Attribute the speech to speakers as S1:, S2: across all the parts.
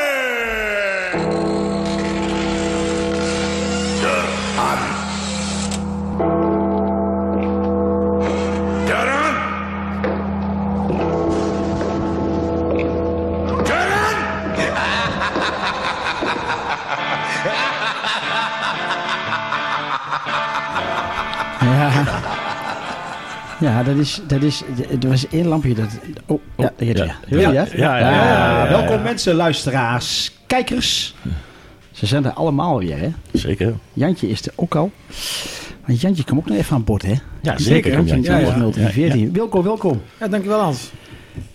S1: Nazione! Duran! Duran!
S2: Ja. Ja, dat is, dat is, er was één lampje dat... Oh, oh ja, ja, ja. Wil je
S3: Ja,
S2: dat?
S3: ja, ja, ja, ja, ja.
S2: Welkom mensen, luisteraars, kijkers. Ze zijn er allemaal weer, hè?
S3: Zeker.
S2: Jantje is er ook al. Want Jantje kwam ook nog even aan bod, hè?
S3: Ja, zeker. komt
S2: Jantje
S3: Jantje.
S2: ja,
S3: Ja, ja.
S2: Welkom, welkom.
S4: Ja, dankjewel Hans.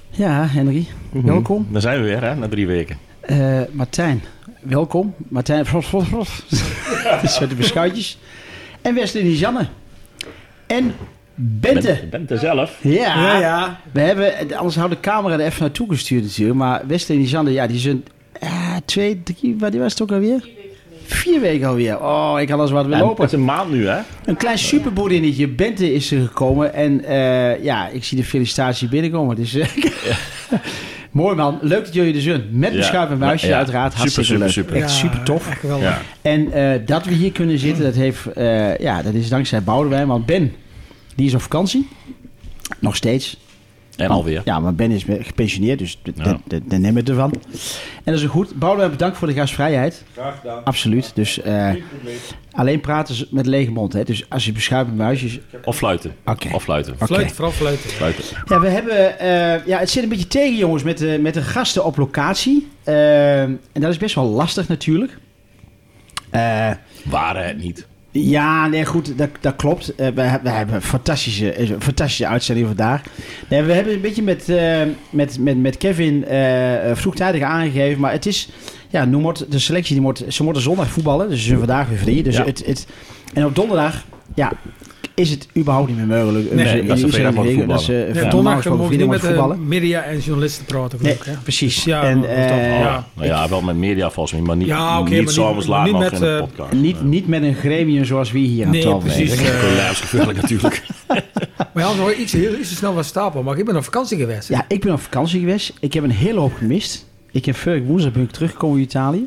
S2: Ja, Henry,
S3: Mhm.
S2: welkom.
S3: Daar zijn we weer, hè, na drie weken.
S2: Eh, Martijn, welkom. Martijn, frof, frof, frof. Dat zijn de beschuitjes. En Wesley en Janne. En Bente.
S3: Bent, bent er zelf.
S2: Ah.
S4: Ja, ja.
S2: We hebben, anders had de camera er even naartoe gestuurd natuurlijk. Maar Wesley en Janne, ja, die zijn eh, twee, drie, wat was het ook alweer? Vier weken alweer. Oh, ik had als wat weer
S3: En, het
S2: lopen.
S3: is een maand nu, hè?
S2: Een klein superboerinnetje. Bente is er gekomen. En eh, ja, ik zie de felicitatie binnenkomen. Dus, eh, Mooi man. Leuk dat jullie er zijn. Met
S3: Ja.
S2: beschuif en muisje
S3: Ja.
S2: uiteraard.
S3: Super,
S2: Hartstikke
S3: super,
S2: leuk.
S3: super.
S2: Echt super tof.
S4: Echt geweldig.
S3: Ja.
S2: En eh, dat we hier kunnen zitten, dat, heeft, eh, ja, dat is dankzij Boudewijn. Want Ben, die is op vakantie. Nog steeds.
S3: En alweer.
S2: Ja, maar Ben is gepensioneerd, dus d-
S3: Ja.
S2: d- d- daar nemen we het ervan. En dat is ook goed. Boudewijn, bedankt voor de gastvrijheid.
S5: Graag gedaan.
S2: Absoluut. Dus eh, alleen praten ze met lege mond. Hè. Dus als je beschuit met muisjes...
S3: Of fluiten.
S2: Oké.
S3: Of fluiten.
S2: Oké.
S4: Fluiten, vooral fluiten.
S3: Fluiten.
S2: Ja, we hebben, eh, ja, het zit een beetje tegen, jongens, met de, met de gasten op locatie. Eh, en dat is best wel lastig natuurlijk. Eh,
S3: Waren het niet.
S2: ja, nee, goed, dat, dat klopt. Eh, we, he- we hebben een fantastische, eh, een fantastische uitzending vandaag. Nee, we hebben een beetje met, eh, met, met, met Kevin eh, eh, vroegtijdig aangegeven. Maar het is, ja, noem het, de selectie, die moet, ze moeten zondag voetballen. Dus ze zijn vandaag weer vrij. Dus
S3: Ja.
S2: het, het, en op donderdag, ja, is het überhaupt niet meer mogelijk. Eh,
S4: Nee,
S2: Ze-
S3: dat ze
S2: ze-
S3: vrijdag
S2: ze-
S3: mogen
S2: dat ze-
S4: Ja,
S2: normaal
S4: donderdag
S2: gesproken
S4: mogen we
S2: vrijdag
S4: niet met eh,
S2: mogen
S4: de media en journalisten praten.
S2: Nee,
S4: geloof ik, hè?
S2: precies.
S4: Ja,
S2: en,
S4: dat- dat-
S2: eh,
S4: Ja.
S3: Nou ja, wel met media volgens mij, maar niet,
S4: Ja, oké,
S3: niet
S4: maar
S3: s'avonds
S4: niet-
S3: laat
S4: niet
S3: nog
S4: met,
S3: in de
S4: eh,
S3: podcast.
S2: niet, niet met een gremium zoals we hier aan
S4: Nee,
S2: tafel
S4: precies.
S2: hebben.
S4: eh,
S3: Lijfsgevaarlijk natuurlijk.
S4: maar Hans, hoor je iets, heel, iets te snel van stapel. Maar ik ben op vakantie geweest.
S2: Ja, ik ben op vakantie geweest. Ik heb een hele hoop gemist. Ik heb vorig woensdag ben ik teruggekomen uit Italië.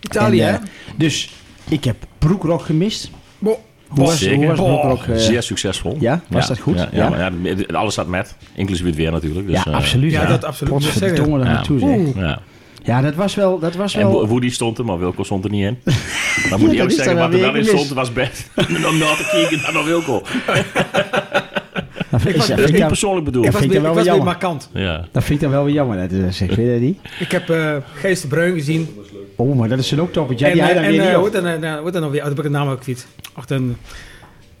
S4: Italië,
S2: En,
S4: hè?
S2: eh, Dus ik heb Broekrock gemist.
S4: Bo-
S2: Hoe was,
S3: Zeker. Oh,
S2: hoe was
S4: Boah,
S2: Broekrock? eh,
S3: Zeer succesvol.
S2: ja? Was dat goed?
S3: Ja, ja,
S2: Ja.
S3: maar ja, het- alles staat met. Inclusief het weer natuurlijk. Dus,
S2: ja,
S3: eh,
S2: absoluut.
S4: ja, dat absoluut. Dat zeg ik.
S2: Potverdomme daar
S3: Ja.
S2: naartoe zeg.
S4: Oeh.
S3: Ja.
S2: Ja, dat was wel... Dat was
S3: En Wo-
S2: wel
S3: Woody stond er, maar Wilco stond er niet in. Dan moet
S2: dat
S3: ik eerlijk
S2: is
S3: zeggen,
S2: dan
S3: wat er
S2: weer
S3: wel in
S2: mis.
S3: stond was best. Om na te kijken naar nog Wilco.
S2: dat vind ik- dat
S3: Dat
S2: vind
S3: is
S2: ik
S3: niet
S2: dan-
S3: persoonlijk bedoeld.
S4: Ik
S2: vind ik
S4: was, weer,
S2: wel
S4: ik was
S2: weer jammer.
S4: weer markant.
S3: Ja.
S2: dat vind ik dan wel weer jammer. Dat, eh, zeg. Vind je dat niet?
S4: Ik heb eh Geest de Bruin gezien.
S2: Oh, maar dat is een ook top. Want jij die
S4: en
S2: hij
S4: eh,
S2: dan
S4: en
S2: weer
S4: eh,
S2: niet
S4: hoe
S2: op.
S4: heet dat nou- nou, hoe heet dat nou weer? Oh, dat heb ik de naam ook kwijt. Ach, dan...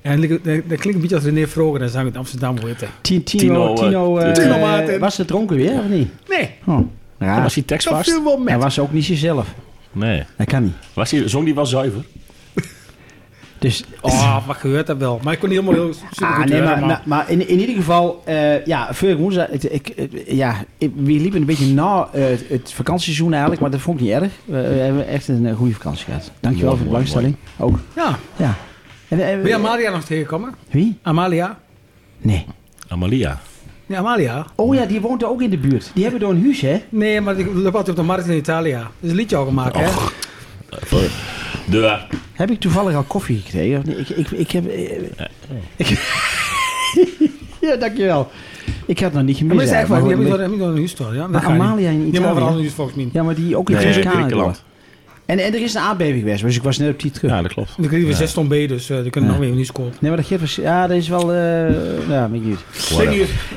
S4: En dat, dat klinkt een beetje als René Vroger. Dan zang ik in Amsterdam, hoe heet dat?
S2: Ti- Tino,
S3: Tino, eh,
S2: Tino, eh,
S4: Tino Maarten.
S2: was ze dronken weer of niet?
S4: Nee.
S2: Oh, raar.
S3: Was hij
S4: Dat
S3: tekstvast?
S4: viel wel
S2: Hij
S4: met.
S2: was ook niet zichzelf.
S3: Nee.
S2: Dat kan niet.
S3: Was hij, zong die wel zuiver?
S2: Dus
S4: Oh, wat gebeurt dat wel? Maar ik kon niet helemaal heel super
S2: Ah,
S4: goed
S2: nee, maar,
S4: maar,
S2: maar, maar in, in ieder geval, eh, ja, vorig woensdag, ik, ik, eh, ja, ik, we liepen een beetje na eh, het, het vakantieseizoen eigenlijk, maar dat vond ik niet erg. We, we hebben echt een eh, goede vakantie gehad. Dankjewel
S3: Mooi,
S2: voor de
S3: mooi,
S2: belangstelling. Ook,
S4: Ja.
S2: ja. En, eh,
S4: Ben je Amalia nog tegengekomen?
S2: wie?
S4: Amalia?
S2: Nee.
S3: Amalia.
S4: Nee, Amalia.
S2: Oh ja, die woont er ook in de buurt. Die hebben door een huis, hè?
S4: Nee, maar die loopt altijd op de markt in Italië. Er is een liedje al gemaakt, hè?
S3: Och. De,
S2: Heb ik toevallig al koffie gekregen? Of niet? Ik, ik, ik heb... eh, ik- ja, dankjewel. Ik had het nog niet gemist. eigenlijk,
S4: Maar dat is
S2: maar
S4: eigenlijk,
S2: goed,
S4: je
S2: maar-
S4: hebt niet door- niet door een huis toch? Ja, Dat
S2: Maar
S4: gaat niet.
S2: Amalia in
S4: Die hebben
S2: Italië?
S4: overal een huis volgens mij.
S2: Ja, maar die ook in
S3: Nee,
S2: Toscane.
S3: Griekenland.
S2: door. En, en er is een aardbeving geweest, dus ik was net op die terug.
S3: dat klopt.
S4: Dan kregen we zes ton B, dus eh die kunnen
S2: Ja.
S4: nog weer een huis kopen.
S2: Nee, maar dat geeft... vers- Ja, dat is wel... eh ja, ben ik niet.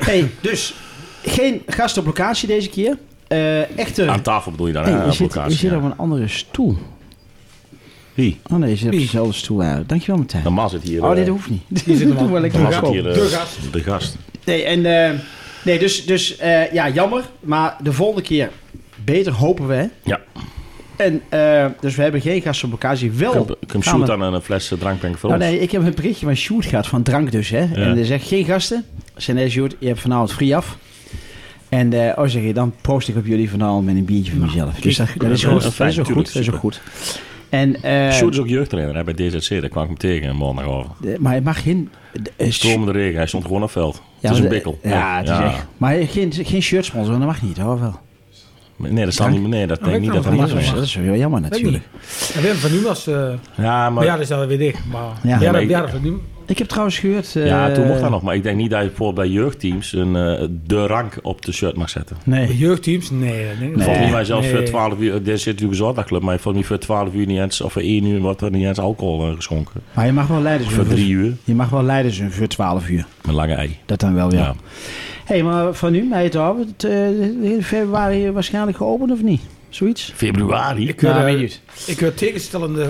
S2: hey, dus geen gast op locatie deze keer. Eh echte...
S3: Aan tafel bedoel je dan,
S2: Hey,
S3: hè?
S2: je
S3: op
S2: zit, je
S3: locatie,
S2: zit
S3: Ah, eh, ja.
S2: op een andere stoel.
S3: Wie?
S2: Oh nee, je zit op
S4: Wie?
S2: dezelfde stoel eigenlijk. Dankjewel, Martijn.
S3: Normaal zit hier...
S2: Oh,
S3: eh,
S2: dit hoeft niet. Dit
S4: zit
S2: doen
S4: normaal.
S2: we lekker
S3: normaal
S2: op
S3: zit
S2: school.
S3: hier, eh,
S4: De gast.
S3: De gast.
S2: Nee, en, eh, nee dus, dus eh, ja, jammer. Maar de volgende keer beter hopen we. hè?
S3: Ja.
S2: En, eh, dus we hebben geen gast op locatie. Wel
S3: Ik heb hem
S2: Oh. gaan we-
S3: shoot aan een fles eh, drank brengen voor
S2: Nou,
S3: ons.
S2: nee, ik heb een berichtje van Sjoerd gehad, van drank dus. Hè? En er zegt geen gasten. Ik Zei nee, Sjoerd, je hebt vanavond free af. En eh, oh, zeg je, dan proost ik op jullie vanavond met een biertje voor mezelf. dus dat, dat is
S3: dat
S2: goed.
S3: is
S2: Dat
S3: fijn,
S2: is ook goed.
S3: tuurlijk,
S2: Dat is ook
S3: super.
S2: goed. En, eh,
S3: Sjoerd is ook jeugdtrainer hè, bij DZC, daar kwam ik hem tegen een maandag over.
S2: de- maar het mag geen... de- eh, sh-
S3: Stormende regen, hij stond gewoon op veld.
S2: ja,
S3: het is een
S2: de-
S3: bikkel.
S2: Ja, het is echt... Maar geen, geen shirtsponsor, dat mag niet, hoor wel.
S3: Nee, dat zal
S2: Dank.
S3: niet. Nee, dat
S4: Oh,
S3: denk ik niet dat
S4: dat
S3: dat
S4: kan
S3: mag.
S4: wel.
S2: is,
S3: zijn.
S2: dat is heel jammer
S4: Weet niet.
S2: natuurlijk.
S4: En Willem van Nieuwlas, eh maar
S3: Ja, maar
S4: ja, dat is dan weer dicht. Maar
S2: Ja,
S4: ja,
S3: maar
S4: Jaren,
S3: ik-
S4: Jaren van Nieuw-
S2: Ik heb trouwens gehoord... eh,
S3: Ja, toen mocht dat nog. Maar ik denk niet dat je bijvoorbeeld bij jeugdteams een, eh, de rank op de shirt mag zetten.
S2: Nee.
S4: jeugdteams, nee. nee,
S3: Nee. Volgens mij zelfs
S4: Eh, Nee.
S3: voor 12 uur, dit zit natuurlijk een zondagclub, maar volgens mij voor 12 uur niet eens, of voor 1 uur wordt er niet eens alcohol eh, geschonken.
S2: Maar je mag wel leiders
S3: Of voor 3 uur,
S2: Je mag wel leiders hun voor 12 uur.
S3: met lange ei.
S2: Dat dan wel, ja.
S3: Ja.
S2: hey, maar van nu, mij het al, het, eh, in februari waarschijnlijk geopend of niet? Zoiets?
S3: Februari?
S4: Ik hoor, eh,
S2: niet.
S4: Ik hoor tegenstellende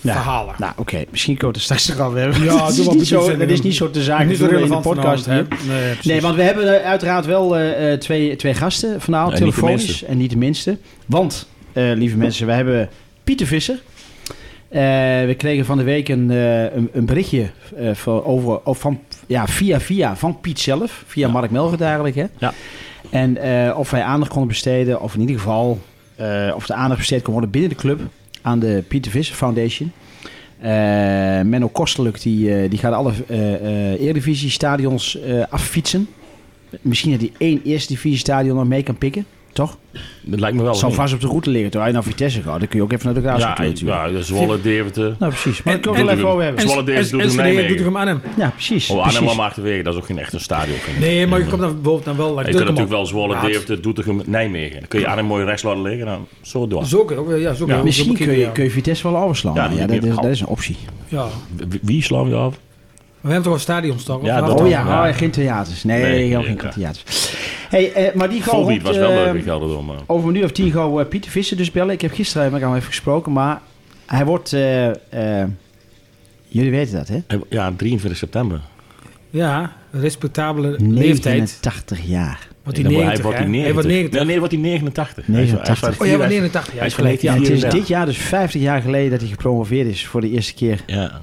S2: Ja.
S4: verhalen.
S2: Nou, oké. Misschien komen we het er straks nog wel weer.
S4: Ja,
S2: dat,
S4: doe
S2: is
S4: maar
S2: niet zo,
S4: precies.
S2: dat is niet zo te zaken.
S4: niet zo
S2: doen we in de
S4: relevant
S2: podcast.
S4: vanavond,
S2: hier.
S4: hè? Nee, precies.
S2: Nee, want we hebben eh, uiteraard wel eh, eh, twee, twee gasten vanavond,
S3: En niet de
S2: telefonisch
S3: minste.
S2: en niet de minste. Want, eh, lieve mensen, we hebben Pieter Visser. Eh, we kregen van de week een, eh, een, een berichtje eh, van, over, of van, ja, via via van Piet zelf, via Mark Melvert eigenlijk. Hè?
S3: Ja.
S2: En eh, of wij aandacht konden besteden, of in ieder geval eh, of de aandacht besteed kon worden binnen de club aan de Pieter Visser Foundation. Eh, Menno Kostelijk die, eh, die gaat alle eh eh Eredivisie stadions eh, affietsen. Misschien dat hij één Eerste Divisie stadion nog mee kan pikken, toch?
S3: Dat lijkt me wel.
S2: Dat zal
S3: niet.
S2: vast op de route liggen. Terwijl je naar nou Vitesse gaat, dan kun je ook even naar de graas
S3: Ja,
S2: toe natuurlijk.
S3: ja, Zwolle, Deventer. Oh,
S2: Nou, precies. Maar
S4: En-
S2: dat kunnen we wel
S3: en-
S2: even over hebben.
S3: en- Zwolle Davis doet hem
S4: Enschede
S3: Nijmegen.
S4: doet hem aan hem.
S2: Ja, precies.
S3: Oh,
S2: precies.
S3: Arnhem achterwege, dat is ook geen echt een stadion. vind ik.
S4: Nee, maar je komt dan bijvoorbeeld dan wel...
S3: Je kunt natuurlijk wel Zwolle,
S4: zwollen
S3: Deventer, Doetinchem, Nijmegen. Dan kun je Arnhem mooi rechts laten liggen, dan zo door.
S4: Zo kun je ook, ja, zo kun je ook- zo
S2: Misschien
S4: moet je-
S2: kun je,
S4: ja.
S2: kun je Vitesse wel overslaan.
S3: Ja,
S2: Ja,
S3: die- die
S2: dat, is,
S3: heeft
S2: dat
S3: gehad.
S2: is een optie.
S4: Ja,
S3: Wie- Wie slaan je af?
S4: we hebben toch wel stadions toch? Of
S3: Ja,
S4: wel?
S3: dat
S2: Oh
S3: dan,
S2: ja,
S3: ja.
S2: oh, geen theaters. Nee,
S3: Nee,
S2: helemaal
S3: nee,
S2: geen
S3: ja.
S2: theaters. Hey, eh, maar die gaat
S3: Volbeat
S2: rond,
S3: was wel
S2: eh,
S3: leuk in Gelderdoom. maar-
S2: Over een uur of tien gaan we Pieter Visser dus bellen. Ik heb gisteren met hem even gesproken, maar hij wordt... eh, eh, jullie weten dat, hè?
S3: Ja, 23 september.
S4: Ja, een respectabele leeftijd.
S2: 89 jaar.
S4: Wordt
S3: Nee,
S4: hij
S3: dan
S4: 90,
S3: wordt- Hij wordt die
S4: hè?
S3: 90.
S4: Hij wordt 90.
S3: Nee, nee, wordt hij 89.
S2: 89.
S3: Hij is-
S4: Oh,
S3: hij
S4: jij
S3: is-
S4: wordt 89. Ja,
S3: hij is
S4: is gelijk.
S3: Ja,
S2: Ja, het is
S3: ja.
S2: dit jaar dus 50 jaar geleden dat hij gepromoveerd is voor de eerste keer
S3: Ja.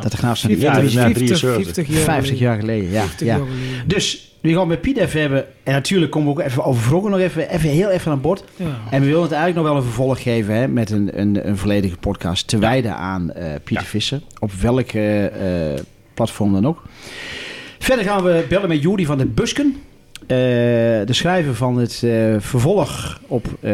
S2: dat de graafschap
S3: Ja,
S2: ja,
S3: dat is na
S4: 50,
S3: 73.
S4: 50 jaar.
S2: 50 jaar geleden, ja.
S4: 50
S2: ja.
S4: jaar geleden.
S2: Dus we gaan met Piet even hebben. En natuurlijk komen we ook even over vroeger nog even, even heel even aan bod.
S4: Ja.
S2: En we willen het eigenlijk nog wel een vervolg geven hè, met een, een, een volledige podcast te wijden aan eh, Pieter
S3: Ja.
S2: Visser. Op welk eh, eh, platform dan ook. Verder gaan we bellen met Juri van den Busken. eh, de schrijver van het eh, vervolg op eh,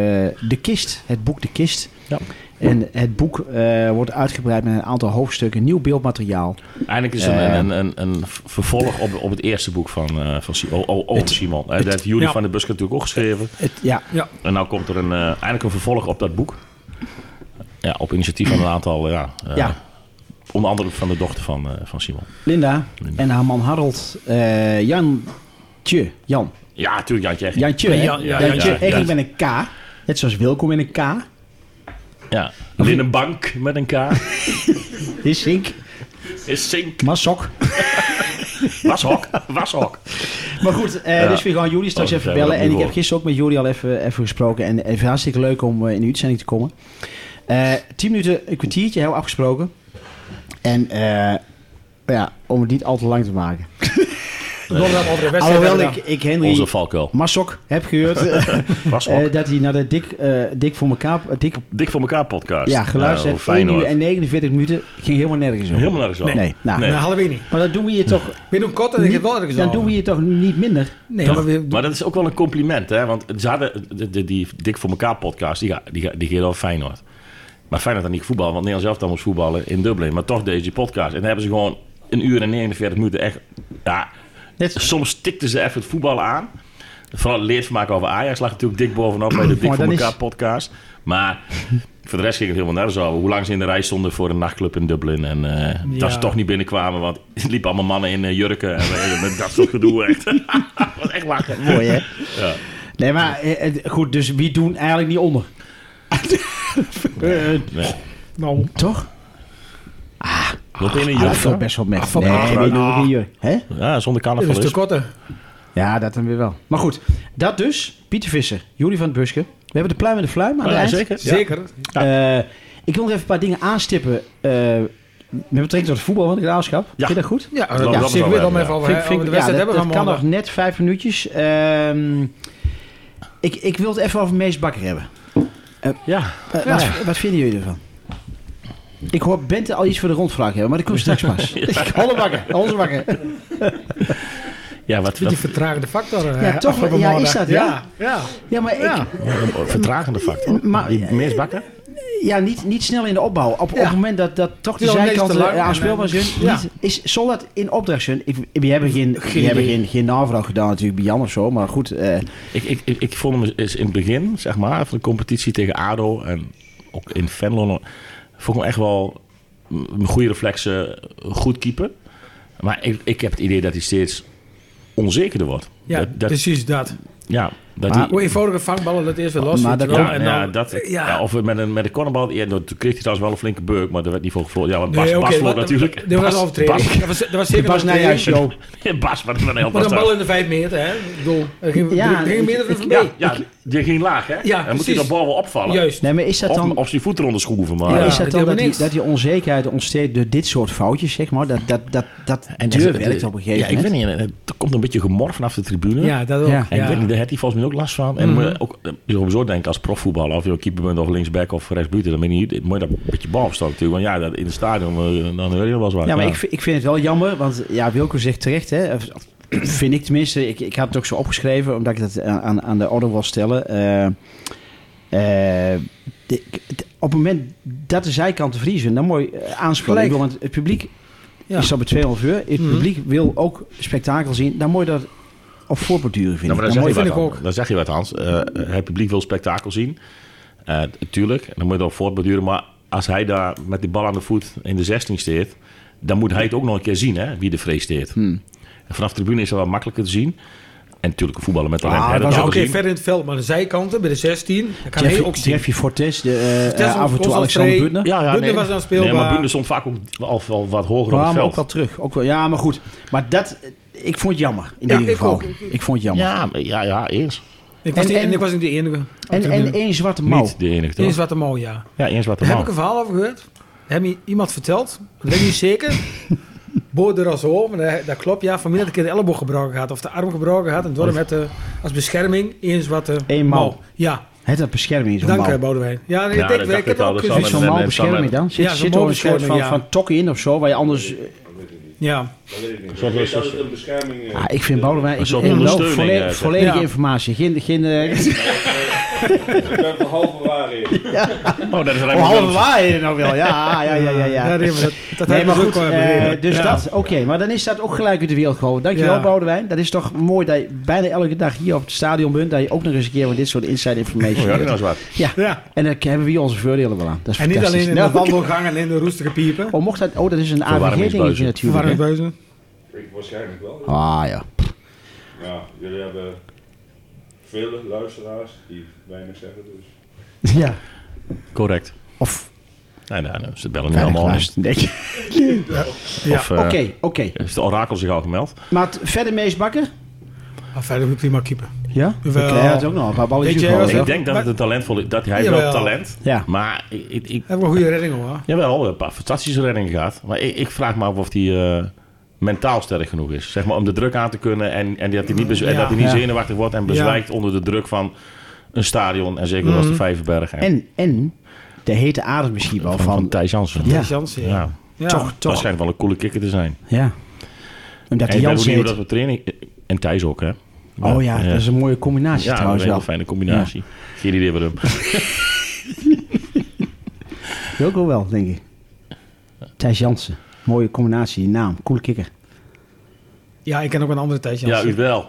S2: De Kist, het boek De Kist.
S3: Ja.
S2: En het boek eh, wordt uitgebreid met een aantal hoofdstukken, nieuw beeldmateriaal.
S3: Eigenlijk is het
S2: Eh.
S3: een, een, een, een vervolg op, op het eerste boek van, eh, van Si- o- o- over
S2: Het-
S3: Simon. Eh, dat heeft Jury
S4: ja.
S3: van de Busk natuurlijk ook geschreven.
S2: Het, ja,
S3: En nou komt er een, eh, eigenlijk een vervolg op dat boek. Ja, op initiatief van een aantal, ja, eh,
S2: Mm. Ja.
S3: onder andere van de dochter van, eh, van Simon.
S2: Linda,
S3: Linda.
S2: en haar man Harold, eh, Jantje, Jan,
S3: Ja, natuurlijk, Jantje echt.
S2: Jantje, hè?
S4: Ja, ja,
S2: Jantje,
S3: ja, ja.
S2: Eging met een K. Net zoals Wilkom in een K.
S3: Ja. Linnenbank met een K.
S2: Is ik.
S3: Is Sink.
S2: Masok.
S3: Washok. Washok.
S2: Maar goed, eh,
S3: Ja.
S2: dus we gaan jullie straks
S3: Oh,
S2: even
S3: zijn we
S2: bellen.
S3: dat
S2: En
S3: nu
S2: ik heb
S3: voor.
S2: gisteren ook met jullie al even, even gesproken. En even hartstikke leuk om eh, in de uitzending te komen. Eh tien minuten, een kwartiertje, heel afgesproken. En eh, ja, om het niet al te lang te maken.
S4: Donderdag over de wedstrijd.
S2: Alhoewel
S4: hebben
S2: ik,
S4: we
S2: ik Henry
S3: Onze valkuil.
S2: Masok heb gehoord eh,
S3: Washok.
S2: eh, dat hij naar de dik, eh, dik voor elkaar... dik,
S3: Dik voor elkaar podcast.
S2: ja, geluisterd
S3: Nou,
S2: heeft.
S3: fijn
S2: 1 uur
S3: hoor.
S2: en 49 minuten. Ging helemaal nergens op.
S3: Helemaal nergens wel.
S2: Nee, nou.
S4: dan.
S3: Nee.
S4: Nou, Halloween niet.
S2: Maar dan doen we je toch,
S4: Binnen kort en ik heb
S2: niet,
S4: wel ergens
S2: dan
S4: al.
S2: doen we je toch niet minder.
S4: Nee, maar we...
S3: Maar dat is ook wel een compliment, hè? Want ze hadden de, de- die Dik voor elkaar podcast, die, ga- die, ga- die ging over Feyenoord. Maar Feyenoord had niet voetballen, want Nederland zelf dan moest voetballen in Dublin. Maar toch deze die podcast. En dan hebben ze gewoon een uur en 49 minuten echt... Ja,
S2: Net-
S3: soms stikten ze even het voetbal aan. Vooral het leervermaak over Ajax lag natuurlijk dik bovenop bij de Dik
S2: Maar
S3: voor
S2: dat
S3: elkaar
S2: is-
S3: podcast. Maar voor de rest ging het helemaal nergens over. Hoe lang ze in de rij stonden voor een nachtclub in Dublin. En eh,
S4: Ja.
S3: dat ze toch niet binnenkwamen, want er liepen allemaal mannen in eh, jurken. En eh, met dat soort gedoe echt. was echt lachen.
S2: Mooi, hè?
S3: Ja.
S2: Nee, maar eh, eh, goed, dus wie doen eigenlijk niet onder? Eh,
S3: Nee.
S4: Nou,
S2: toch?
S3: Loop
S2: Ah,
S3: in een
S2: dat
S3: jurk.
S2: valt
S3: hoor.
S2: best wel mee.
S4: Ah, van
S2: nee,
S4: Praag,
S2: we
S4: hè?
S2: doen ook
S4: Ah.
S2: een jurk. Hè?
S3: Ja, zonder
S4: dat
S3: carnaval
S4: is te
S3: is.
S4: korte.
S2: Ja, dat dan weer wel. Maar goed, dat dus. Pieter Visser, Jullie van het Busken. We hebben de pluim en de fluim aan
S3: Oh,
S2: de
S3: ja,
S2: eind.
S3: zeker. Ja.
S4: Zeker.
S2: Eh, ik wil nog even een paar dingen aanstippen. eh, met betrekking tot het voetbal van de graafschap. Vind je dat goed?
S4: Ja,
S3: dat
S4: dat
S3: is
S4: is weer
S3: wel
S4: dan
S3: wel,
S4: even
S3: ja.
S4: over
S2: Vind-
S4: hè,
S2: vind-
S4: over de
S2: ja,
S4: wedstrijd
S2: dat,
S4: hebben
S2: dat
S4: van
S2: kan nog
S4: maandag.
S2: net vijf minuutjes. Ehm, ik, ik wil het even over Mees Bakker hebben.
S3: Ja.
S2: Eh,
S4: Ja.
S2: wat, wat vinden jullie ervan? Ik hoor Bente al iets voor de rondvraag hebben, maar dat komt straks pas. Holle bakken, onze bakken.
S3: Ja, wat,
S4: Een beetje
S3: wat
S4: vertragende factor. eh,
S2: Ja, toch,
S4: afgelopen
S2: ja, is
S4: maandag.
S2: dat, ja?
S4: Ja, ja.
S2: Ja, maar
S4: ja.
S2: ik,
S3: een vertragende factor.
S2: Maar-
S3: Die Meersbakker?
S2: ja, niet, niet snel in de opbouw. Op, op
S4: Ja.
S2: het moment dat, dat toch de
S4: Ja, nee, is te
S2: zijkanten
S4: lang
S2: eh,
S4: en,
S2: aanspeelbaar
S4: eh,
S2: zijn,
S4: ja.
S2: niet, is, zal dat in opdracht zijn? Ik, we hebben geen, we
S4: Geen
S2: hebben
S4: idee.
S2: geen, geen navraag gedaan natuurlijk bij Jan of zo, maar goed. eh,
S3: Ik, ik, ik, ik vond hem eens in het begin, zeg maar, van de competitie tegen ADO en ook in Venlo, vond ik hem echt wel een goede reflexen, een goed keeper. Maar ik, ik heb het idee dat hij steeds onzekerder wordt.
S4: ja dus-
S3: dat, dat,
S4: precies dat.
S3: ja, dat
S2: Maar-
S3: hij-
S4: Ah, Hoe eenvoudige vangballen dat eerst weer los.
S2: Maar
S4: weet
S2: dat
S4: je wel,
S3: ja,
S4: en
S3: nou ja,
S4: dan-
S3: dat, ja.
S4: ja.
S3: of met een, met een cornerbal. Ja, nou, toen kreeg hij trouwens wel een flinke beuk, maar daar werd niet voor gevlogen. Ja, maar Bas,
S4: Nee, oké,
S3: Bas vloog
S4: wat-
S3: natuurlijk.
S4: Dat was
S3: Bas-
S4: een overtreding. Dat was, dat was zeker
S2: Bas
S4: een
S2: Nijhuis,
S4: overtreding.
S2: joh.
S3: Bas, Bas, wat een heel
S4: Maar een
S3: Bas-
S4: bal in de 5 meter, hè? Ik bedoel, er ging,
S2: Ja,
S4: er ging meerdere
S2: ik-
S4: van
S3: Ja,
S4: mee.
S3: ja, die ging laag, hè?
S4: Ja,
S3: dan moet hij
S4: precies.
S3: dat bal wel opvallen.
S4: Juist.
S2: Nee, maar is dat
S3: Of,
S2: dan...
S3: of zijn voet eronder schroeven, maar...
S2: Ja,
S4: Ja,
S2: Oh, is dat
S4: dat
S2: dan
S4: helemaal
S2: dat die,
S4: niks.
S2: dat die onzekerheid ontsteekt door dit soort foutjes, zeg maar? Dat, dat, dat, dat
S3: En
S2: deur
S3: dat-
S2: werkt op een gegeven
S3: Ja, ik
S2: moment.
S3: weet niet. Er komt een beetje gemor vanaf de tribune.
S4: Ja, dat ook.
S2: Ja.
S4: Ja.
S3: En ik weet niet, daar had hij volgens mij ook last van. En moet je ook, eh, sowieso denk ik als profvoetballer, of je keeper bent of linksback of rechtsbuiten, dan ben je niet, moet je dat een beetje bal opstoten natuurlijk. Want ja, dat, in het stadion, eh, dan hoor je wel eens wat.
S2: Ja, maar Ik, vind- ik vind het wel jammer, want ja, Wilco zegt terecht, hè, of- of- vind ik tenminste. Ik, ik had het ook zo opgeschreven, omdat ik dat aan, aan- aan de orde wil stellen. Eh, eh, de- de- op het moment dat de zijkanten vriezen, dan mooi aanspelen.
S4: Gelijk.
S2: Ik wil, want het publiek
S4: Ja.
S2: is al bij 200 uur. Het
S4: Mhm.
S2: publiek wil ook spektakel zien. Dan moet je dat op voorborduren, vind
S3: Nou, maar
S2: ik.
S3: dan,
S2: Dan
S3: zeg je
S2: moet je-
S3: wat,
S4: vind ik
S3: Hans. dan zeg je wat, Hans. Eh, het publiek wil spektakel zien. Eh, tuurlijk, dan moet je erop voortbeduren. Maar als hij daar met die bal aan de voet in de 16 steert... dan moet hij het ook nog een keer zien, hè, wie de vrees steert. En vanaf de tribune is dat wat makkelijker te zien. En natuurlijk, een voetballer met talent.
S2: Ah,
S3: hè,
S2: dat
S3: dat
S2: was
S4: Ja,
S3: is
S4: oké,
S3: ook te zien.
S4: verder in het veld, maar de zijkanten bij de 16. Dat kan hij ook
S2: Jeffrey,
S4: zien.
S2: Jeffrey Fortes, de, eh,
S4: Fortes
S2: eh, af en toe
S4: was
S2: Alexander
S4: vrij-
S2: Butner.
S3: Ja, ja,
S4: Bundner
S3: nee.
S4: was dan speelbaar.
S3: Nee, maar Bundner stond vaak ook al wel wat hoger op
S2: Ja,
S3: het
S2: maar ook
S3: veld.
S2: wel terug. Ook wel, ja, maar goed. Maar dat, ik vond het jammer. In ieder
S4: ik
S2: geval.
S4: ook.
S2: Ik vond het jammer.
S3: Ja, maar- ja, ja, eens.
S4: Ik was
S2: En-
S4: niet- en,
S2: en-
S4: ik was niet de enige.
S2: En, en één zwarte mouw.
S3: Niet de enige,
S4: Dit
S3: toch?
S4: is wat een mooi, ja.
S3: Ja, eens wat de
S4: Daar heb
S3: man.
S4: ik een verhaal over gehoord. Heb je iemand verteld? Dat weet ik niet zeker. Boor de Razo, maar dat, dat klopt. Ja, vanmiddag een keer de elleboog gebroken had of de arm gebroken had. En
S3: Oh.
S4: door hem met de, als bescherming eens wat de
S2: Eén mouw.
S4: Ja,
S2: Het dat bescherming is een
S4: dank
S2: mouw.
S4: hè, Boudewijn. Ja, nee,
S3: Ja, dat
S4: ik denk,
S3: dacht
S4: ik heb
S3: ik al,
S4: ook
S3: dat zal
S2: Is
S4: gezien.
S2: zo'n
S3: Met- met-
S2: mouw
S3: met-
S2: bescherming dan? Zit,
S4: Ja, zo'n
S2: zit er een soort van,
S4: mouwbescherming, ja.
S2: van tok in of zo, waar je anders...
S4: Ja,
S3: Zo'n-
S1: Ik
S3: zo'n-
S1: dat het een bescherming eh,
S2: Ah, ik vind Boudewijn... Ik
S3: Een soort
S2: ik-
S3: ondersteuning,
S2: volle-
S3: eh,
S2: volledige
S4: ja.
S2: informatie. Geen... geen eh,
S1: Ik ben van halve waar in.
S3: Oh, dat is
S2: oh,
S3: Raymond
S2: halve
S3: Willemsen.
S2: waarheden nou wel. Ja, ja, ja, ja. ja.
S4: ja nee, maar dat,
S2: Nee,
S4: dat
S2: maar
S4: hebben we
S2: goed,
S4: ook al
S2: eh,
S4: hebben.
S2: dus
S4: Ja.
S2: dat, oké. maar dan is dat ook gelijk uit de wereld gehouden. Dankjewel,
S4: Ja.
S2: Boudewijn. Dat is toch mooi dat je bijna elke dag hier op het stadion bent... dat je ook nog eens een keer met dit soort inside
S3: Oh,
S2: information
S3: ja,
S2: leert.
S3: dat is wat.
S2: Ja.
S4: Ja.
S2: En dan hebben we hier onze voordelen wel aan. Dat is
S4: En niet
S2: fantastisch.
S4: alleen in
S2: Nou,
S4: de wandelgangen en in de roestige piepen.
S2: Oh, mocht dat... Oh, dat is een AVG-dingetje
S3: Verwarmingsbuizen.
S2: natuurlijk. hè?
S4: Verwarmingsbuizen.
S1: Ik waarschijnlijk wel.
S2: Ah, ja.
S1: Ja, jullie hebben vele luisteraars die weinig zeggen dus.
S2: Ah, Ja.
S3: Correct.
S2: Of...
S3: Nee, nee, nee, ze bellen nu
S2: Weinig
S3: allemaal.
S2: luisteren, denk ik.
S4: Ja.
S3: Of, eh,
S2: Oké, oké.
S3: Heeft de orakel zich al gemeld?
S2: Maar t- verder Mees Bakker?
S4: Maar verder moet ik prima keeper.
S2: Ja?
S4: Wel.
S2: Hij had ook nog een paar balletjes
S4: Weet je,
S2: gehoord,
S4: was
S2: hè?
S3: Ik denk dat het een talentvol is. Dat hij heeft wel
S4: Jawel.
S3: talent.
S2: Ja.
S3: Maar ik, ik, ik-
S4: Heb ik een goede redding hoor.
S3: jawel, een paar fantastische reddingen gehad. Maar ik, ik vraag me af of hij eh, mentaal sterk genoeg is. Zeg maar om de druk aan te kunnen. En, en dat hij niet, bez- en
S4: Ja.
S3: dat hij niet
S2: Ja.
S3: zenuwachtig wordt en bezwijkt onder de druk van een stadion. En zeker als de Vijverberg. En,
S2: En, en... De hete adem misschien wel
S3: van, van
S2: van...
S3: Thijs Jansen.
S2: Ja.
S4: Ja. Jansen,
S3: Ja.
S4: ja. Ja.
S2: Toch,
S3: Dat
S2: toch.
S3: schijnt wel een coole kikker te zijn.
S2: Ja. Omdat
S3: En
S2: die
S3: ik ben
S2: Jans
S3: benieuwd dat
S2: heet.
S3: we training... En Thijs ook, hè?
S2: Oh ja, dat is een mooie combinatie
S3: eh, Ja, dat
S2: trouwens
S3: is een hele
S2: wel.
S3: fijne combinatie. Geen idee waarom.
S2: Wilco wel, denk ik. Thijs Jansen. Mooie combinatie, die naam. Coole kikker.
S4: Ja, ik ken ook een andere Thijs
S3: Ja,
S4: Jansen.
S3: u wel.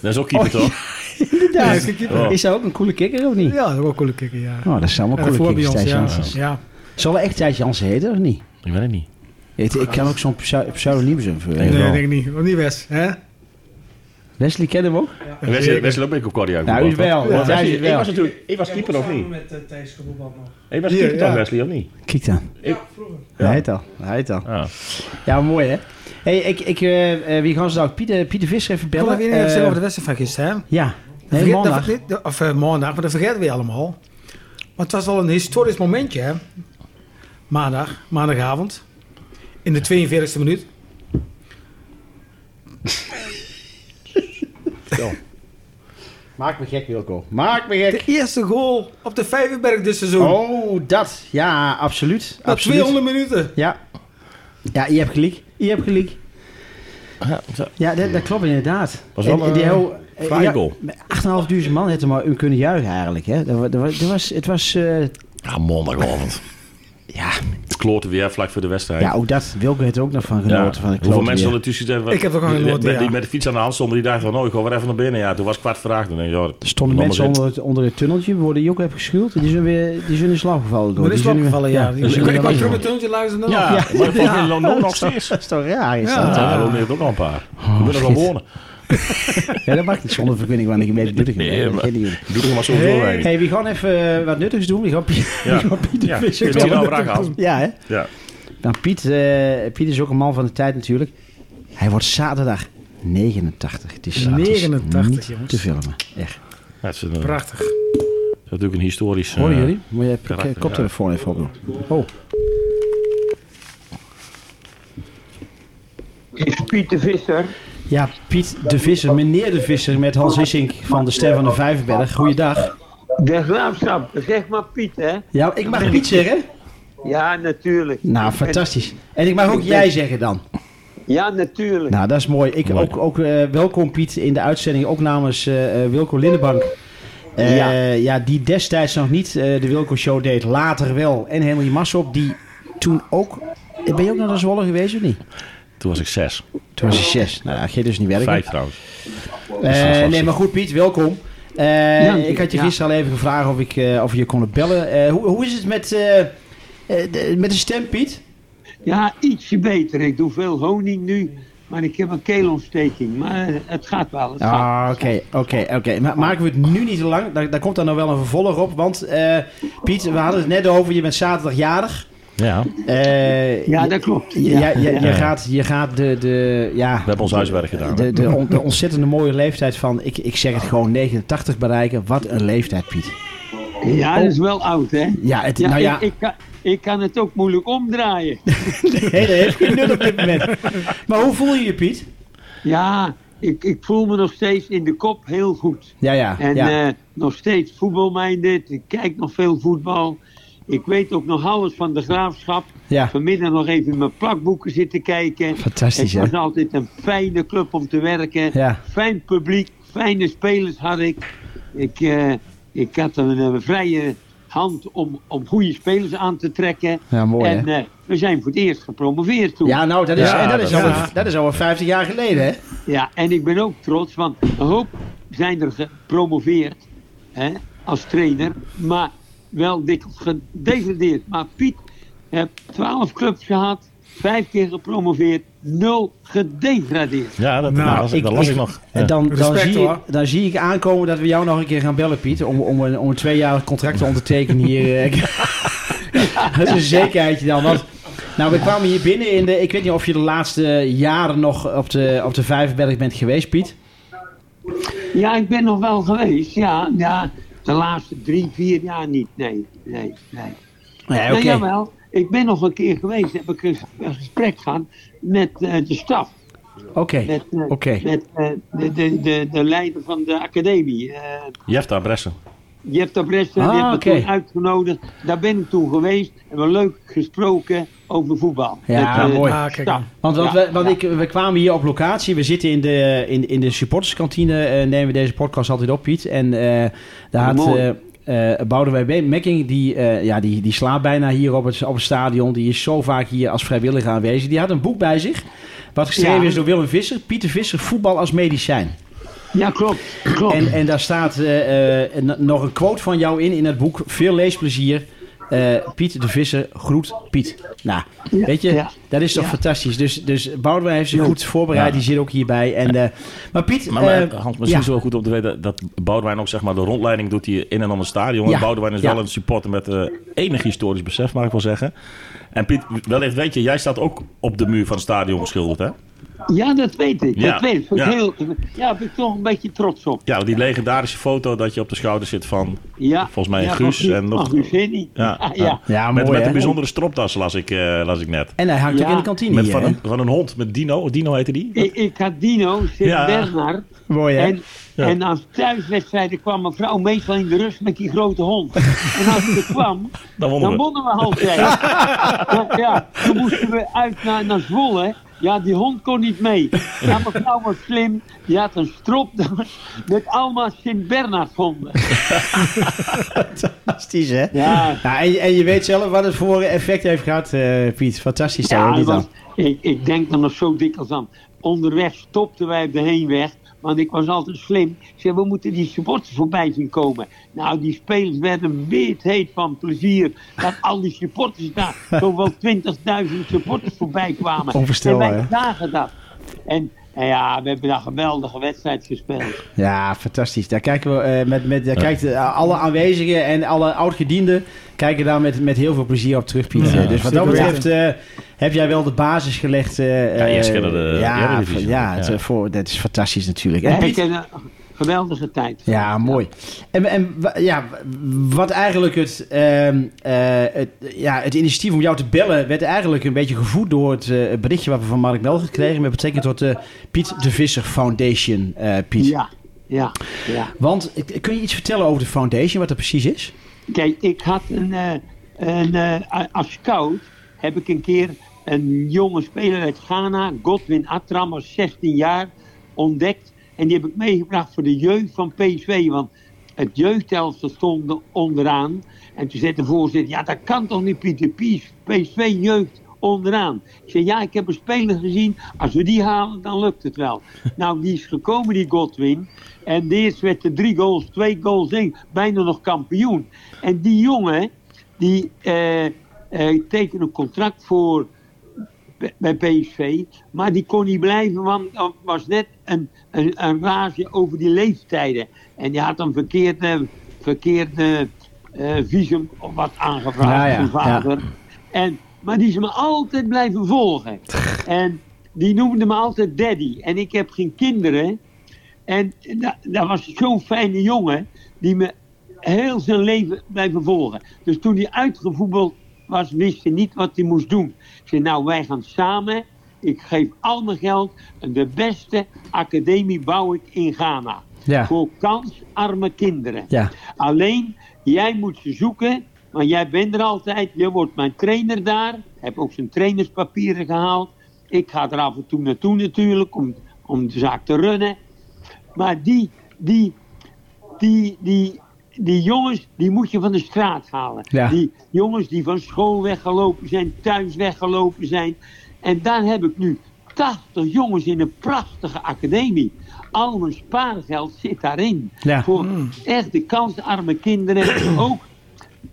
S3: Dat is ook keeper,
S2: Oh, ja.
S3: toch?
S4: Ja,
S2: Inderdaad.
S4: is een keeper.
S3: Oh.
S2: Is dat ook een coole kikker of niet?
S4: Ja, dat is ook wel een coole kikker, ja.
S2: Oh, dat zijn
S4: En
S2: allemaal coole
S4: daarvoor bij
S2: kikkers,
S4: ons,
S2: Thijs
S4: ja.
S2: Jansen.
S4: ja.
S2: Zal er echt Thijs Jansen heten of niet?
S3: Ik weet het niet.
S2: Ik, ik kan ook zo'n pseu- pseudoniem zijn. voor-
S3: Denk
S4: Nee,
S3: wel.
S4: dat denk ik niet. Nog niet Wes, hè?
S2: Wesley kennen we ook?
S3: Wesley Wesley ook ben ik ook cardiac.
S2: Nou, u wel. Ja,
S3: Want Wesley-
S2: u wel.
S3: Ik was natuurlijk... Ik was keeper of niet? Ik was
S4: Hier,
S3: keeper toch,
S4: ja.
S3: Wesley, of niet?
S2: Kijk dan. Hij heet al. Hij heet al.
S3: Ah.
S2: Ja, mooi hè. Hey, ik, ik, eh, eh, wie gaan ze nou? Pieter, Pieter Visser even
S4: Ik wil
S2: bellen.
S4: nog even zeggen
S2: Eh,
S4: over de wedstrijd van gisteren, hè?
S2: Ja.
S4: Dat
S2: Nee,
S4: vergeet-
S2: maandag.
S4: dat- dat- of eh, maandag, maar dat vergeten we allemaal. Maar het was wel een historisch momentje, hè? Maandag, maandagavond. In de 42e minuut.
S2: Maak me gek Wilco. Maak me gek.
S4: De eerste goal op de Vijverberg dus dit seizoen.
S2: Oh, dat. Ja, absoluut.
S4: Na
S2: absoluut.
S4: 200 minuten.
S2: Ja. Ja, je hebt gelijk. Je hebt gelijk.
S3: Ja, zo.
S2: Ja, dat, dat klopt inderdaad.
S3: Was wel een, eh,
S2: heel-
S3: fraaie
S2: ja,
S3: goal.
S2: met 8.500 man hadden maar kunnen juichen eigenlijk. Hè. Dat, wa- dat wa- dat was, het was, eh,
S3: ja maandagavond.
S2: ja,
S3: Het klote weer vlak voor de wedstrijd.
S2: ja, ook dat. Wilco heeft er ook nog van
S3: Ja.
S2: genoten. Van de
S3: Hoeveel
S2: klote
S3: mensen
S2: weer.
S3: zullen tussen zitten? wat-
S4: Ik heb er ook aan
S3: die-
S4: genoten,
S3: met- Die
S4: ja.
S3: met de fiets aan de hand stonden, die dachten van, oh, ik ga weer even naar binnen. Ja, toen was het kwart vraag. Dan denk "Oh, je, joh,
S2: Er stonden
S3: Lammers
S2: mensen
S3: in.
S2: onder het, onder het tunneltje, worden die ook even geschuurd. Die zijn weer die zijn in slaap gevallen. Door.
S4: Maar is
S2: Die zijn
S4: wel
S2: weer-
S4: gevallen, ja.
S2: die zijn
S4: Ik
S2: weer
S4: kwam terug
S2: weggevallen.
S4: met toontje luisteren dan.
S3: Ja,
S4: Ja.
S3: maar volgens mij in Londen nog steeds.
S2: Dat is toch raar? Is
S4: Ja.
S2: dat, hè?
S3: Ja, Londen heeft ook nog een paar. Ik ben er wel
S2: shit.
S3: wonen.
S2: Ja, dat mag niet zonder vergunning, want ik weet het
S3: Nee, maar-
S2: niet.
S3: Doe er maar zoveel
S2: Hey,
S3: bij.
S2: hey, we gaan even eh, wat nuttigs doen. We gaan Piet,
S3: Ja.
S2: we gaan Piet de
S3: Ja,
S2: Visser
S3: Piet
S2: bellen.
S3: nou vragen aan.
S2: Ja, hè?
S3: Ja.
S2: Nou, Piet, eh, Piet is ook een man van de tijd natuurlijk. Hij wordt zaterdag 89. Het is, het is
S4: 89,
S2: niet
S4: jongens.
S2: te filmen. Echt.
S3: Dat is, een, dat is
S4: Prachtig.
S3: natuurlijk een historisch... eh,
S2: Horen jullie? Moet je even
S3: karakter,
S2: de koptelefoon even opdoen. Oh,
S6: is Piet de Visser.
S2: ja, Piet de Visser, meneer de Visser met Hans Wissink van de Ster van de Vijverberg. Goeiedag.
S6: De graafschap, zeg maar Piet, hè?
S2: Ja, ik mag Piet zeggen.
S6: Ja, natuurlijk.
S2: Nou, fantastisch. En ik mag ook jij zeggen dan.
S6: Ja, natuurlijk.
S2: Nou, dat is mooi. Ik
S3: Mooi.
S2: ook, ook eh, welkom Piet in de uitzending, ook namens eh, eh, Wilco Lindenbank. Eh, ja.
S6: Ja.
S2: die destijds nog niet eh, de Wilco Show deed, later wel. En Henry Massop, die toen ook... Eh, Ben je ook naar de Zwolle geweest of niet?
S3: Toen was ik zes.
S2: Toen was je zes. Nou, ja, ging dus niet werken.
S3: Vijf trouwens.
S2: Eh,
S3: Dat is wel
S2: nee,
S3: lastig.
S2: maar goed Piet, welkom. Eh,
S6: Ja,
S2: ik had je
S6: ja.
S2: gisteren al even gevraagd of, ik, eh, of je kon bellen. Eh, hoe, hoe is het met, eh, eh, de- met de stem, Piet? Nou.
S6: Ja, ietsje beter. Ik doe veel honing nu, maar ik heb een keelontsteking. Maar eh, het gaat wel. Het gaat.
S2: Ah, oké, oké, oké. Ma- Maken we het nu niet te lang. Daar, daar komt dan nog wel een vervolg op. Want eh, Piet, we hadden het net over, je bent zaterdag jarig.
S3: Ja,
S2: Eh,
S6: Ja,
S2: je-
S6: dat klopt.
S2: je-
S6: Ja,
S2: je- je
S3: Ja.
S2: gaat, je gaat de, de, ja,
S3: we hebben ons huiswerk gedaan. hè.
S2: de, de, on- de ontzettende mooie leeftijd van, ik, ik zeg het gewoon, 89 bereiken. Wat een leeftijd, Piet.
S6: ja dat is wel oud, hè?
S2: Ja, het,
S6: Ja,
S2: Oh. nou ja,
S6: Ik, ik, kan, ik kan het ook moeilijk omdraaien.
S2: nee, dat heeft geen nut op dit moment. Maar hoe voel je je, Piet?
S6: Ja, ik, ik voel me nog steeds in de kop heel goed.
S2: Ja, ja,
S6: En
S2: ja.
S6: eh, nog steeds voetbalminded. Ik kijk nog veel voetbal. Ik weet ook nog alles van de graafschap.
S2: ja.
S6: Vanmiddag nog even in mijn plakboeken zitten kijken.
S2: Fantastisch, hè?
S6: Het was altijd een fijne club om te werken.
S2: Ja.
S6: Fijn publiek, fijne spelers had ik. Ik, eh, ik had een, eh, vrije hand om, om goede spelers aan te trekken.
S2: Ja, mooi,
S6: en
S2: hè?
S6: eh, we zijn voor het eerst gepromoveerd toen.
S2: Ja, nou, dat is,
S3: Ja,
S2: en dat is,
S3: dat-
S2: alweer, dat is alweer 50 jaar geleden, hè?
S6: Ja, en ik ben ook trots, want een hoop zijn er gepromoveerd hè, als trainer, maar wel dikwijls gedegradeerd. Maar Piet heeft 12 clubs gehad, vijf keer gepromoveerd, nul gedegradeerd.
S3: Ja, dat,
S4: Nou,
S3: dat las, ik,
S2: ik-
S3: dat las
S2: ik-
S3: ik nog.
S2: En dan, dan,
S4: Respect,
S2: zie ik,
S4: hoor.
S2: dan zie ik aankomen dat we jou nog een keer gaan bellen, Piet. Om, om, een, om een tweejarig contract te ondertekenen hier. eh. dat is een zekerheidje dan. Want, nou, we kwamen hier binnen in de... Ik weet niet of je de laatste jaren nog op de, op de Vijverberg bent geweest, Piet.
S6: Ja, ik ben nog wel geweest, ja, ja de laatste drie, vier jaar niet, nee, nee, nee.
S2: Ja,
S6: Nou, jawel, ik ben nog een keer geweest, heb ik een ges- een gesprek gehad met eh, de staf.
S2: Oké,
S6: Met, eh,
S2: Oké.
S6: met eh, de, de, de, de leider van de academie. eh
S3: Jefta Bressen.
S6: Jefta Bresten
S2: Ah,
S6: die heeft
S2: oké.
S6: me toen uitgenodigd. Daar ben ik toen geweest. En we leuk gesproken over voetbal.
S2: Ja,
S6: eh,
S2: mooi.
S4: Ah, kijk
S6: Stap.
S4: aan.
S2: want, want,
S6: Ja,
S2: we, want
S6: ja.
S2: Ik, we kwamen hier op locatie. We zitten in de, in, in de supporterskantine. eh, nemen we deze podcast altijd op, Piet. En eh, daar had
S6: Mooi.
S2: eh eh, Boudewijn B- Mekking, die, eh, ja, die, die slaapt bijna hier op het, op het stadion. Die is zo vaak hier als vrijwilliger aanwezig. Die had een boek bij zich. Wat geschreven
S6: Ja.
S2: is door Willem Visser. Pieter Visser, voetbal als medicijn.
S6: ja, klopt. klopt.
S2: En, en daar staat eh, eh, n- nog een quote van jou in, in het boek. Veel leesplezier. Eh, Piet de Visser groet Piet. Nou,
S6: Ja,
S2: weet je,
S6: ja.
S2: dat is toch
S6: Ja.
S2: fantastisch. Dus, dus Boudewijn heeft zich goed voorbereid.
S3: Ja.
S2: Die zit ook hierbij. En, eh, maar Piet...
S3: Maar, maar
S2: eh,
S3: Hans, misschien
S2: ja.
S3: is het wel goed om te weten dat Boudewijn ook zeg maar, de rondleiding doet hier in en om het stadion.
S2: Ja.
S3: En Boudewijn is
S2: Ja.
S3: wel een supporter met eh, enig historisch besef, mag ik wel zeggen. En Piet, wellicht weet je, jij staat ook op de muur van het stadion geschilderd, hè?
S6: Ja, dat weet ik.
S3: Ja,
S6: Dat weet ik. Vond ik
S3: ja.
S6: heel, ja, daar ben ik toch een beetje trots op.
S3: Ja, die legendarische foto dat je op de schouder zit van...
S6: Ja,
S3: Volgens mij
S6: ja,
S3: Guus
S6: van
S3: en nog-
S6: van Guus Hinnie.
S3: Ja,
S6: ja,
S3: ja.
S6: ja.
S2: Ja,
S3: met,
S2: mooi,
S3: met
S2: hè?
S3: een bijzondere stropdas las ik, eh, las ik net.
S2: En hij hangt ook
S6: Ja.
S2: in de kantine
S3: Met
S2: hier,
S3: van,
S2: hè?
S3: een, van een hond, met Dino. Dino heette die?
S6: Ik, ik had Dino, Sint
S3: Ja.
S6: Bernard.
S2: Mooi, hè?
S6: En, en als thuiswedstrijden kwam een vrouw meestal in de rust met die grote hond. En als ze kwam,
S3: Dan
S6: Dan
S3: wonnen we.
S6: wonnen we half tijd. ja, ja, toen moesten we uit naar, naar Zwolle. Ja, die hond kon niet mee. Ja, mevrouw was slim. Die had een stropdas met allemaal Sint-Bernard honden.
S2: Fantastisch, hè?
S6: Ja,
S2: Ja, Nou, en, je- en je weet zelf wat het voor effect heeft gehad, eh, Piet. Fantastisch,
S6: Ja,
S2: ja,
S6: het
S2: dit
S6: was,
S2: dan.
S6: ik, ik denk er nog zo dikwijls aan. Onderweg stopten wij op de heenweg, want ik was altijd slim. Ik zei, we moeten die supporters voorbij zien komen. Nou, die spelers werden wit heet van plezier. Dat al die supporters daar, zowel 20.000 supporters voorbij kwamen.
S2: Onvoorstelbaar,
S6: En wij
S2: hè?
S6: zagen dat. En, en ja, we hebben daar een geweldige wedstrijd gespeeld.
S2: Ja, fantastisch. Daar kijken we eh, met, met daar kijkt, eh, alle aanwezigen en alle oudgedienden kijken daar met, met heel veel plezier op terug, Piet. Eh, dus wat dat
S4: zeker
S2: betreft eh, heb jij wel de basis gelegd. eh,
S3: Ja, eerst
S2: eh,
S3: kennen de
S2: ja,
S3: Eredivisie.
S2: ja, het,
S3: Ja.
S2: eh, voor, dat is fantastisch natuurlijk. En
S6: Ja,
S2: Piet,
S6: ik heb een geweldige tijd.
S2: Ja, mooi. En, en wa- ja, wat eigenlijk het, ehm, eh, het, ja, het initiatief om jou te bellen werd eigenlijk een beetje gevoed door het eh, berichtje wat we van Mark Mel gekregen met betrekking tot de Piet de Visser Foundation, eh, Piet.
S6: Ja, ja, ja.
S2: Want eh, kun je iets vertellen over de foundation, wat dat precies is?
S6: Kijk, ik had een, eh, een eh, als scout heb ik een keer een jonge speler uit Ghana, Godwin Atram, was 16 jaar, ontdekt. En die heb ik meegebracht voor de jeugd van PSV, want het jeugdhelftal stond onderaan. En toen zei de voorzitter, ja dat kan toch niet Pieter Pies, PSV jeugd onderaan. Ik zei, ja ik heb een speler gezien, als we die halen dan lukt het wel. nou die is gekomen die Godwin. En de eerste werd er drie goals, twee goals, één. Bijna nog kampioen. En die jongen, die eh, eh, tekende een contract voor b- bij PSV. Maar die kon niet blijven, want er was net een, een, een rage over die leeftijden. En die had een verkeerd, eh, verkeerd eh, eh, visum of wat aangevraagd
S2: Ja, ja,
S6: zijn vader. En, maar die is me altijd blijven volgen. En die noemde me altijd daddy. En ik heb geen kinderen. En da- dat was zo'n fijne jongen die me heel zijn leven blijven volgen. Dus toen hij uitgevoetbald was, wist hij niet wat hij moest doen. Ik zei, nou wij gaan samen, ik geef al mijn geld en de beste academie bouw ik in Ghana.
S2: Ja.
S6: Voor kansarme kinderen.
S2: Ja,
S6: Alleen, jij moet ze zoeken, want jij bent er altijd. Je wordt mijn trainer daar. Heb ook zijn trainerspapieren gehaald. Ik ga er af en toe naartoe natuurlijk, om, om de zaak te runnen. Maar die, die, die, die, die jongens, die moet je van de straat halen.
S2: Ja.
S6: Die jongens die van school weggelopen zijn, thuis weggelopen zijn. En daar heb ik nu 80 jongens in een prachtige academie. Al mijn spaargeld zit daarin.
S2: Ja.
S6: Voor echt de kansarme kinderen. ook,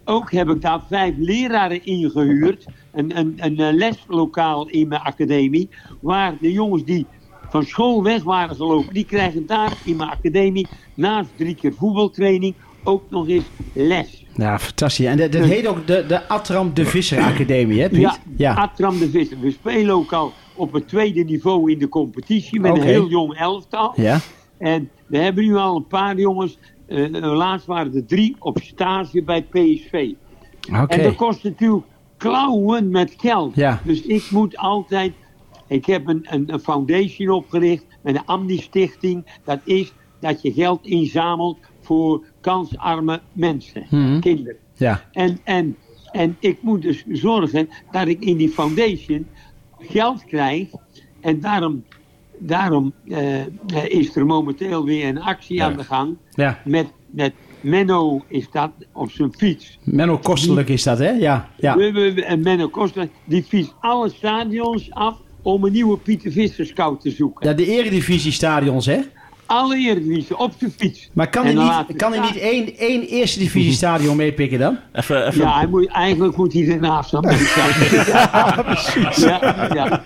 S6: ook heb ik daar vijf leraren ingehuurd. Een, een, een eh, leslokaal in mijn academie. Waar de jongens die van school weg waren gelopen, die krijgen daar in mijn academie naast drie keer voetbaltraining ook nog eens les.
S2: ja fantastisch. En dat, dat heet ook de, de Atram de Visser Academie, hè Piet?
S6: Ja, Atram de Visser. We spelen ook al op het tweede niveau in de competitie met
S2: Oké.
S6: een heel jong elftal.
S2: ja.
S6: En we hebben nu al een paar jongens. eh, eh, laatst waren er drie op stage bij PSV.
S2: oké.
S6: En dat kost natuurlijk klauwen met geld.
S2: Ja.
S6: Dus ik moet altijd. Ik heb een, een, een foundation opgericht met een Amdi-stichting. Dat is dat je geld inzamelt voor kansarme mensen,
S2: Mhm.
S6: kinderen.
S2: Ja,
S6: En, en, en ik moet dus zorgen dat ik in die foundation geld krijg. En daarom, daarom eh, eh, is er momenteel weer een actie aan de gang.
S2: ja.
S6: Met, met Menno is dat op zijn fiets.
S2: Menno Kostelijk is dat, hè? Ja, ja.
S6: We- we- we- En Menno Koster, die vies alle stadions af om een nieuwe Pieter Visser scout te zoeken.
S2: ja de Eredivisie stadions, hè?
S6: Alle Eredivisie, op de fiets.
S2: Maar kan
S6: En
S2: hij
S6: dan
S2: niet,
S6: laten-
S2: kan hij niet één, één eerste divisie stadion meepikken dan?
S3: Even, even
S6: Ja, hij moet, eigenlijk moet hij ernaast aan moeten staan. Ja, ja.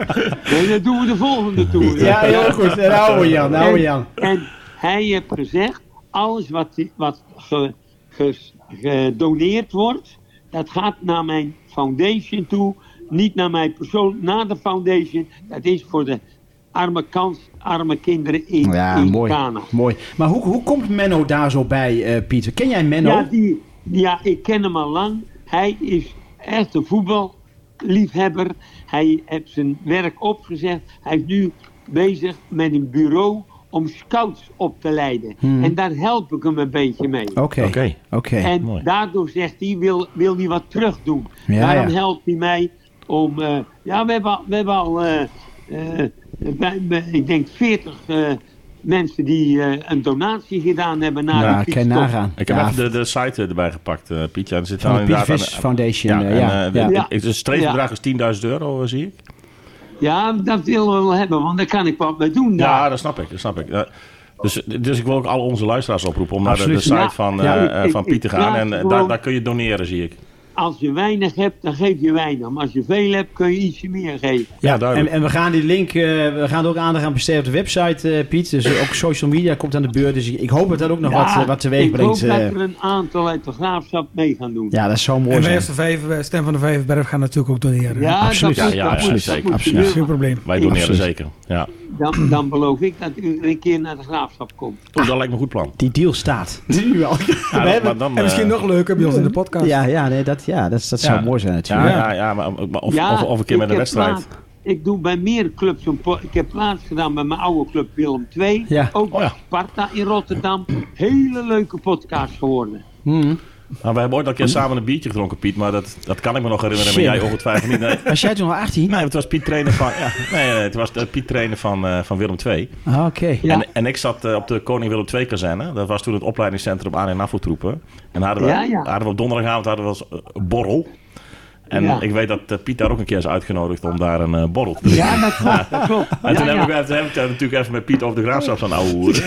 S6: Nee, dat doen we de volgende toer.
S2: Ja, heel goed. Nou hoor Jan, nou hoor Jan.
S6: En hij heeft gezegd, alles wat, die- wat ge- ge- gedoneerd wordt, dat gaat naar mijn foundation toe. Niet naar mijn persoon, naar de foundation. Dat is voor de arme kans, arme kinderen in,
S2: Ja,
S6: in
S2: mooi.
S6: Ghana.
S2: mooi. Maar hoe, hoe komt Menno daar zo bij, eh, Pieter? Ken jij Menno?
S6: Ja, die, ja, ik ken hem al lang. Hij is echt een voetballiefhebber. Hij heeft zijn werk opgezegd. Hij is nu bezig met een bureau om scouts op te leiden. En daar help ik hem een beetje mee.
S2: Hmm. Oké,
S3: Oké.
S2: oké.
S6: En
S3: mooi.
S6: daardoor zegt hij, wil, wil hij wat terug doen.
S2: Ja,
S6: Daarom
S2: ja.
S6: helpt hij mij om... eh, ja, we hebben al, we hebben al eh, eh, bij, bij- ik denk 40 eh, mensen die eh, een donatie gedaan hebben naar
S2: Ja,
S6: de
S2: Nou, ik kan
S6: fietstocht.
S2: nagaan.
S3: Ik heb
S2: ja,
S3: even de, de site eh, erbij gepakt, eh Pietje. En er zit
S2: van
S3: nou
S2: de
S3: inderdaad
S2: Beervis
S3: aan-
S2: Foundation.
S3: Ja,
S2: eh,
S3: en,
S2: Ja,
S3: eh,
S2: ja.
S3: de-
S6: Ja.
S3: ik- Het streefbedrag is 10.000 euro, eh, zie ik.
S6: Ja, dat willen we wel hebben, want daar kan ik wat mee doen. Nou,
S3: Ja,
S6: daar.
S3: dat snap ik. Dat snap ik. Ja. Dus, dus ik wil ook al onze luisteraars oproepen om naar de, de
S2: Absoluut.
S3: site
S6: Ja.
S3: van, eh
S6: Ja.
S3: eh, van Piet te gaan.
S6: Ja,
S3: En eh,
S6: gewoon-
S3: daar, daar kun je doneren, zie ik.
S6: Als je weinig hebt, dan geef je weinig. Maar als je veel hebt, kun je ietsje meer geven.
S3: Ja,
S2: En,
S3: duidelijk.
S2: en we gaan die link, eh, we gaan er ook aandacht aan besteden op de website, eh, Piet. Dus eh, ook social media komt aan de beurt. Dus ik, ik hoop dat dat ook nog wat, eh, wat teweeg
S6: ik
S2: brengt.
S6: hoop dat
S2: eh.
S6: er een aantal uit de graafschap mee gaan doen.
S2: ja, dat is zo mooi.
S4: En wij
S2: zijn.
S4: als de vijf, eh, Stem van de Vijverberg gaan natuurlijk ook doneren.
S6: Ja,
S2: absoluut.
S6: dat moet-
S3: Ja, ja,
S6: dat moet-
S3: ja,
S6: dat
S3: zeker.
S6: moet
S2: Absoluut.
S6: gebeuren.
S4: Geen probleem.
S3: Wij doneren
S2: Absoluut.
S3: zeker. Ja.
S6: Dan, dan beloof ik dat u er een keer naar de graafschap komt.
S3: Oeh, dat lijkt me een goed plan.
S2: Die deal staat. Nu wel.
S3: Ja,
S2: we
S3: dat-
S2: hebben,
S3: maar dan,
S4: En misschien
S3: eh,
S4: nog leuker bij ons in de podcast.
S2: ja, ja, nee, dat, ja dat, dat zou
S3: Ja.
S2: mooi zijn
S3: Ja,
S2: natuurlijk.
S3: ja, ja, maar, maar of,
S6: Ja,
S3: of, of een keer met
S6: ik
S3: een
S6: heb
S3: wedstrijd.
S6: plaats- ik doe bij meer clubs een po- Ik heb plaats gedaan bij mijn oude club Willem II.
S2: Ja.
S6: Ook
S3: Oh ja.
S6: Sparta in Rotterdam. Hele leuke podcast geworden.
S2: Hmm.
S3: Nou, we hebben ooit al een keer samen een biertje gedronken, Piet. Maar dat, dat kan ik me nog herinneren. Maar
S2: Shit.
S3: jij ongetwijfeld niet. Nee.
S2: Was jij toen al 18?
S3: Nee, het was Piet trainer van, ja, nee, nee, het was de Piet trainer van, eh, van Willem II.
S2: Ah, Oké.
S6: Ja.
S3: En, en ik zat eh, op de Koning Willem II kazerne. Dat was toen het opleidingscentrum aan- en afvoertroepen. En hadden we,
S6: Ja, ja.
S3: hadden we op donderdagavond hadden we als eh, borrel. En
S6: Ja.
S3: ik weet dat eh, Piet daar ook een keer is uitgenodigd om daar een eh, borrel te drinken.
S6: Ja, dat klopt. Dat klopt.
S3: En toen
S6: ja,
S3: heb ik
S6: ja.
S3: het- heb ik daar natuurlijk even met Piet over de graafschap van ouwe hoeren.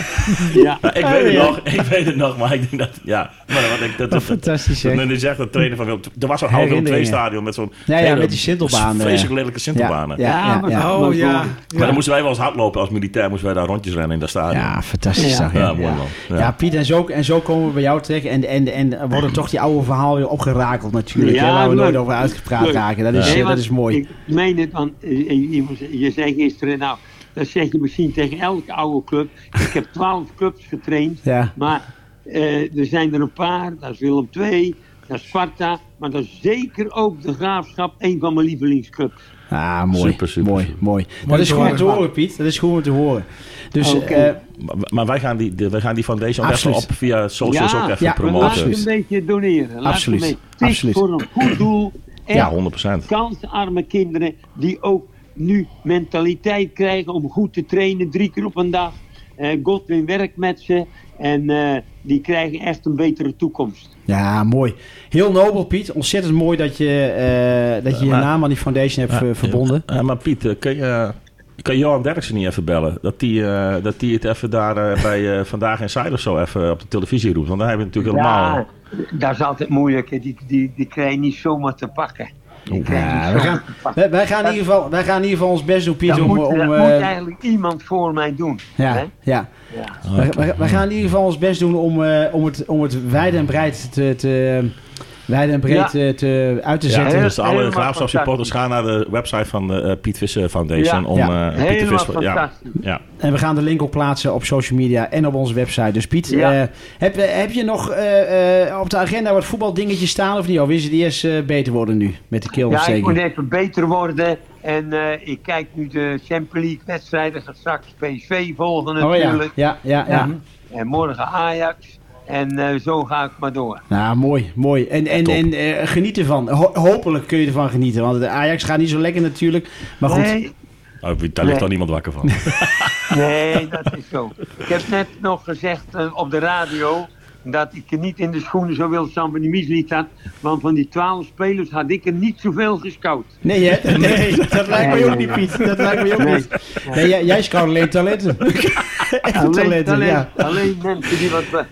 S6: Ja.
S3: Ja, ik weet het nog, ik weet het nog, maar ik denk dat, ja. Maar wat ik, dat, dat,
S2: Fantastisch,
S3: dat,
S2: hè?
S3: men nu zegt dat trainer van Willem Er was zo'n oud Willem
S2: Herinneringen.
S3: II stadion met zo'n...
S2: Ja, ja,
S3: hele
S2: met die sintelbaan,
S3: Vreselijk
S2: eh.
S3: lelijke sintelbanen.
S2: Ja, ja,
S6: maar-
S2: ja.
S4: Oh
S6: Maar-
S4: ja.
S3: Maar dan moesten wij wel eens hardlopen als militair, moesten wij daar rondjes rennen in dat stadion.
S2: Ja, fantastisch.
S6: Ja.
S2: dag, hè?
S3: Ja, mooi man.
S2: Ja.
S3: Ja.
S2: Piet, en zo, en zo komen we bij jou terecht. En, en, en worden toch die oude verhaal weer opgerakeld natuurlijk.
S6: Ja,
S2: hè, waar we
S6: leuk.
S2: nooit over uitgepraat
S6: Leuk.
S2: raken. Dat is,
S6: Nee,
S2: eh,
S6: want
S2: dat is mooi.
S6: Ik meen het, want eh, je, je zei gisteren, nou, dat zeg je misschien tegen elke oude club. Ik heb twaalf clubs getraind,
S2: Ja.
S6: maar eh, er zijn er een paar. Dat is Willem II, dat is Sparta, maar dat is zeker ook de Graafschap, een van mijn lievelingsclubs.
S2: Ah, mooi.
S3: Super, super,
S2: mooi,
S3: super.
S2: mooi. Dat
S4: Mooi
S2: is
S4: te
S2: goed om
S4: horen.
S2: te horen, Piet. Dat is goed om te horen. Dus
S6: Oké.
S2: eh,
S3: Maar, maar wij, gaan die, de- wij gaan die foundation best wel
S2: Absoluut.
S3: op via socials
S6: Ja,
S3: ook even
S2: ja,
S3: promoten.
S6: Laat ze
S2: Absoluut.
S6: een beetje doneren. Laat ze
S2: Absoluut,
S6: Een beetje. Het is
S2: absoluut.
S6: voor een goed doel. Echt
S3: Ja, 100 procent.
S6: kansarme kinderen die ook nu mentaliteit krijgen om goed te trainen, drie keer op een dag. Eh, Godwin werkt met ze en eh, die krijgen echt een betere toekomst.
S2: ja, mooi. Heel nobel, Piet. Ontzettend mooi dat je eh, dat je,
S3: maar-
S2: je naam aan die foundation hebt eh, verbonden.
S3: Eh, maar Piet, eh, kun je, eh, kan Johan Derksen niet even bellen? Dat die, eh, dat die het even daar eh, bij eh, Vandaag Inside of zo even op de televisie roept. Want daar hebben we natuurlijk helemaal...
S6: dat is altijd moeilijk. hè. Die, die, die krijg je niet zomaar te pakken. Die krijg je
S2: Ja,
S6: niet
S2: we
S6: zomaar
S2: gaan,
S6: te pakken.
S2: wij, wij gaan in ieder geval, wij gaan in ieder geval ons best doen, Piet.
S6: Dat
S2: om,
S6: moet,
S2: om,
S6: dat
S2: eh,
S6: moet eigenlijk iemand voor mij doen. hè?
S2: ja, ja.
S6: Ja.
S2: Wij, wij- wij gaan in ieder geval ons best doen om, eh, om, het, om het wijd en breed te, te, wijd en breed
S6: Ja.
S2: te, te- uit te
S3: Ja,
S2: zetten.
S6: heel-
S3: dus alle
S6: helemaal
S3: Graafschap supporters gaan naar de website van de eh, Piet Visser Foundation
S6: Ja.
S3: om
S2: Ja.
S3: eh, Piet de
S6: Helemaal
S3: Vis... Ja,
S6: fantastisch.
S3: ja.
S2: En we gaan de link ook plaatsen op social media en op onze website. Dus Piet,
S6: Ja.
S2: eh, heb, heb je nog eh, eh, op de agenda wat voetbaldingetjes staan of niet? Of is het eerst eh, beter worden nu met de
S6: Ja, ik moet
S2: keelontsteking?
S6: even beter worden. En eh, ik kijk nu de Champions League wedstrijden. Ga straks PSV volgen
S2: oh
S6: natuurlijk.
S2: ja, ja, ja. ja.
S6: Ja. En morgen Ajax. En eh, zo ga ik maar door.
S2: Nou, mooi, mooi. En, en,
S3: Top.
S2: en eh, geniet ervan. Ho- hopelijk kun je ervan genieten, want de Ajax gaat niet zo lekker natuurlijk. Maar goed,
S6: Nee,
S3: Oh, daar ligt
S6: Nee.
S3: dan niemand wakker van.
S6: nee, dat is zo. Ik heb net nog gezegd eh, op de radio dat ik er niet in de schoenen zo wil staan van die mislied had. Want van die twaalf spelers had ik er niet zoveel gescout.
S2: nee, hè? nee, dat lijkt me ook niet, Piet. Dat lijkt me ook niet. Nee, jij, jij scout alleen talenten. Echte
S6: alleen,
S2: talenten,
S6: alleen,
S2: ja.
S6: alleen mensen die wat... be-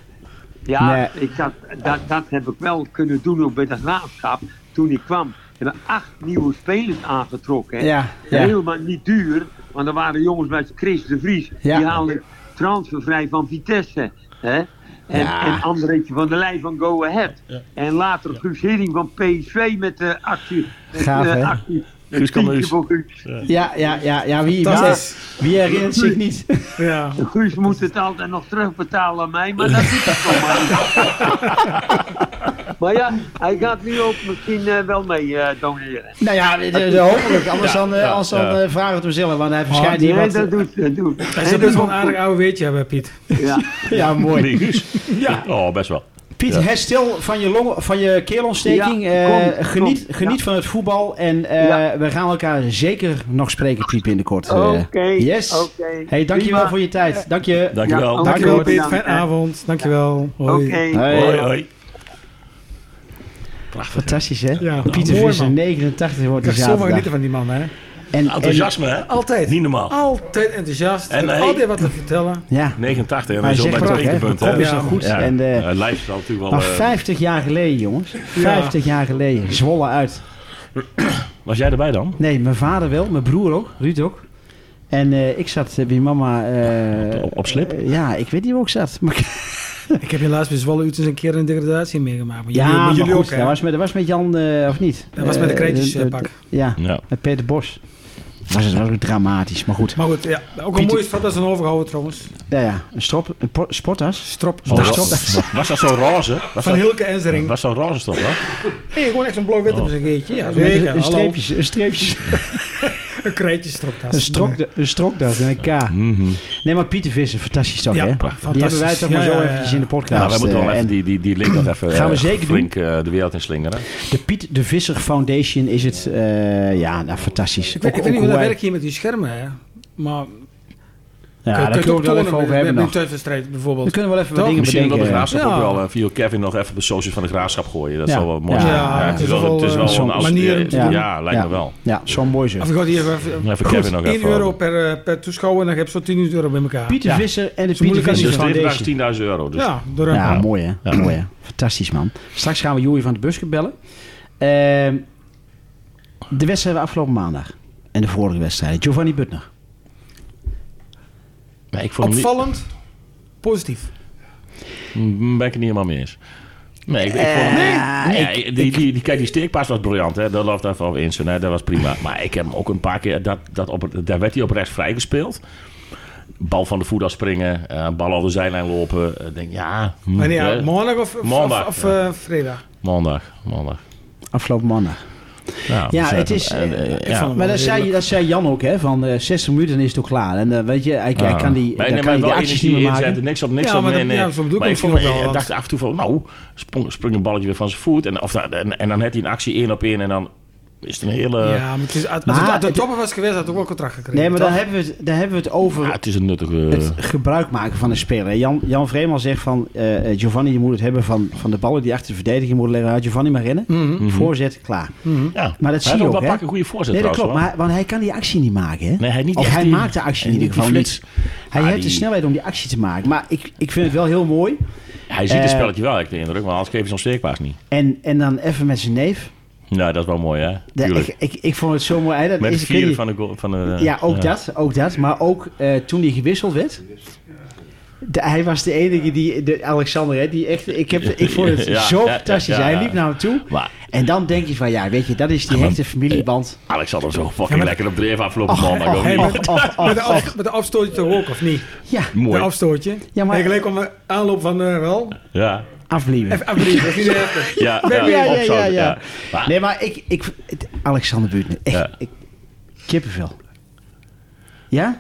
S6: Ja,
S2: Nee.
S6: ik had, dat, dat heb ik wel kunnen doen ook bij de graafschap toen ik kwam. We hebben acht nieuwe spelers aangetrokken. hè.
S2: Ja, ja.
S6: Helemaal niet duur, want er waren jongens bij Chris de Vries.
S2: Ja.
S6: Die haalden transfervrij van Vitesse. Hè? En,
S2: Ja.
S6: en Andreetje van der Leij van Go Ahead. En later Guus Hidding van PSV met de actie. Met
S2: Gaaf,
S6: de
S2: hè?
S6: actie. Een
S3: Guus kan
S6: tientje
S3: Guus.
S6: voor Guus.
S2: Ja, ja, ja, ja. Wie, wie,
S4: Fantastisch.
S2: wie herinnert zich niet?
S4: Ja.
S6: Guus moet het altijd nog terugbetalen aan mij, maar dat doet hij toch maar. niet. maar ja, hij gaat nu ook misschien eh, wel mee eh, doneren.
S2: Nou ja, de, de- hopelijk. Anders dan, eh,
S3: ja,
S2: anders dan
S3: ja.
S2: eh, vragen we het hem zelf. Want hij verschijnt
S6: Nee,
S2: hier wat...
S6: dat doet dat doet.
S4: Hij
S6: En
S4: zou
S6: dat
S4: best wel een
S6: komt
S4: aardig oude weetje hebben, Piet.
S6: goed. Ja.
S2: Ja, mooi.
S3: Die Guus? Oh, best wel.
S2: Piet,
S3: Ja.
S2: herstel van je, longen, van je keelontsteking.
S5: Ja,
S2: Eh,
S5: kom,
S2: geniet
S5: kom.
S2: geniet
S5: Ja.
S2: van het voetbal. En eh,
S5: Ja.
S2: we gaan elkaar zeker nog spreken, Piet, binnenkort. Eh,
S5: Oké.
S2: yes.
S5: oké.
S2: Hey, dankjewel
S5: Prima.
S2: voor je tijd. Dank je.
S3: Dankjewel.
S5: Ja,
S4: Dankjewel
S5: Oké,
S4: Piet,
S5: bedankt,
S4: fijne
S5: hè.
S4: avond. Dankjewel. Hoi.
S5: Oké.
S2: Hey.
S3: Hoi, hoi. Prachtig.
S2: Fantastisch, hè?
S4: Ja,
S2: Pieter
S4: mooi,
S2: Visser,
S4: man.
S2: 89 wordt
S4: Ik
S2: de
S4: kan zo mooi
S2: zaterdag.
S4: genieten van die man, hè.
S2: En, en,
S3: Enthousiasme, hè?
S4: Altijd.
S3: Niet normaal.
S4: Altijd enthousiast.
S3: En,
S4: En,
S3: hey.
S4: altijd wat te vertellen.
S2: ja,
S3: 89 en
S2: Hij
S3: hij is al bij
S2: zegt
S3: het
S2: het
S3: tweede
S2: ook, hè,
S3: punt.
S2: van
S3: hè?
S2: kop is zo goed. En, eh,
S3: Eh, lijf zal natuurlijk wel...
S2: maar
S3: eh,
S2: 50 jaar geleden, jongens. 50 jaar geleden. Zwolle uit.
S3: was jij erbij dan?
S2: Nee, mijn vader wel. Mijn broer ook. Ruud ook. En eh, ik zat eh, bij mama... eh,
S3: Op- op slip?
S2: eh, ja, ik weet niet waar ik zat. Maar
S4: Ik heb helaas bij Zwolle Utrecht een keer een degradatie meegemaakt. Maar
S2: Ja,
S4: jullie, maar
S2: maar
S4: jullie
S2: goed,
S4: ook,
S2: dat,
S4: hè.
S2: was met, dat was met Jan, eh, of niet?
S4: Dat was met de
S2: Eh,
S4: kreetjes,
S2: eh,
S4: eh, pak.
S2: Ja,
S3: Ja.
S2: met Peter Bos. Was, het was ook dramatisch, maar goed.
S4: Maar goed, ja. ook een
S2: Pieter-
S4: mooie stad als een overgehouden trouwens.
S2: Nou ja, een, strop, een po- sportas.
S4: Strop.
S3: Oh,
S4: Strop.
S3: was, was dat zo'n roze? Was
S4: Van
S3: dat,
S4: Hilke Enzering.
S3: was zo'n roze toch, hè?
S4: Nee, gewoon echt zo'n blauw wit op zijn geetje. Ja,
S2: Met
S4: zeker.
S2: Oh. een, een
S4: Hallo.
S2: streepje, een streepje,
S4: Een krijtjesstroptas.
S2: een, strok, een strokdas en een K.
S3: Mhm.
S2: Nee, maar Pieter Visser, fantastisch toch,
S4: Ja,
S2: hè?
S4: prachtig.
S2: Die hebben wij toch maar
S4: Ja,
S2: zo
S4: ja, ja.
S2: eventjes in de podcast.
S3: Nou, wij moeten wel
S2: eh,
S3: even
S2: en
S3: die, die, die link nog even
S2: Gaan we
S3: eh,
S2: zeker
S3: flink eh, de wereld in slingeren.
S2: de Piet de Visser Foundation is het, eh, ja, nou fantastisch.
S4: Ik weet, ik
S2: Ook-
S4: weet niet
S2: ook
S4: hoe dat
S2: wij-
S4: werkt hier met die schermen, hè. Maar
S2: Ja, daar kunnen we het wel even over hebben
S4: Met een
S2: nog.
S4: thuiswedstrijd bijvoorbeeld.
S2: We kunnen wel even wat
S4: Toch?
S2: dingen
S3: Misschien wil de
S2: bedenken.
S3: graafschap ook
S4: Ja.
S3: wel eh, via Kevin nog even de socials van de graafschap gooien. Dat
S2: Ja.
S3: zou wel mooi
S2: Ja,
S3: zijn.
S4: het is wel,
S3: het is
S4: eh,
S3: wel
S4: zo'n
S3: een als-
S4: manier om te
S3: ja,
S2: doen.
S3: ja, lijkt
S2: Ja.
S3: me wel.
S2: Ja, zo'n mooi zo.
S4: Of ik had hier even,
S3: Even
S4: goed,
S3: Kevin nog
S4: 1
S3: even.
S4: euro per, eh, per toeschouwer en dan heb je zo'n 10 euro bij elkaar.
S2: Pieter
S4: ja.
S2: Visser en de Pieter
S4: Zo moeilijk
S2: Visser
S3: Dus dit
S2: Foundation.
S3: bedrag is 10.000 euro. Dus.
S4: Ja, door een-
S2: Ja, mooi hè. Mooi, hè? Fantastisch man. Straks gaan we Joey van de Buske bellen. Ehm, de wedstrijd van afgelopen maandag. En de vorige wedstrijd. Giovanni Butner.
S3: Maar ik vond hem niet-
S4: Opvallend positief.
S3: Mm, ben ik het niet helemaal mee eens. Nee, ik, ik vond hem...
S2: Eh,
S3: Nee, die, die, die, kijk, die steekpaas was briljant. Hè? Dat loopt even over in. Hè? Dat was prima. Maar ik heb hem ook een paar keer... Dat, dat op, het- daar werd hij op rechts vrijgespeeld. Bal van de voet springen. eh, bal over de zijlijn lopen. Ik denk, ja... hm,
S4: Wanneer?
S3: hè?
S4: maandag of, of,
S3: Maandag,
S4: of, of,
S3: ja.
S4: eh, vrijdag?
S3: Maandag. Maandag.
S2: Afgelopen maandag.
S3: Nou,
S2: Ja,
S3: dus,
S2: het
S3: eh,
S2: is,
S3: en,
S2: eh,
S3: eh, ja.
S4: ik vond hem
S2: Maar
S4: wel
S2: dat zei,
S4: redelijk.
S2: dat zei Jan ook hè. Van eh 60 minuten is het ook klaar. En eh, weet je, hij, hij
S3: Ja.
S2: kan die,
S3: Maar
S2: hij
S3: nee,
S2: kan
S3: maar
S2: die
S3: wel
S2: acties
S3: energie
S2: niet meer maken.
S3: inzetten, niks op niks
S4: Ja,
S3: op.
S4: maar
S3: Nee,
S4: dat-
S3: nee.
S4: ja, zo bedoel ik
S3: maar
S4: ook
S3: ik vond,
S4: misschien ook wel,
S3: ik
S4: want-
S3: dacht af en toe van, nou, sprong, spring een balletje weer van zijn voet. En, of, dat- en, en dan had hij een actie één op één en dan is het een hele...
S4: ja, maar het is, als
S2: maar
S4: het aan de
S2: het-
S4: topper was geweest, had ik ook wel contract gekregen.
S2: Nee, maar
S4: toch?
S2: daar hebben, we het, daar hebben we het over.
S3: Ja, het is een nuttige...
S2: het gebruik maken van een speler. Jan, Jan Vreeman zegt van eh, eh, Giovanni, je moet het hebben van, van de ballen die achter de verdediging moeten liggen. Laat Giovanni maar rennen. Voorzet, klaar.
S3: ja.
S2: Maar dat zie
S3: Hij
S2: je
S3: had
S2: ook,
S3: wel
S2: hè?
S3: een goede voorzet
S2: Nee, dat klopt.
S3: trouwens,
S2: Maar, want hij kan die actie niet maken, hè?
S3: hoor. Nee, hij niet
S2: of
S3: echt
S2: hij
S3: die-
S2: maakt de actie in
S3: die-
S2: ieder geval
S3: die
S2: niet.
S3: flits.
S2: Hij
S3: Ah,
S2: heeft
S3: die-
S2: de snelheid om die actie te maken. Maar ik, ik vind het wel heel mooi.
S3: Hij ziet het
S2: Eh,
S3: spelletje wel, heb ik de indruk. Maar anders geven ze zo'n steekpaas niet.
S2: En, en dan even met zijn neef.
S3: Nou, dat is wel mooi, hè?
S2: De-
S3: Tuurlijk.
S2: ik, ik, ik vond het zo mooi. Hij- Dat
S3: Met
S2: is, ik
S3: het
S2: weet
S3: vieren
S2: niet-
S3: van de... goal- Van eh, de
S2: Ja, ook dat. Ook dat. Maar ook eh, toen hij gewisseld werd. De- hij was de enige die, de Alexander, hè, die echt, ik, heb, ik vond het
S3: Ja,
S2: zo
S3: ja, ja,
S2: fantastisch.
S3: ja,
S2: Hij
S3: ja.
S2: liep naar hem toe.
S3: Maar
S2: En dan denk je van, ja, weet je, dat is die
S3: Ja, maar-
S2: hechte familieband.
S3: Alexander zo fucking lekker op dreef afgelopen
S2: Och, oh,
S3: maandag.
S2: och,
S3: ook
S2: och,
S3: niet.
S2: och, och, och.
S4: met, de af, met de afstootje toch ook, of niet?
S2: Ja,
S4: Met De
S3: Mooi.
S4: afstootje.
S2: Ja, maar-
S4: En gelijk om de aanloop van eh wel.
S3: Ja.
S2: aflieven.
S4: Even afbrieven, dat is niet heftig.
S3: Ja,
S2: Ja, ja, ja, ja,
S3: opzouten,
S2: ja.
S3: Maar-
S2: Nee, maar ik, ik het- Alexander Buurtner, echt,
S3: Ja.
S2: ik, kippenvel. Ja?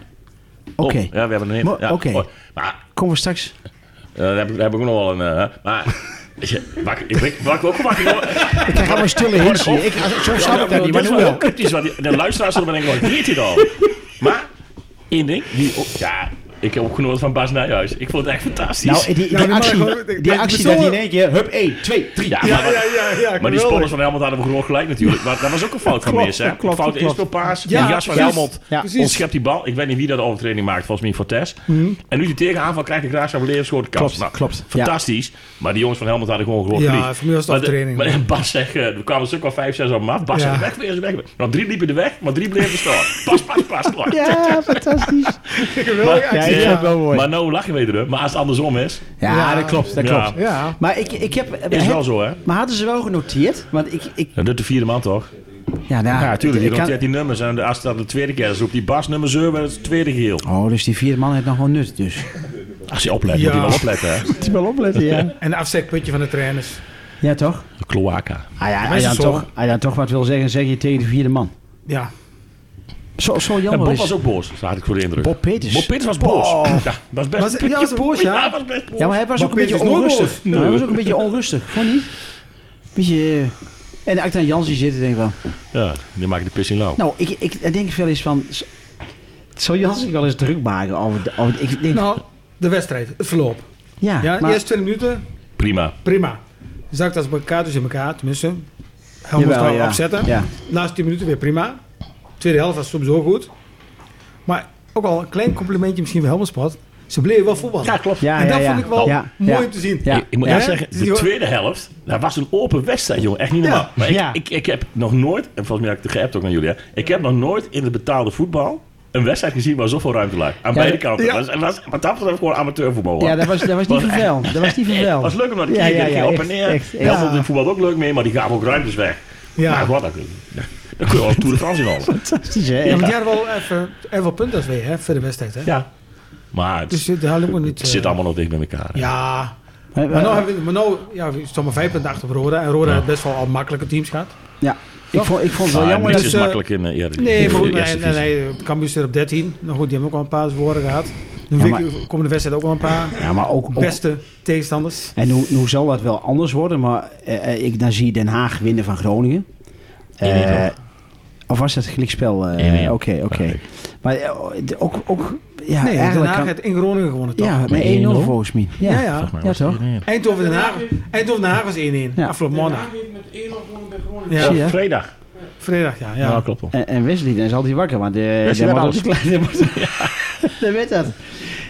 S2: Oké,
S3: Oh, ja, we hebben een hint.
S2: Maar-
S3: Ja,
S2: oké.
S3: mooi. Maar
S2: komen we straks.
S3: eh, daar, heb ik, daar heb ik ook nog wel een... eh, maar... Wakker, ik ben- wakker ook wakker. hoor.
S2: Ik krijg allemaal stille hints hier. Ik, zo snap ik dat niet, maar
S3: is
S2: nu
S3: wel heel
S2: wel.
S3: cryptisch. Want die- de luisteraars zullen denken, wat weet hij dan? Maar, één ding. Die, oh, ja, ik heb ook genoten van Bas Nijhuis. Ik vond het echt fantastisch.
S2: Nou, die, die
S4: Ja, maar
S2: actie,
S4: gewoon- ik-
S2: die
S4: ik-
S2: actie
S4: ik-
S2: dat hij in
S4: ik-
S2: één keer, hup, 1, 2, 3.
S3: ja, maar,
S4: Ja, ja, ja. ja
S3: maar die
S4: geweldig.
S3: spelers van Helmond hadden we gewoon gelijk natuurlijk. Maar dat was ook een fout van
S2: Klopt,
S3: Meers. hè?
S2: klopt, klopt,
S3: Fout
S2: klopt.
S3: inspeelpaas.
S4: Ja,
S3: Ja, jas van
S4: precies.
S3: Helmond
S2: Ja.
S4: Precies. Mhm.
S3: ontschept die bal. Ik weet niet wie dat de overtreding maakt. Volgens mij Fortes. En nu die tegenaanval krijgt de Graafschap Leers gewoon de kans.
S2: Klopt,
S3: Nou,
S2: klopt.
S3: Fantastisch. Maar die jongens van Helmond hadden gewoon gewoon
S4: Ja,
S3: verlies.
S4: voor mij was het
S3: Maar de-
S4: overtreding.
S3: Maar Bas zegt, eh, er kwamen dus ook al vijf, zes op hem af. Bas
S4: Ja.
S3: zegt, weg, weer, weg. weer. Nou, drie liepen er weg, maar drie bleven staan. Pas, pas, pas. klaar.
S2: Ja, fantastisch.
S4: Geweldige
S2: Ja,
S4: actie.
S2: ik vind het
S4: Ja,
S2: wel mooi.
S3: Maar nou lachen we er, maar als het andersom is.
S2: Ja, dat klopt, dat
S3: Ja.
S2: klopt.
S4: ja.
S2: Maar ik, ik heb...
S3: Is wel
S2: heb-
S3: zo, hè?
S2: Maar hadden ze wel genoteerd? Want ik... ik
S3: Dat doet de vierde man toch?
S2: ja, nou,
S3: Ja, natuurlijk.
S2: ik
S3: Die
S2: kan-
S3: roteert die nummers. En als dat de tweede keer is, roept die Bas nummer 7 en het is het tweede geel.
S2: Oh, dus die vierde man heeft nog wel nut, dus.
S3: Als je oplet,
S4: Ja.
S3: moet je wel opletten, hè?
S2: Moet je wel opletten, ja.
S4: En de afzetputje van de trainers.
S2: Ja, toch?
S3: De kloaka.
S2: Ah ja,
S4: Maar
S2: hij
S4: is
S2: dan
S4: het zo?
S2: toch, hij dan toch wat wil zeggen, zeg je tegen de vierde man.
S4: Ja.
S2: Zo, zo
S3: En
S2: jammer
S3: Bob
S2: is...
S3: was ook boos, had ik voor de indruk.
S2: Bob Peters.
S3: Bob Oh. Peters was boos.
S2: Bob.
S3: Ja, was best
S4: Was- ja, was boos, ja.
S3: was best boos.
S2: Ja, maar hij was
S4: Bob
S2: ook een beetje
S4: Peters is nooit
S2: onrustig. Hij was ook een beetje onrustig, vond je niet? Beetje... eh, En als ik dan Jans hier zit, dan denk ik van...
S3: Ja, die maakte de pis in lauw.
S2: Nou, ik, ik, ik denk wel eens van... z- Zou Jans zich wel eens druk maken over... de- over de- ik denk,
S4: Nou, de wedstrijd, het verloop.
S2: ja,
S4: Ja,
S2: maar,
S4: eerst 20 minuten,
S3: Prima.
S4: prima. Zakt als elkaar, dus in elkaar, tenminste. Helm moest
S2: jawel,
S4: wel
S2: ja.
S4: opzetten.
S2: Ja.
S4: Laatste 10 minuten weer prima. Tweede helft was soms ook goed. Maar ook al een klein complimentje misschien voor Helmerspot. Ze bleven wel voetballen.
S3: Ja, klopt.
S2: Ja,
S4: en
S2: ja,
S4: dat
S2: ja.
S4: vond ik wel
S2: Ja,
S4: mooi
S2: ja.
S4: om te zien.
S2: Ja.
S3: Ik, ik moet
S4: Ja,
S3: echt
S4: het is
S3: zeggen, de
S4: niet hoor.
S3: tweede helft, dat was een open wedstrijd, jongen. Echt niet normaal. Maar ik,
S2: Ja.
S3: ik, ik heb nog nooit, en volgens mij heb ik het geappt ook naar jullie, hè. Ik heb nog nooit in het betaalde voetbal een wedstrijd gezien waar zoveel ruimte lag. Aan
S2: Ja,
S3: beide
S2: dat-
S3: kanten.
S4: ja.
S3: Dat was, dat was, wat dat betreft gewoon amateurvoetbal. hoor.
S2: ja, dat was, dat was niet
S3: Was echt-
S2: vervel. Dat was niet vervel.
S3: was leuk om naar te
S2: Oh. Ja,
S3: kijken,
S2: ja,
S3: een keer
S2: ja,
S3: op en
S2: echt,
S3: neer.
S2: echt,
S3: Heel
S2: echt.
S3: veel de voetbal ook leuk mee, maar die gaven ook ruimtes weg. Ja.
S4: Ja.
S3: Nou, wat, dat, dat kun je al Tour de France in halen.
S2: Fantastisch, hè?
S4: Ja, want die hadden wel even, even wel punten als wij, hè, voor de wedstrijd. Hè?
S3: Ja. Maar het,
S4: Dus eh, daar hadden we ook niet...
S3: het
S4: eh,
S3: zit allemaal nog dicht bij elkaar. hè.
S4: Ja,
S2: Maar-
S4: maar
S2: maar-
S4: nou, hebben we, maar nou ja, we staan maar vijf punten achter op Roda. En Roda heeft best wel al makkelijke teams gehad.
S2: ja, ik vond, ik vond het wel
S3: Maar
S2: jammer dat...
S3: niks
S4: dus,
S3: is
S4: eh,
S3: makkelijk in eh, eerder.
S4: Nee, maar goed,
S3: de
S4: nee,
S3: eerste
S4: nee,
S3: divisie.
S4: nee, Cambuur zit op 13. Nou goed, die hebben ook al een paar zworen gehad. De
S2: Ja, maar-
S4: week- komende wedstrijd ook al een paar
S2: Ja, maar ook... ook
S4: beste tegenstanders.
S2: en hoe, hoe zal dat wel anders worden? Maar eh, eh, ik, dan zie je Den Haag winnen van Groningen.
S3: Eén-één,
S2: Eh,
S3: toch?
S2: of was dat gelijkspel? eh, Oké,
S3: Eén-één.
S2: oké. Maar eh, de- ook... ook ja,
S4: Nee, Den
S2: eigenlijk
S4: Haag
S2: kan-
S4: heeft in Groningen gewonnen toch?
S2: Ja,
S3: Met
S2: met 1-0
S3: 1-0?
S2: volgens mij.
S4: Ja,
S2: Ja,
S4: ja.
S3: Volgens mij
S2: Ja,
S3: was het
S2: toch?
S3: niet.
S4: Eindhoven-Den Haag, Eindhoven-Den Haag was 1-1.
S2: Ja.
S4: Afgelopen maandag.
S6: met 1-0 gewonnen bij Groningen.
S4: Ja.
S2: Zie je?
S3: Vrijdag.
S4: Vrijdag, ja.
S3: Ja,
S4: ja.
S3: klopt wel.
S2: En, en Wesley, dan is altijd wakker, want eh, de,
S3: Wesley
S2: de
S3: weet
S2: moet ook- die moet- Dan weet dat.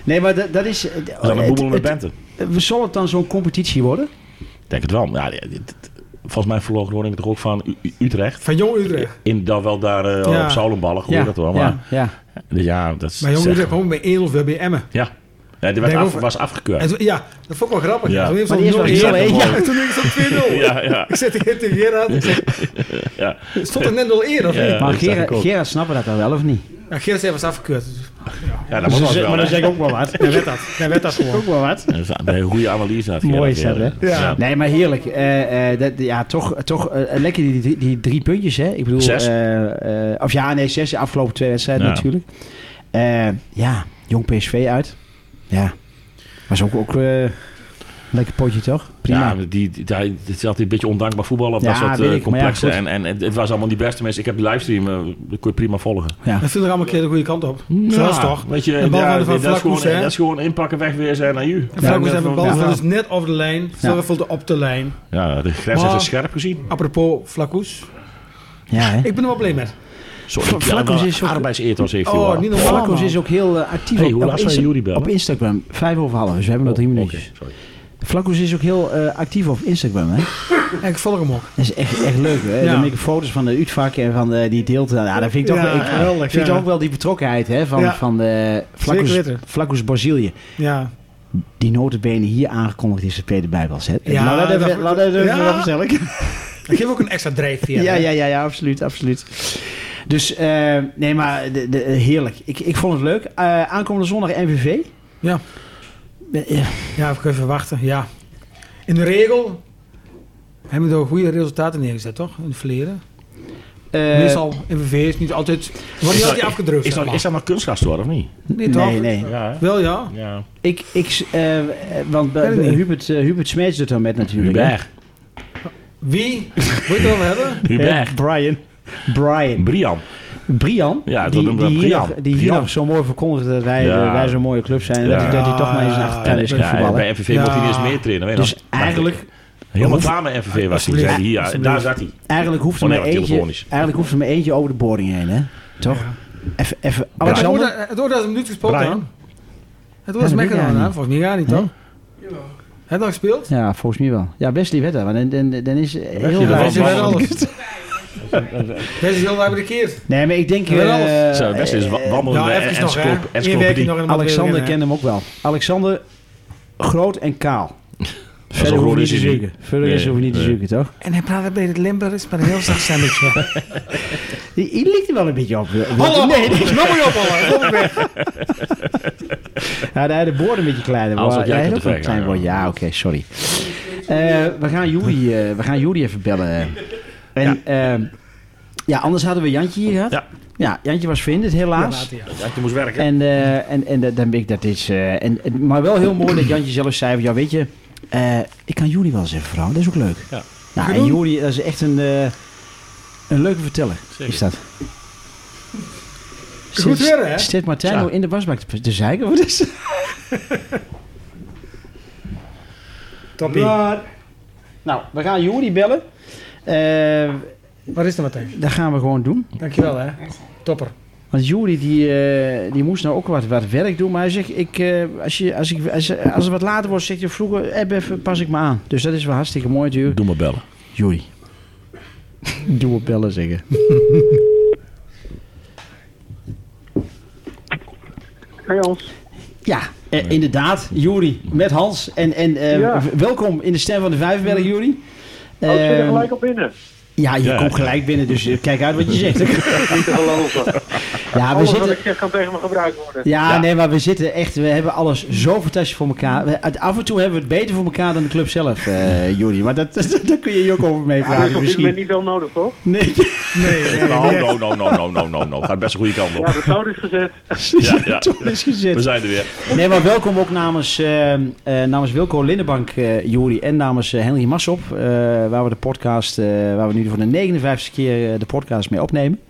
S2: Nee, maar dat, dat is... eh,
S3: Dat is een boemel met
S2: het-
S3: Bente.
S2: het- zal het dan zo'n competitie worden?
S3: Ik denk het wel. Ja, dit- dit- volgens mij verloor Groningen toch ook van U- U- Utrecht.
S4: Van Jong Utrecht.
S3: In, dan wel daar eh,
S4: Ja.
S3: op Zoulenballen, hoor je dat wel. Maar
S2: ja, ja.
S3: dus ja, dat is...
S4: Maar Jong
S3: zeg-
S4: Utrecht gewoon bij 1-0 of weer bij Emmen.
S3: Ja. Nee, die werd
S4: Denk
S3: af-
S4: over-
S3: was afgekeurd.
S4: En zo- ja, dat vond ik wel grappig.
S3: Ja.
S4: Ja. Toen heeft
S2: Maar die
S4: zo'n
S2: is wel
S4: 0-1.
S2: heel
S4: Ja,
S2: erg mooi.
S4: toen heeft zo'n 2-0.
S3: Ja, ja.
S4: Ik zet de tegen Gerard. Ik zeg,
S3: ja.
S4: Stond er net 0-1 of niet?
S2: maar
S3: Ja. dat zag
S2: Gerard,
S3: ik ook.
S2: Gerard snappen dat dan wel, of niet?
S4: Ja, Gerard zei, was afgekeurd. Dus
S3: ja, dat was wel. wel, hè.
S2: ik ook wel wat.
S4: Hij werd dat. Hij werd dat gewoon.
S2: ook wel wat.
S3: Dat is een hele goede analyse. had
S2: Mooi
S3: Gerard
S2: is dat, hè?
S3: Verder.
S4: Ja.
S3: Ja.
S2: Nee, maar heerlijk. Eh, eh, dat, ja, toch, toch eh, lekker die, die, die drie puntjes, hè? Ik bedoel,
S3: Zes.
S2: eh, eh, of ja, nee, zes de afgelopen twee wedstrijden
S3: Ja.
S2: natuurlijk. Eh, ja, jong PSV uit. Ja, was ook, ook eh, lekker potje, toch? Prima.
S3: Ja, die, die, die- het is altijd een beetje ondankbaar voetballen op
S2: Ja,
S3: dat soort
S2: weet
S3: eh,
S2: ik, maar ja,
S3: complexen.
S2: goed.
S3: en, en het, het was allemaal die beste mensen. Ik heb de livestream, eh, dat kon je prima volgen.
S4: Dat viel er allemaal een keer de goede kant op.
S3: Hmm.
S4: Zo was het toch.
S3: Weet je,
S4: de bal
S3: ja,
S4: van de
S3: dat, is
S4: Vlakhoes,
S3: gewoon,
S4: hè?
S3: dat is gewoon inpakken, wegwezen en aan u.
S4: En Frank was even bal
S3: ja.
S4: viel dus net over de lijn. Fleur viel op de lijn.
S3: Ja, de grens is
S4: Maar-
S3: er scherp gezien.
S4: Apropos Flaccoes.
S2: Ja, hè?
S4: Ik ben er wel blij mee.
S3: Sorry,
S2: Vlakhoes
S3: ja,
S2: is
S3: maar
S2: ook-
S3: arbeidsethos heeft hij
S4: Oh,
S3: wel.
S4: niet
S2: Oh,
S4: normaal.
S2: Marcos is ook heel eh, actief
S3: Hey,
S2: op,
S3: hoe
S2: op,
S3: laat zou
S2: Insta-
S3: jullie bellen?
S2: op Instagram. Vijf over half, dus we hebben nog
S4: Oh,
S2: drie
S3: Oké,
S2: minuutjes.
S3: sorry.
S2: Flacco's is ook heel eh, actief op Instagram, hè?
S4: En ik volg hem ook.
S2: Dat is echt, echt leuk, hè?
S4: Ja.
S2: Dan maak ik foto's van de uitvak en van de, die deelte. Ja, dat vind ik toch,
S4: Ja,
S2: wel- ik,
S4: geweldig,
S2: vind ik
S4: ja.
S2: toch ook wel die betrokkenheid, hè? Van,
S4: Ja.
S2: van de
S4: Zeker weten.
S2: Flacco's Brazilië.
S4: Ja.
S2: Die notenbenen hier aangekondigd is de Peter Bijbels, hè?
S4: Ja,
S2: Laat dat
S4: dat-
S2: even- laat dat
S4: Ja.
S2: even wel vertellen.
S4: Ik geef ook een extra drijfveer.
S2: Ja,
S4: hè.
S2: ja, ja, ja, absoluut, absoluut. Dus, eh, nee, maar de, de, heerlijk. Ik, ik vond het leuk. Eh, aankomende zondag NVV.
S4: Ja.
S2: Eh, ja.
S4: Ja, ik ga even wachten. Ja. In de regel hebben we er goede resultaten neergezet, toch? In het verleden.
S2: Eh,
S4: Meestal NVV is niet altijd... Wordt niet altijd afgedrukt,
S3: Is
S4: zeg
S3: dat,
S4: maar.
S3: is dat nou kunstgras hoor, of niet?
S4: Nee, toch?
S2: nee, nee.
S3: Ja,
S4: Wel ja.
S3: ja.
S2: Ik, ik, eh, eh, want bij-
S4: Weet ik
S2: bij
S4: niet.
S2: Hubert, eh, Hubert Smeets doet dan met natuurlijk. hè?
S3: Hubert.
S4: Wie? Wil je het wel hebben?
S3: Hubert.
S2: Eh, Brian. Brian.
S3: Brian.
S2: Brian.
S3: Ja, dat
S2: die,
S3: noemen we
S2: die
S3: Brian.
S2: Hier, nog- die hier
S3: Brian.
S2: nog zo mooi verkondigde dat wij,
S3: Ja.
S2: eh, wij zo'n mooie club zijn. en
S3: Ja.
S2: Dat, hij, dat hij toch maar eens
S4: Ja.
S2: naar tennis
S3: Ja,
S2: gaat voetballen.
S3: bij FVV moet hij niet eens
S4: Ja.
S3: meer trainen. weet je
S2: dus
S3: nog?
S2: eigenlijk,
S3: Helemaal klaar met FVV was hij. zei hij. Hier,
S4: Alsjeblieft.
S3: daar zat hij.
S2: eigenlijk, hoeft er
S3: Oh, nee,
S2: maar
S3: maar
S2: eentje,
S3: telefonisch.
S2: eigenlijk hoeft er maar eentje over de boring heen, hè? Toch? Even, even.
S4: Het wordt
S2: Alexander?
S4: het wordt als een minuut gespeeld
S3: Brian.
S4: dan. Het wordt
S2: Ja,
S4: als
S2: dat weet
S4: mekker
S2: jij
S4: dan, hè?
S2: niet.
S4: Volgens mij gaat niet,
S2: Nee?
S4: toch? Heb je al gespeeld?
S2: Ja, volgens mij wel. Ja, Wesley weet dat. Want dan, dan, dan is eh, heel
S3: dat
S4: Ja,
S2: raar.
S4: hij
S3: was-
S4: is wel alles. Hij is heel duidelijk bekeerd.
S2: Nee, maar ik denk...
S4: Hij weet alles.
S2: eh,
S3: Zo, best is wa- wandelende
S4: Ja, even nou, nog, hè.
S3: encyclop-
S4: Eén weekje
S3: encyclopedie.
S4: nog in de
S2: Alexander
S4: materiaal, hè.
S2: kende hem ook wel. Alexander, groot en kaal. Verder
S3: groot
S2: hoeven we niet
S3: is
S2: te
S3: hij niet.
S2: zoeken. Verder
S3: Nee,
S2: is hoeven we niet te
S3: nee.
S2: zoeken, toch?
S4: En hij praat bij het Limburgs, maar een heel zacht stemmetje.
S2: Die, die ligt er wel een beetje op.
S4: Hallo!
S2: Nee, nee.
S4: Nou moet je opvallen. Kom maar weg.
S2: Ja, daar had de boord een beetje kleiner.
S3: Alsof
S2: maar
S3: jij
S2: hij
S3: kunt
S2: had ook wel een
S3: te ver
S2: klein
S3: gaan,
S2: boord. Ja, oké, sorry. Eh, we, gaan jullie, eh, we gaan jullie even bellen. En, ja. ja, anders ehm, hadden we Jantje hier gehad.
S3: Ja.
S2: Ja, Jantje was verhinderd, helaas.
S4: later, ja.
S3: Dat je moest werken.
S2: En, eh, en, en dat- dan ben ik dat is. eh, en, en- maar wel heel mooi dat Jantje zelf zei: van, Ja, weet je, eh, ik kan jullie wel eens even vrouw, dat is ook leuk.
S3: Ja.
S2: Nou, en
S4: Jeroen?
S2: Juri, dat is echt een, eh, een leuke verteller.
S3: Zeker.
S2: Is dat?
S4: Goed
S2: Zit-
S4: weer, hè?
S2: Zit Martijn
S3: Ja.
S2: nou in de wasbak te, te zeiken? Wat is
S4: Toppie.
S2: Maar- nou, we gaan Juri bellen. Eh,
S4: Waar is de Martijn?
S2: dat gaan we gewoon doen.
S4: Dankjewel, hè. Topper.
S2: Want Juri die, eh, die moest nou ook wat, wat werk doen. Maar hij zegt, ik, eh, als, je, als, ik, als, als het wat later wordt, zegt hij vroeger, app even, pas ik me aan. Dus dat is wel hartstikke mooi natuurlijk.
S3: Doe maar bellen.
S2: Juri. Doe op bellen zeggen.
S6: Hey Hans.
S2: Ja, eh, inderdaad. Juri, met Hans. En, en eh,
S6: Ja.
S2: w- welkom in de stem van de Vijverberg, Juri.
S6: Oh, ik zit er
S2: Ehm,
S6: gelijk op binnen.
S2: ja, je
S3: Ja.
S2: komt gelijk binnen, dus eh, kijk uit wat je zegt.
S6: Niet te geloven.
S2: ja, Ah, we
S6: Alles wat
S2: zitten,
S6: ik zeg kan tegen me gebruikt worden.
S2: Ja, nee, maar we zitten echt, we hebben alles zo fantastisch voor elkaar. We- uit- af en toe hebben we het beter voor elkaar dan de club zelf, eh Jordi. Maar dat, dat, daar kun je je ook over mee
S6: Ja, dat is
S2: praten
S6: op dit moment
S2: misschien.
S6: niet wel nodig, toch?
S2: Nee.
S3: nou, no, no, no, no, no, no, no. Gaat best een goede kant
S6: Ja,
S3: op.
S6: de touw is gezet.
S3: Ja, ja.
S2: Toch is gezet.
S3: We zijn er weer.
S2: Nee, maar welkom ook namens, eh, eh, namens Wilco Lindenbank, eh Jori, en namens eh, Henry Massop, eh, waar we de podcast, eh, waar we nu voor de 59e keer eh, de podcast mee opnemen.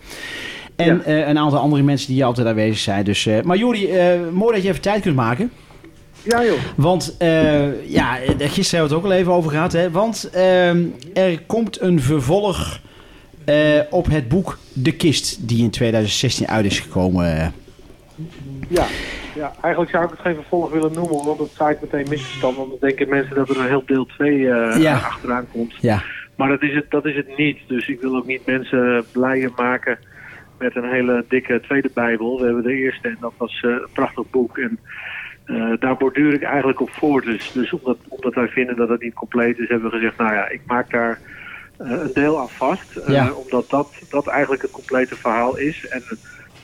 S2: En
S6: Ja.
S2: eh, een aantal andere mensen die hier altijd aanwezig zijn. Dus, eh, maar Jori, eh, mooi dat je even tijd kunt maken.
S6: Ja joh.
S2: Want eh, ja, eh, gisteren hebben we het ook al even over gehad. Hè? Want ehm, er komt een vervolg eh, op het boek De Kist, die in 2016 uit is gekomen.
S6: Ja. ja, eigenlijk zou ik het geen vervolg willen noemen, want dat zaait meteen misverstand. Want dan denken mensen dat er een heel deel 2
S2: Ja.
S6: achteraan komt.
S2: Ja,
S6: Maar dat is, het, dat is het niet. Dus ik wil ook niet mensen blijer maken met een hele dikke tweede Bijbel. We hebben de eerste en dat was eh, een prachtig boek. En eh, daar borduur ik eigenlijk op voort. Dus, dus omdat, omdat wij vinden dat het niet compleet is, hebben we gezegd: nou ja, ik maak daar eh, een deel aan vast. Eh,
S2: Ja.
S6: Omdat dat, dat eigenlijk het complete verhaal is. En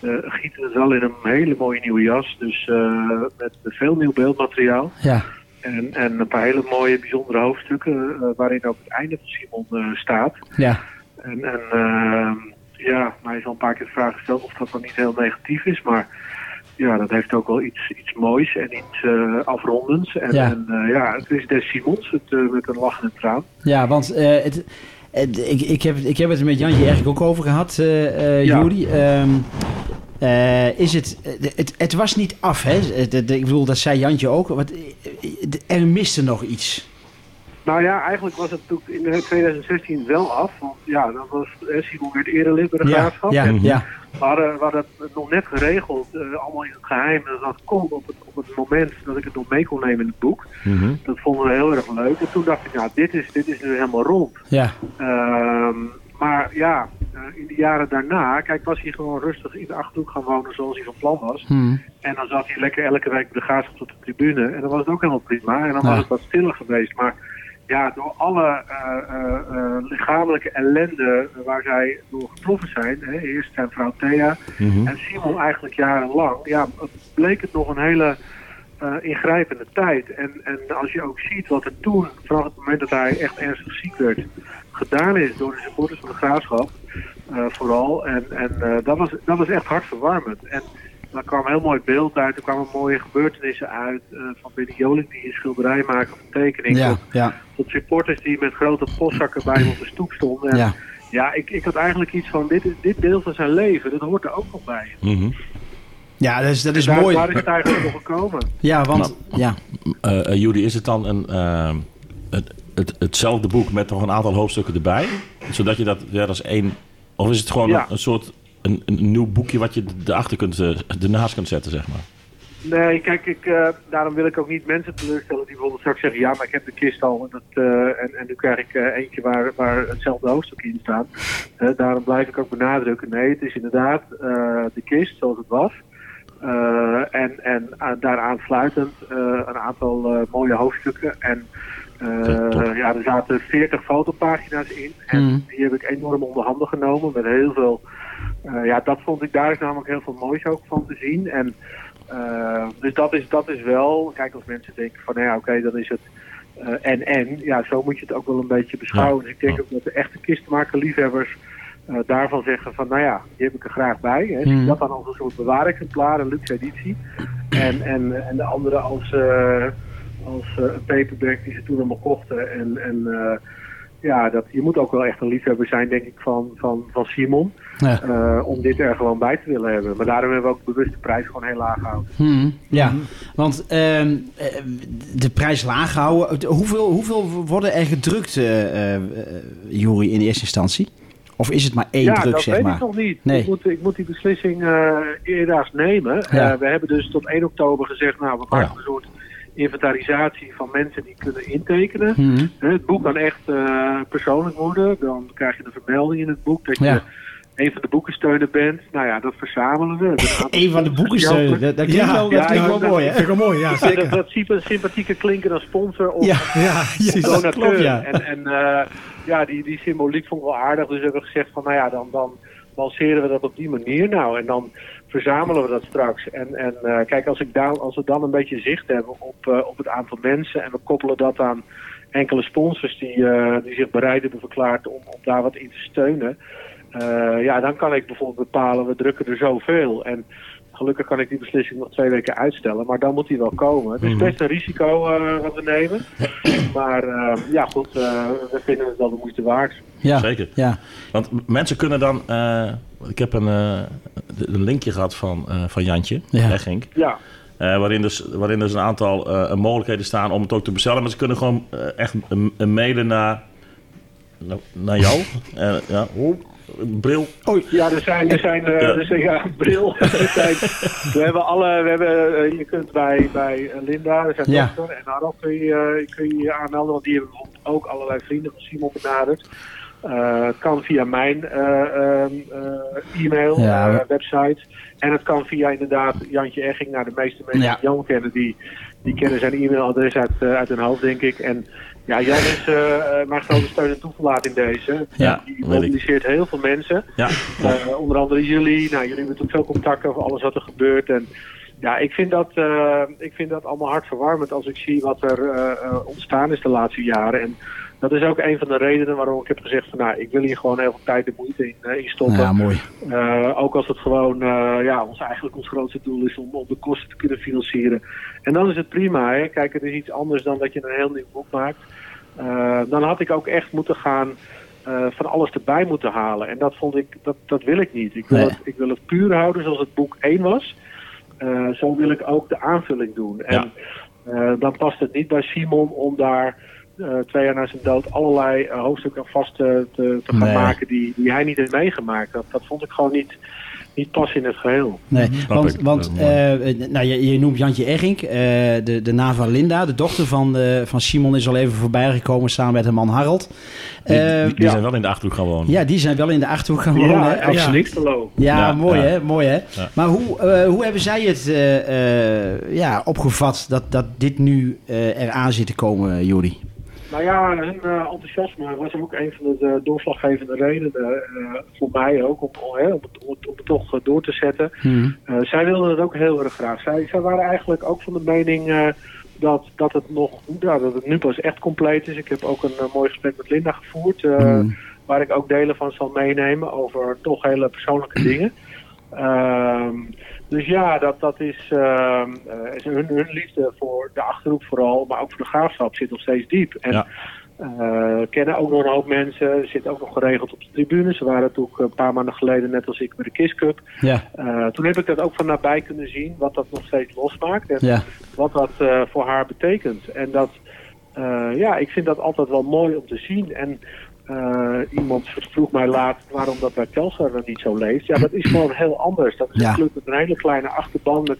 S6: eh gieten het wel in een hele mooie nieuwe jas. Dus eh, met veel nieuw beeldmateriaal.
S2: ja,
S6: En, en een paar hele mooie, bijzondere hoofdstukken. eh, waarin ook het einde van Simon eh, staat.
S2: ja.
S6: En, en ehm, ja, mij is al een paar keer de vraag gesteld of dat dan niet heel negatief is. Maar ja, dat heeft ook wel iets, iets moois en iets eh, afrondends. En
S2: Ja.
S6: ja. En, eh, ja, het is Des Simons het, eh, met een lachende traan.
S2: ja want eh, het, het- ik, ik, heb, ik heb het er met Jantje eigenlijk ook over gehad, eh eh,
S6: Ja.
S2: Jori. Ehm, eh, is het, eh, het, het was niet af, hè? Het- het- ik bedoel, dat zei Jantje ook. Want, eh, eh, er miste nog iets.
S6: Nou ja, eigenlijk was het natuurlijk in 2016 wel af. Want ja, dan was eh, Simon werd eerder lid bij de Mhm. graafschap.
S2: ja,
S6: En
S2: ja,
S6: We hadden, we hadden het nog net geregeld, eh, allemaal in het geheim. En dat kon op het, op het moment dat ik het nog mee kon nemen in het boek. Dat vonden we heel erg leuk. En toen dacht ik, nou, dit is, dit is nu helemaal rond.
S2: ja,
S6: Ehm, maar ja, eh, in de jaren daarna, kijk, was hij gewoon rustig in de achterhoek gaan wonen zoals hij van plan was.
S2: Hm.
S6: En dan zat hij lekker elke week bij de graafschap op de tribune. En dan was het ook helemaal prima. En dan
S2: Ja.
S6: was het wat stiller geweest. Maar ja, door alle eh, eh, eh, lichamelijke ellende waar zij door getroffen zijn. Hè, eerst zijn vrouw Thea
S2: Hm?
S6: en Simon eigenlijk jarenlang. Ja, het bleek het nog een hele eh, ingrijpende tijd. En, en als je ook ziet wat er toen, vanaf het moment dat hij echt ernstig ziek werd, gedaan is door de supporters van de graafschap. eh, vooral. En, en eh, dat, was, dat was echt hartverwarmend. En daar kwam een heel mooi beeld uit. Er kwamen mooie gebeurtenissen uit. eh, van Benny Joling die een schilderij maakte of een tekening.
S2: ja,
S6: Tot,
S2: ja.
S6: tot supporters die met grote postzakken bij hem op de stoep stonden. En
S2: Ja,
S6: ja, ik, ik had eigenlijk iets van, dit, dit deel van zijn leven, dat hoort er ook nog bij.
S3: Mhm.
S2: ja dat is, dat is
S6: daar,
S2: mooi.
S6: daar is het eigenlijk nog gekomen.
S2: Ja, want ja,
S3: Eh, eh, Judy, is het dan een, eh, het, het, hetzelfde boek met nog een aantal hoofdstukken erbij? Zodat je dat, ja, dat is één... Of is het gewoon
S6: Ja.
S3: een, een soort... Een, een nieuw boekje wat je erachter kunt, eh, ernaast kunt zetten, zeg maar.
S6: Nee, kijk, ik, eh, daarom wil ik ook niet mensen teleurstellen die bijvoorbeeld straks zeggen, ja, maar ik heb de kist al en, dat, eh, en, en nu krijg ik eh, eentje waar, waar hetzelfde hoofdstuk in staat. Eh, daarom blijf ik ook benadrukken, nee, het is inderdaad eh, de kist zoals het was. Eh, en en a- daaraan sluitend eh, een aantal eh, mooie hoofdstukken. En eh,
S3: Top.
S6: ja, er zaten 40 fotopagina's in. En
S2: Mm.
S6: die heb ik enorm onder handen genomen met heel veel. eh, ja, dat vond ik daar is namelijk heel veel moois ook van te zien. En eh, dus dat is, dat is wel. Kijk, als mensen denken van nou ja, oké, dan is het. eh, en en, ja, zo moet je het ook wel een beetje beschouwen. Dus ik denk ook dat de echte kistenmaker liefhebbers eh, daarvan zeggen van, nou ja, die heb ik er graag bij. Hè. Zie dat dan als een soort bewaarexemplaar, een luxe editie. En, en, en de andere als, eh, als eh, een paperback die ze toen allemaal kochten. En, en eh, ja, dat, je moet ook wel echt een liefhebber zijn, denk ik, van, van, van Simon.
S2: Ja.
S6: eh, om dit er gewoon bij te willen hebben. Maar daarom hebben we ook bewust de prijs gewoon heel laag gehouden.
S2: Hmm, ja, want ehm, eh, de prijs laag houden. Hoeveel, hoeveel worden er gedrukt, eh eh, Joeri, in eerste instantie? Of is het maar één
S6: ja,
S2: druk,
S6: dat
S2: zeg
S6: weet
S2: maar?
S6: ik nog niet.
S2: Nee.
S6: Ik, moet, ik moet die beslissing eh eerdaags nemen.
S2: Ja. Oh
S6: Eh, we hebben dus tot 1 oktober gezegd, nou, we maken een soort inventarisatie van mensen die kunnen intekenen.
S2: Hmm,
S6: Hè, Het boek kan echt eh, persoonlijk worden. Dan krijg je een vermelding in het boek dat je
S2: Ja.
S6: een van de boekensteunen bent. Nou ja, dat verzamelen we. We hebben een aantal
S2: Eén van de boeken, eh,
S6: boekensteunen.
S2: dat, dat klinkt
S4: Ja,
S2: wel, dat
S6: ja,
S2: klinkt wel
S6: dat-
S2: mooi,
S4: Dat
S2: hè?
S4: vind ik wel mooi, ja,
S6: Ja, dat,
S4: zeker.
S6: dat sympathieke sympathieker klinken dan sponsor of
S2: Ja,
S4: Ja, precies.
S2: dat
S6: donateur.
S2: klopt, ja.
S6: En, en eh, ja, die, die symboliek vond ik wel aardig. Dus hebben we gezegd van, nou ja, dan, dan lanceren we dat op die manier nou. En dan verzamelen we dat straks. En, en eh, kijk, als, ik daar, als we dan een beetje zicht hebben op, eh, op het aantal mensen... en we koppelen dat aan enkele sponsors die, eh, die zich bereid hebben verklaard om, om daar wat in te steunen... eh, ja, dan kan ik bijvoorbeeld bepalen, we drukken er zoveel. En gelukkig kan ik die beslissing nog twee weken uitstellen. Maar dan moet die wel komen. Het is
S2: Mhm.
S6: best een risico eh, wat we nemen. Maar eh, ja, goed, eh, we vinden het wel de moeite waard.
S2: Ja,
S3: Zeker.
S2: Ja.
S3: Want m- mensen kunnen dan... eh, ik heb een, eh, een linkje gehad van, eh, van Jantje,
S2: Ja.
S3: hè, Genk.
S6: Ja,
S3: Eh, waarin, dus, waarin dus een aantal eh, mogelijkheden staan om het ook te bestellen. Maar ze kunnen gewoon eh, echt een, een mailen naar, naar- naar jou. Eh, ja, hoe? Bril.
S6: ja er zijn, er zijn eh,
S3: Ja.
S6: er zijn, ja, bril. Er zijn, we hebben alle, we hebben, eh, je kunt bij, bij eh, Linda, er zijn
S2: Ja.
S6: dochter en Harold kun je, eh, kun je je aanmelden. Want die hebben bijvoorbeeld ook allerlei vrienden van Simon benaderd. Eh, het kan via mijn eh, ehm, eh, e-mail,
S2: Ja,
S6: eh,
S2: we-
S6: website. En het kan via inderdaad Jantje Egging. Nou, de meeste mensen
S2: Ja.
S6: die Jan kennen, die, die kennen zijn e-mailadres uit, eh, uit hun hoofd, denk ik. En ja, Jan is eh, eh, mijn grote steun en toeverlaat in deze.
S3: Ja,
S6: die
S3: weet ik.
S6: mobiliseert heel veel mensen.
S3: Ja,
S6: Eh, onder andere jullie. Nou, jullie hebben natuurlijk veel contact over alles wat er gebeurt. En ja, ik vind dat, eh, ik vind dat allemaal hartverwarmend als ik zie wat er eh, eh, ontstaan is de laatste jaren. En dat is ook een van de redenen waarom ik heb gezegd van nou, ik wil hier gewoon heel veel tijd en moeite in, eh, in stoppen.
S2: Nou ja mooi.
S6: Eh, ook als het gewoon, eh, ja, ons eigenlijk ons grootste doel is om, om de kosten te kunnen financieren. En dan is het prima, hè. Kijk, het is iets anders dan dat je een heel nieuw boek maakt. Eh, dan had ik ook echt moeten gaan eh, van alles erbij moeten halen. En dat vond ik, dat, dat wil ik niet. Ik wil,
S2: Nee.
S6: het, ik wil het puur houden zoals het boek 1 was. Eh, zo wil ik ook de aanvulling doen. En eh, dan past het niet bij Simon om daar eh, twee jaar na zijn dood allerlei eh, hoofdstukken aan vast te, te, te gaan
S2: Nee.
S6: maken die, die hij niet heeft meegemaakt. Dat, dat vond ik gewoon niet, niet pas in het geheel.
S2: Nee, want,
S3: ik.
S2: want
S3: Dat is mooi.
S2: eh, eh, nou, je, je noemt Jantje Erink, eh, de, de naam van Linda, de dochter van, eh, van Simon, is al even voorbij gekomen samen met haar man Harald.
S3: die,
S2: Eh,
S3: die- die
S6: ja.
S3: zijn wel in de Achterhoek gaan wonen.
S2: ja, die zijn wel in de achterhoek gaan wonen. hè?
S6: echt
S4: ja.
S6: niks te lopen.
S2: Ja,
S3: Ja,
S2: mooi
S3: ja.
S2: hè, mooi hè.
S3: Ja.
S2: Maar hoe, eh, hoe hebben zij het eh, eh, ja, opgevat dat, dat dit nu eh, eraan zit te komen, Jori?
S6: Nou ja, hun eh, enthousiasme was ook een van de, eh, doorslaggevende redenen eh, voor mij ook om, om, hè, om, het, om het- om het toch eh, door te zetten. Eh, zij wilden het ook heel erg graag. Zij, zij waren eigenlijk ook van de mening eh, dat, dat, het nog, nou, dat het nu pas echt compleet is. Ik heb ook een eh, mooi gesprek met Linda gevoerd, eh,
S2: Hmm.
S6: waar ik ook delen van zal meenemen over toch hele persoonlijke dingen. Ehm, dus ja, dat, dat is ehm, eh, is hun, hun liefde voor de Achterhoek vooral, maar ook voor de Graafschap zit nog steeds diep. En
S3: Ja.
S6: eh, kennen ook nog een hoop mensen, zitten ook nog geregeld op de tribune. Ze waren natuurlijk eh, een paar maanden geleden, net als ik, bij de Kiss Cup.
S2: Ja,
S6: Eh, toen heb ik dat ook van nabij kunnen zien, wat dat nog steeds losmaakt en
S2: ja.
S6: wat dat eh, voor haar betekent. En dat, eh, ja, ik vind dat altijd wel mooi om te zien. En eh, iemand vroeg mij laat waarom dat bij Telstar dan niet zo leeft. Ja, dat is gewoon heel anders. Dat is
S2: Ja.
S6: een club met een hele kleine achterban, met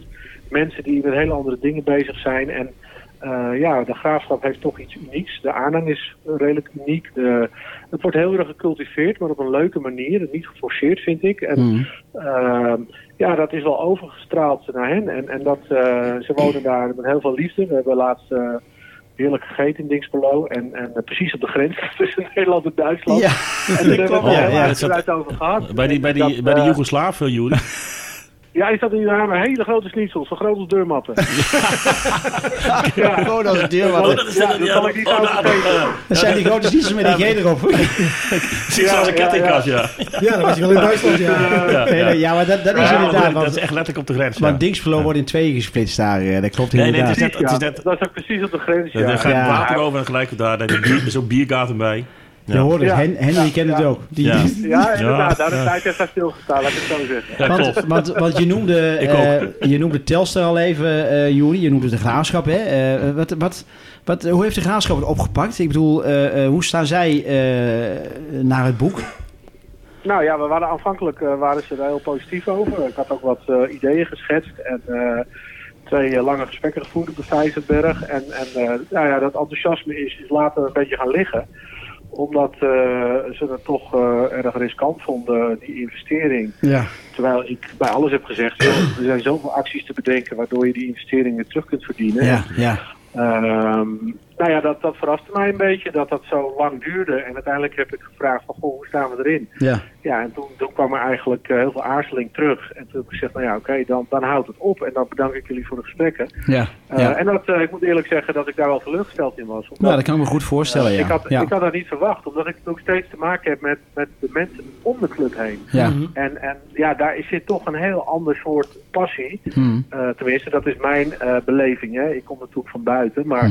S6: mensen die met hele andere dingen bezig zijn. En eh, ja, de graafschap heeft toch iets unieks. De aanhang is eh, redelijk uniek. De, het wordt heel erg gecultiveerd, maar op een leuke manier. En niet geforceerd, vind ik.
S2: Hmm.
S6: En Ehm, ja, dat is wel overgestraald naar hen. En, en dat, eh, ze wonen daar met heel veel liefde. We hebben laatst eh, heerlijk gegeten in Dingsbelo. En, en eh, precies op de grens tussen Nederland en Duitsland.
S2: Ja,
S6: en daar hebben we
S3: klopt, ja,
S6: het
S3: ja,
S6: heel
S3: dat
S6: erg
S3: zat-
S6: eruit over gehad.
S3: Bij die, Oh, bij die,
S6: Dat,
S3: bij die
S6: eh,
S3: Joegoslaven, Joeri.
S6: Ja, is dat in Hamer hele grote schnitzels, zo groot als deurmatten. ja.
S2: Gewoon als deur.
S3: Oh,
S2: wat-
S3: dat is
S6: Ja,
S3: dat-
S6: dat
S3: ja,
S6: kan ik niet
S3: oh,
S6: laten
S3: nou,
S6: weten.
S3: eh,
S2: Dat zijn die grote snitzels met die G erop.
S3: Precies zoals een
S6: ja, ja.
S3: kettingkast, ja.
S4: Ja, dat was je wel in Duitsland, ja.
S3: Ja,
S2: Nee,
S3: ja.
S2: nee, Ja, maar dat, dat is
S3: Ja,
S2: inderdaad.
S3: dat
S2: Want,
S3: is echt letterlijk op de grens. ja.
S2: want Dingsflow wordt in tweeën gesplitst daar. eh, Dat klopt
S3: Nee, nee,
S2: inderdaad.
S3: het is net- het is
S6: Ja,
S3: net
S6: Dat is ook precies op de grens, ja.
S3: Ja, Daar gaat
S2: Ja.
S3: water over en gelijk daar. Daar heb je bier- er is ook biergaten bij. Ja.
S2: Je hoort het.
S6: Ja.
S2: Hen, Henry kent het
S6: Ja.
S2: ook. Die,
S3: Ja.
S6: Ja, inderdaad. Daar
S3: Ja.
S6: is tijd even stilgestaan, laat ik het zo zeggen.
S3: Ja,
S2: Want,
S3: klopt.
S2: want, want je, noemde,
S3: Ik
S2: eh je noemde Telstar al even, eh Juri. Je noemde de graafschap. Hè? Eh, wat, wat, wat, hoe heeft de graafschap het opgepakt? Ik bedoel, eh, eh, hoe staan zij eh, naar het boek?
S6: Nou ja, we waren aanvankelijk eh, waren ze daar heel positief over. Ik had ook wat eh, ideeën geschetst en eh, twee eh, lange gesprekken gevoerd op de Vijzelberg. En, en eh, nou ja, dat enthousiasme is, is later een beetje gaan liggen. Omdat eh, ze het toch eh, erg riskant vonden, die investering.
S2: Ja.
S6: Terwijl ik bij alles heb gezegd, joh, er zijn zoveel acties te bedenken waardoor je die investering weer terug kunt verdienen.
S2: Ja, ja.
S6: Ehm, nou ja, dat, dat verraste mij een beetje, dat dat zo lang duurde. En uiteindelijk heb ik gevraagd van, goh, hoe staan we erin?
S2: ja.
S6: Ja, en toen, toen kwam er eigenlijk eh, heel veel aarzeling terug. En toen heb ik gezegd, nou ja, oké, dan, dan houdt het op. En dan bedank ik jullie voor de gesprekken.
S2: ja.
S6: Eh, En dat, eh, ik moet eerlijk zeggen dat ik daar wel teleurgesteld in was. Omdat, eh,
S2: Nou, dat kan ik me goed voorstellen, ja.
S6: ik, had,
S2: ja.
S6: ik had dat niet verwacht, omdat ik nog steeds te maken heb met, met de mensen om de club heen.
S2: ja.
S6: En, en ja, daar zit toch een heel ander soort passie.
S2: Hm.
S6: Eh, tenminste, dat is mijn eh, beleving. Hè. Ik kom natuurlijk van buiten, maar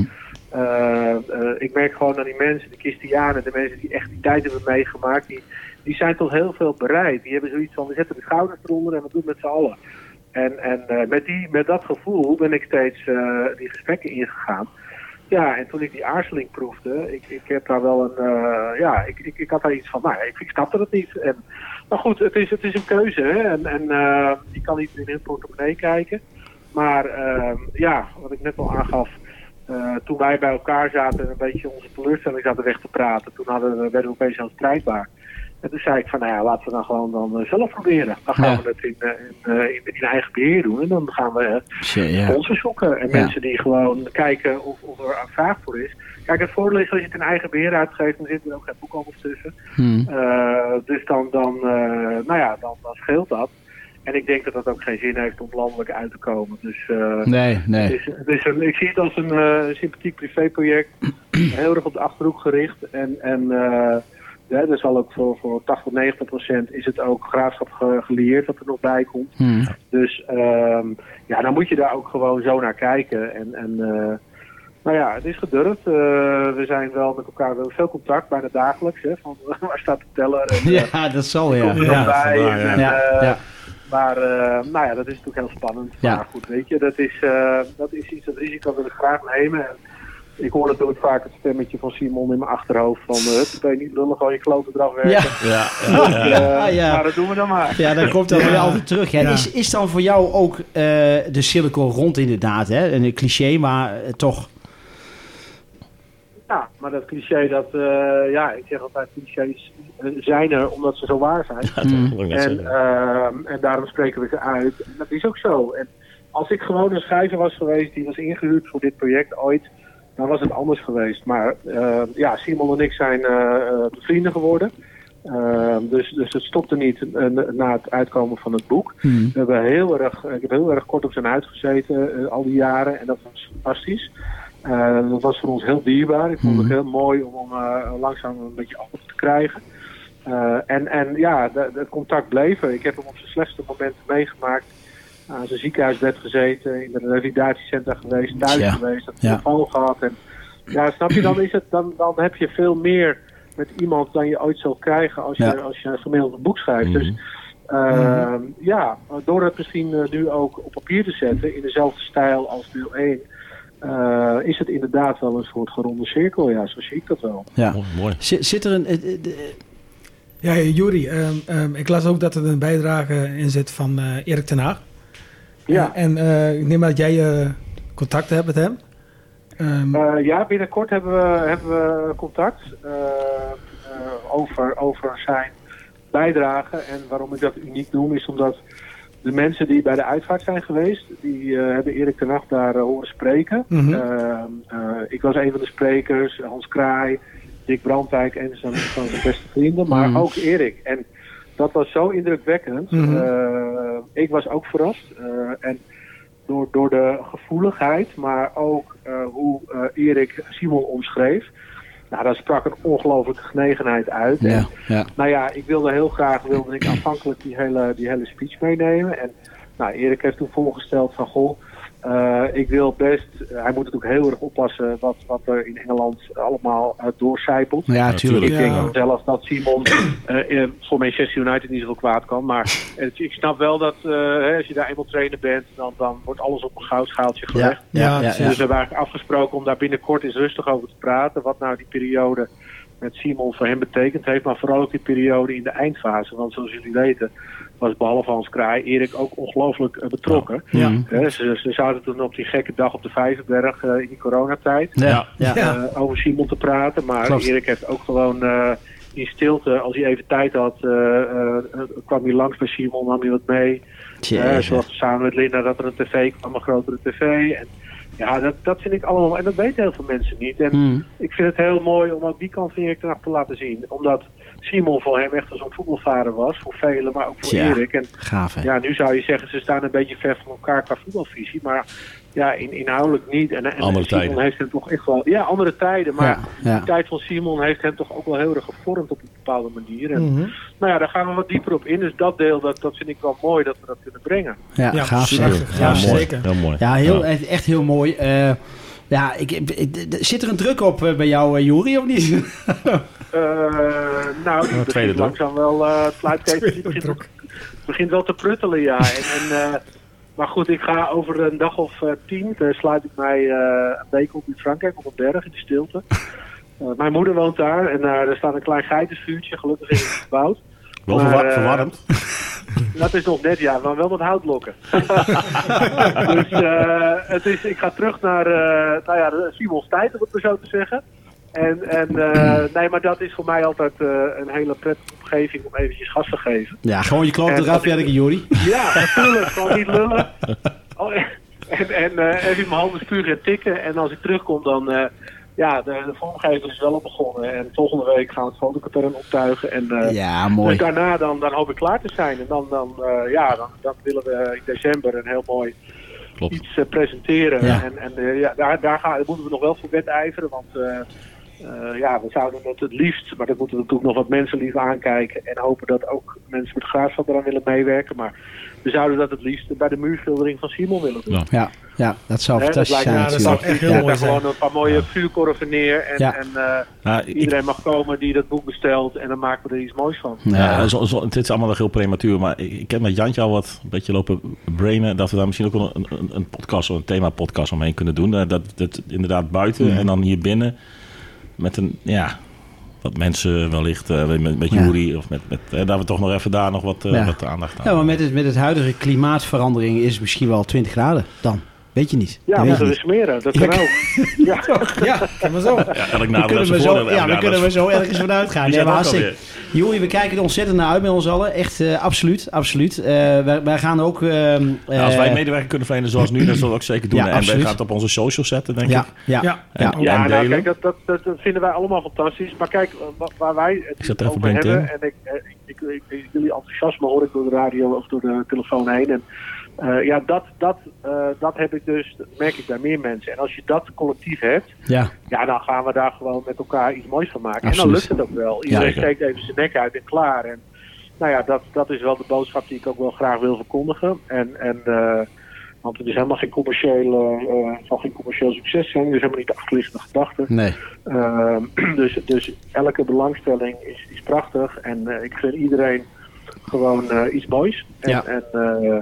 S6: eh, eh, ik merk gewoon aan die mensen, de Christianen, de mensen die echt die tijd hebben meegemaakt, die, die zijn tot heel veel bereid. Die hebben zoiets van, we zetten de schouders eronder en we doen het met z'n allen. En, en eh, met, die, met dat gevoel ben ik steeds eh, die gesprekken ingegaan. Ja, en toen ik die aarzeling proefde, ik, ik heb daar wel een, eh, ja, ik, ik, ik had daar iets van, nou, ik, ik snapte het niet. En, maar goed, het is, het is een keuze, hè. En, en eh, je kan niet in hun portemonnee kijken. Maar ehm, ja, wat ik net al aangaf, eh, toen wij bij elkaar zaten en een beetje onze teleurstelling zaten weg te praten, toen hadden we, werden we opeens heel strijdbaar. En toen zei ik van, nou ja, laten we dan gewoon dan eh, zelf proberen. Dan gaan
S2: Ja.
S6: we het in, eh, in, eh, in, in eigen beheer doen en dan gaan we eh,
S2: Shit, ja.
S6: sponsors zoeken. En
S2: Ja.
S6: mensen die gewoon kijken of, of er aan vraag voor is. Kijk, het voordeel is als je het in eigen beheer uitgeeft, dan zit er ook geen boekhandels tussen.
S2: Hm.
S6: Eh, dus dan, dan, eh, nou ja, dan, dan scheelt dat. En ik denk dat dat ook geen zin heeft om landelijk uit te komen. Dus eh,
S2: Nee,
S6: het
S2: nee.
S6: is, het is een, ik zie het als een eh, sympathiek privéproject. heel erg op de achterhoek gericht. En, en eh ja, er zal ook voor, voor 80, 90 procent is het ook graafschap ge- gelieerd dat er nog bij komt.
S2: Hm.
S6: Dus ehm, ja, dan moet je daar ook gewoon zo naar kijken. En, en eh, nou ja, het is gedurfd. Eh, we zijn wel met elkaar, we hebben veel contact, bijna dagelijks. Hè, van waar staat de teller? En, eh,
S2: Ja, dat zal, ja.
S6: komt er nog
S2: Ja,
S6: bij?
S3: vandaar, ja.
S6: En,
S2: ja.
S6: eh,
S2: ja.
S6: maar eh, nou ja, dat is natuurlijk heel spannend.
S2: Ja.
S6: Maar goed, weet je, dat is, eh, dat is iets, dat risico wil ik graag nemen. En ik hoor natuurlijk vaak het stemmetje van Simon in mijn achterhoofd van... eh, "Hup, ben je niet lullig, al je klote eraf
S2: Ja.
S6: werken.
S3: Ja,
S6: Eh,
S2: Ja, Ah, ja.
S6: Maar dat doen we dan maar.
S2: Ja, dat komt dan weer altijd terug. Hè.
S4: Ja.
S2: Is, is dan voor jou ook eh, de cirkel rond inderdaad? Hè? Een cliché, maar eh, toch.
S6: Ja, maar dat cliché, dat... eh, ja, ik zeg altijd, clichés eh, zijn er omdat ze zo waar zijn.
S3: dat
S2: Mm. Hmm.
S3: wil ik net
S6: En,
S3: zeggen.
S6: ehm, en daarom spreken we ze uit. En dat is ook zo. En als ik gewoon een schrijver was geweest die was ingehuurd voor dit project ooit, dan was het anders geweest. Maar ehm, ja, Simon en ik zijn eh, eh, vrienden geworden. Ehm, dus, dus het stopte niet eh, na het uitkomen van het boek.
S2: Hmm. Mhm.
S6: We hebben heel erg, ik heb heel erg kort op zijn huid gezeten eh, al die jaren en dat was fantastisch. Eh, dat was voor ons heel dierbaar. Ik
S2: Mhm.
S6: vond het heel mooi om hem eh, langzaam een beetje af te krijgen. Eh, en, en ja, de- de- het contact bleven. Ik heb hem op zijn slechtste momenten meegemaakt. Aan zijn ziekenhuisbed gezeten, in een revalidatiecentra geweest, thuis
S2: Ja.
S6: geweest, een
S2: Ja.
S6: telefoon gehad. En, ja, snap je, dan, is het, dan, dan heb je veel meer met iemand dan je ooit zal krijgen als je,
S2: Ja.
S6: als je gemiddeld een boek schrijft. Dus eh, ja, door het misschien eh, nu ook op papier te zetten in dezelfde stijl als deel 1, eh, is het inderdaad wel een soort geronde cirkel. Ja, zo zie ik dat wel.
S2: Ja.
S3: Mooi, mooi.
S2: Zit, zit er een. eh, eh, de-
S4: Ja, Juri, ehm, ehm, ik las ook dat er een bijdrage in zit van eh, Erik ten Haag.
S6: Ja,
S4: En eh, ik neem aan dat jij eh, contacten hebt met hem. Ehm,
S6: Eh, ja binnenkort hebben we, hebben we contact eh, eh, over, over zijn bijdrage. En waarom ik dat uniek noem, is omdat de mensen die bij de uitvaart zijn geweest, die eh, hebben Erik ten Nacht daar eh, horen spreken.
S4: Mhm.
S6: Ehm, eh, ik was een van de sprekers, Hans Kraai, Dick Brandwijk en zijn, van zijn beste vrienden, maar ook Erik. En dat was zo indrukwekkend.
S4: Mhm.
S6: Eh, ik was ook verrast. eh, en door, door de gevoeligheid, maar ook eh, hoe eh, Erik Simon omschreef. Nou, daar sprak een ongelooflijke genegenheid uit. En
S2: Ja, ja.
S6: nou ja, ik wilde heel graag, wilde ik aanvankelijk die hele, die hele speech meenemen. En nou, Erik heeft toen voorgesteld van, goh, eh, ik wil best, hij moet natuurlijk heel erg oppassen wat, wat er in Engeland allemaal eh, doorcijpelt.
S2: Nou Ja, tuurlijk.
S3: tuurlijk.
S6: Ik denk
S4: Ja.
S6: zelf dat Simon eh, eh, voor Manchester United niet zoveel kwaad kan. Maar het- ik snap wel dat eh, hè, als je daar eenmaal trainer bent, dan, dan wordt alles op een goudschaaltje gelegd.
S2: Ja, ja, ja, ja.
S6: Dus we hebben eigenlijk afgesproken om daar binnenkort eens rustig over te praten. Wat nou die periode met Simon voor hem betekend heeft. Maar vooral ook die periode in de eindfase. Want zoals jullie weten was behalve Hans Kraai Erik ook ongelooflijk eh, betrokken.
S2: Ja.
S6: Eh, ze, ze zaten toen op die gekke dag op de Vijverberg eh, in die coronatijd
S2: Ja, ja.
S4: Ja.
S6: eh, over Simon te praten. Maar
S2: Klopt.
S6: Erik heeft ook gewoon eh, in stilte, als hij even tijd had, eh, eh, kwam hij langs bij Simon, nam hij wat mee. Eh,
S2: Jezus.
S6: zorgde samen met Linda dat er een tv kwam, een grotere tv. En, ja, dat, dat vind ik allemaal, en dat weten heel veel mensen niet. En
S2: Hmm.
S6: ik vind het heel mooi om ook die kant van Erik ten Hag te laten zien. Omdat Simon voor hem echt als een voetbalvader was, voor velen, maar ook voor
S2: Tja.
S6: Erik. En
S2: Gaaf, hè?
S6: ja, nu zou je zeggen, ze staan een beetje ver van elkaar qua voetbalvisie. Maar ja, in, inhoudelijk niet. En, en
S3: Andere
S6: Simon
S3: tijden.
S6: heeft hem toch echt wel... Ja, andere tijden. Maar
S2: Ja, ja.
S6: de tijd van Simon heeft hem toch ook wel heel erg gevormd op een bepaalde manier. En
S4: Mhm.
S6: nou ja, daar gaan we wat dieper op in. Dus dat deel, dat, dat vind ik wel mooi dat we dat kunnen brengen.
S2: Ja,
S4: Ja,
S2: gaaf,
S4: prachtig.
S2: zeg.
S4: Ja,
S3: heel mooi.
S4: zeker.
S3: Heel mooi.
S2: Ja, heel, echt- echt heel mooi. Eh, ja, ik, ik- d- d- zit er een druk op eh, bij jou, eh, Juri, of niet?
S6: Eh, nou, het
S3: tweede
S6: begint
S3: druk.
S6: langzaam wel... eh het fluitketeltje
S4: Tweede
S6: begint,
S4: druk.
S6: begint wel te pruttelen, ja. En, en, eh, maar goed, ik ga over een dag of eh, tien... eh, sluit ik mij eh, een week op in Frankrijk, op een berg, in de stilte. Eh, mijn moeder woont daar en eh, daar er staat een klein geitensvuurtje. Gelukkig is het gebouwd.
S3: Wel
S6: Maar,
S3: verwar-
S6: eh,
S3: verwarmd.
S6: Dat is nog net, ja, maar wel met houtlokken. dus eh, het is, ik ga terug naar eh nou ja, Simon's tijd, om het maar zo te zeggen. En, en eh, nee, maar dat is voor mij altijd eh, een hele prettige omgeving om eventjes gas te geven.
S2: Ja, gewoon je klopt
S6: Eh,
S2: eraf
S6: dat is-
S2: werken, Juri.
S6: Ja, natuurlijk, gewoon niet lullen. Oh, en en eh, even in mijn handen spuren en tikken. En als ik terugkom, dan. eh, ja, de, de vormgever is wel al begonnen. En volgende week gaan we het fotopatroon optuigen. En, eh,
S2: Ja, mooi.
S6: dus daarna dan, dan hoop ik klaar te zijn. En dan, dan, eh, ja, dan, dan willen we in december een heel mooi
S3: Klopt.
S6: iets eh, presenteren.
S2: Ja.
S6: En, en eh, ja, daar, daar, gaan, daar moeten we nog wel voor wedijveren. Want eh, eh, ja, we zouden het het liefst, maar dat moeten we natuurlijk nog wat mensen lief aankijken. En hopen dat ook mensen met graafschap eraan willen meewerken. Maar we zouden dat het liefst bij de muurschildering van Simon willen doen.
S3: Ja.
S2: Ja, ja, dat zou
S6: Hè,
S2: fantastisch zijn
S6: me-
S4: ja, dat zou
S2: natuurlijk.
S4: echt heel
S6: ja,
S4: mooi
S6: daar
S4: zijn.
S6: gewoon een paar mooie vuurkorven neer. En,
S2: Ja.
S6: en eh,
S3: Nou, ik-
S6: iedereen mag komen die dat boek bestelt. En dan maken we er iets moois van.
S2: Ja.
S3: Ja, zo, zo, het is allemaal nog heel prematuur, maar ik, ik heb met Jantje al wat een beetje lopen brainen. Dat we daar misschien ook wel een, een, een podcast, een thema-podcast omheen kunnen doen. Eh, Dat, dat inderdaad buiten en dan hier binnen met een, ja, wat mensen wellicht, eh, met, met
S2: Ja.
S3: jury of met, met eh, dat we toch nog even daar nog wat, eh,
S2: Ja.
S3: wat aandacht aan
S2: Ja, maar met het, met het huidige klimaatverandering is het misschien wel 20 graden dan. Weet je niet.
S6: Ja,
S2: Dat
S6: moeten
S2: weet
S6: we
S2: je
S6: smeren. Dat kan ook. Ja.
S4: Ja, kan maar zo.
S3: Ja, elk
S2: niet.
S3: nadeel
S2: Kunnen
S3: heeft
S2: we
S3: zijn
S2: zo,
S3: voordeel.
S2: ja, daar kunnen
S3: dat
S2: we
S3: is-
S2: zo ergens vanuit gaan. Nee,
S3: Die zijn
S2: maar
S3: ook
S2: hartstikke. Juri, we kijken er ontzettend naar uit met ons allen. Echt, eh, absoluut, absoluut. Eh, wij, wij gaan ook... ehm,
S3: Ja, als wij
S2: eh,
S3: medewerker kunnen verlenen zoals nu, dan zullen we ook zeker doen.
S2: Ja,
S3: en
S2: absoluut.
S3: wij gaan het op onze socials zetten, denk
S2: Ja,
S3: ik.
S2: ja, ja.
S4: Ja.
S2: ja.
S6: Ja,
S3: en
S6: nou,
S3: delen.
S6: kijk, dat, dat, dat, dat vinden wij allemaal fantastisch. Maar kijk, eh, wa- waar wij het
S3: zet er even
S6: over
S3: op
S6: hebben...
S3: LinkedIn.
S6: en ik, eh, ik, ik, ik- jullie enthousiasme hoor ik door de radio of door de telefoon heen. En, eh, ja, dat, dat, eh, dat heb ik dus, dat merk ik bij meer mensen. En als je dat collectief hebt,
S2: ja.
S6: ja, dan gaan we daar gewoon met elkaar iets moois van maken. En
S2: Absoluut.
S6: dan lukt het ook wel. Iedereen
S3: Zeker.
S6: steekt even zijn nek uit en klaar. En, nou ja, dat, dat is wel de boodschap die ik ook wel graag wil verkondigen. En, en, eh, want het is helemaal geen commercieel, eh, eh, zal geen commercieel succes zijn. Dus helemaal niet de achterliggende gedachte.
S2: Nee.
S6: Ehm, dus, dus elke belangstelling is, is prachtig. En eh, ik gun iedereen gewoon eh, iets moois. En,
S2: Ja.
S6: en eh,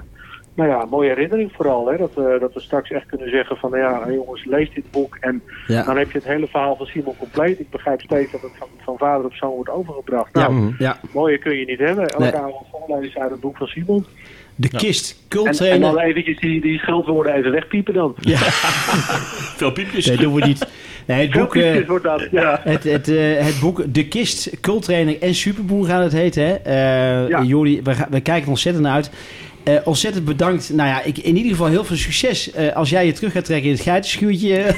S6: nou ja, een mooie herinnering vooral. Hè, dat, we dat we straks echt kunnen zeggen van nou ja, jongens, lees dit boek. En dan
S2: Ja.
S6: heb je het hele verhaal van Simon compleet. Ik begrijp steeds dat het van, van vader op zoon wordt overgebracht.
S2: Ja.
S6: Nou,
S2: ja.
S6: mooier kun je niet hebben. Elke
S2: Nee.
S6: avond voorlezen uit het boek van Simon.
S2: De kist.
S6: En, en
S2: Cultrainer.
S6: dan eventjes die, die scheldwoorden even wegpiepen dan.
S3: Veel piepjes.
S2: Nee, doen we niet. Nee, het boek, eh,
S6: Filmpjes wordt dat. Ja.
S2: het, het, eh, het boek De Kist, Cultrainer en Superboer gaat het heten. Hè? Eh
S6: Ja.
S2: Jori, we, ga- we kijken er ontzettend naar uit. Eh, ontzettend bedankt. Nou ja, ik, in ieder geval heel veel succes eh, als jij je terug gaat trekken in het geitenschuurtje. eh.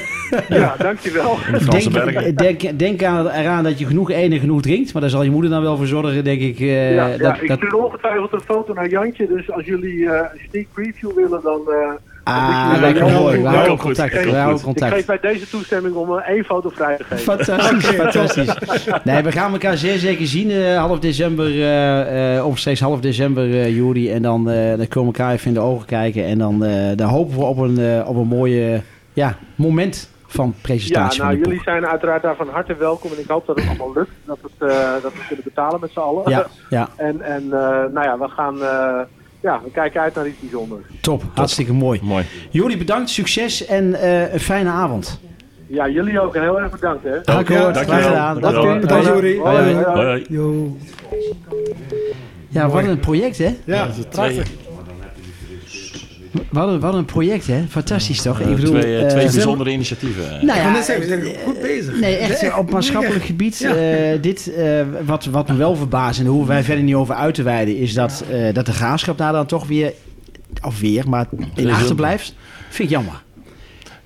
S6: Ja, dankjewel.
S3: in de Franse bergen.
S2: denk, eh, denk, denk aan, eraan dat je genoeg eten en genoeg drinkt. Maar daar zal je moeder dan wel voor zorgen, denk ik. eh,
S6: ja, ja,
S2: dat,
S6: ik
S2: dat,
S6: stuur ongetwijfeld een foto naar Jantje. Dus als jullie eh, een sneak preview willen, dan... eh,
S2: ah,
S6: dat je-
S2: lekker
S6: Ja,
S2: mooi. We
S6: ja, ja,
S2: houden
S3: ja,
S2: contact.
S3: goed.
S2: We houden
S6: ik geef
S2: contact.
S6: bij deze toestemming om eh, één foto vrij te geven.
S2: Fantastisch, fantastisch. Nee, we gaan elkaar zeer zeker zien. eh, half december, eh eh omstreeks half december, eh Juri. En dan, eh, dan komen we elkaar even in de ogen kijken. En dan, eh, dan hopen we op een, eh, op een mooie ja, moment van
S6: Ja,
S2: presentatie.
S6: nou
S2: van de
S6: jullie zijn uiteraard daar van harte welkom en ik hoop dat het allemaal lukt. Dat, het, eh, dat we kunnen betalen met z'n allen.
S2: pop. Ja, ja,
S6: En, en eh, nou ja, we gaan eh, ja, we kijken uit naar iets bijzonders.
S2: top. Hartstikke mooi.
S3: Mooi.
S2: Jullie bedankt, succes en eh, een fijne avond.
S6: Ja, jullie ook en heel erg bedankt hè.
S2: Dankjewel.
S3: dankjewel.
S2: Graag gedaan.
S3: Dankjewel.
S2: Dank u.
S4: Bedankt,
S2: Hoi.
S4: Juri.
S2: Hoi, hoi.
S3: Hoi, hoi.
S4: Yo.
S2: Ja, wat een project, hè?
S4: Ja, prachtig.
S2: Wat een, wat een project, hè? Fantastisch, toch? Ik bedoel,
S3: twee, eh,
S2: eh,
S3: twee bijzondere initiatieven. eh.
S2: nou
S4: Ik
S2: ja,
S4: kan net zeggen, we zijn goed bezig.
S2: Nee, echt eh, op maatschappelijk gebied. eh, dit, eh, wat, wat me wel verbaast en daar hoeven wij verder niet over uit te wijden, is dat, eh, dat de graafschap daar dan toch weer, of weer, maar in
S3: heel-
S2: achterblijft. Vind ik jammer.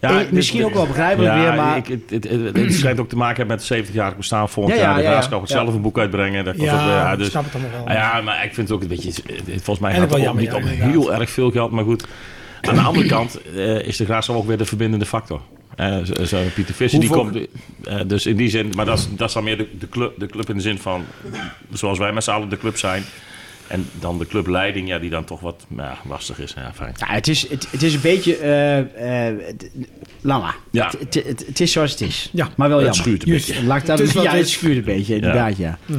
S2: Eh,
S3: dit-
S2: misschien ook wel begrijpelijk
S3: Ja,
S2: weer, maar-
S3: Ik, het, het, het, het schijnt ook te maken hebben met het 70-jarig bestaan volgend
S2: Ja, ja,
S3: jaar. De
S2: ja, ja.
S3: Graafschap gaat
S2: Ja.
S3: zelf een boek uitbrengen. Dat kost ook, eh,
S4: Ja,
S3: ja,
S4: ik
S3: dus,
S4: snap het allemaal wel.
S3: Ah Ja, maar ik vind het ook een beetje... eh, Volgens mij
S4: En
S3: gaat
S4: wel
S3: het ook
S4: jammer,
S3: niet
S4: ja,
S3: om
S4: inderdaad.
S3: heel erg veel geld. Maar goed, aan de andere kant eh, is de Graafschap ook weer de verbindende factor. Eh, zo, zo Pieter Visser, die
S2: Hoeveel-
S3: komt... eh, dus in die zin... Maar dat is, dat is dan meer de, de, club, de club in de zin van... Zoals wij met z'n allen de club zijn. En dan de clubleiding, ja, die dan toch wat nou ja, lastig is. Ja, fijn.
S2: Ja, het, is, het, het is een beetje. eh eh d- laat maar.
S3: Ja.
S2: Het, het, het, het is zoals het is.
S4: Ja.
S2: Maar wel
S3: Het
S2: jammer.
S3: schuurt een
S4: Juist.
S3: beetje.
S2: Laat ik daar
S4: Het is wat
S2: ja,
S4: het
S2: het
S4: is. Mhm.
S2: schuurt een beetje, inderdaad, ja.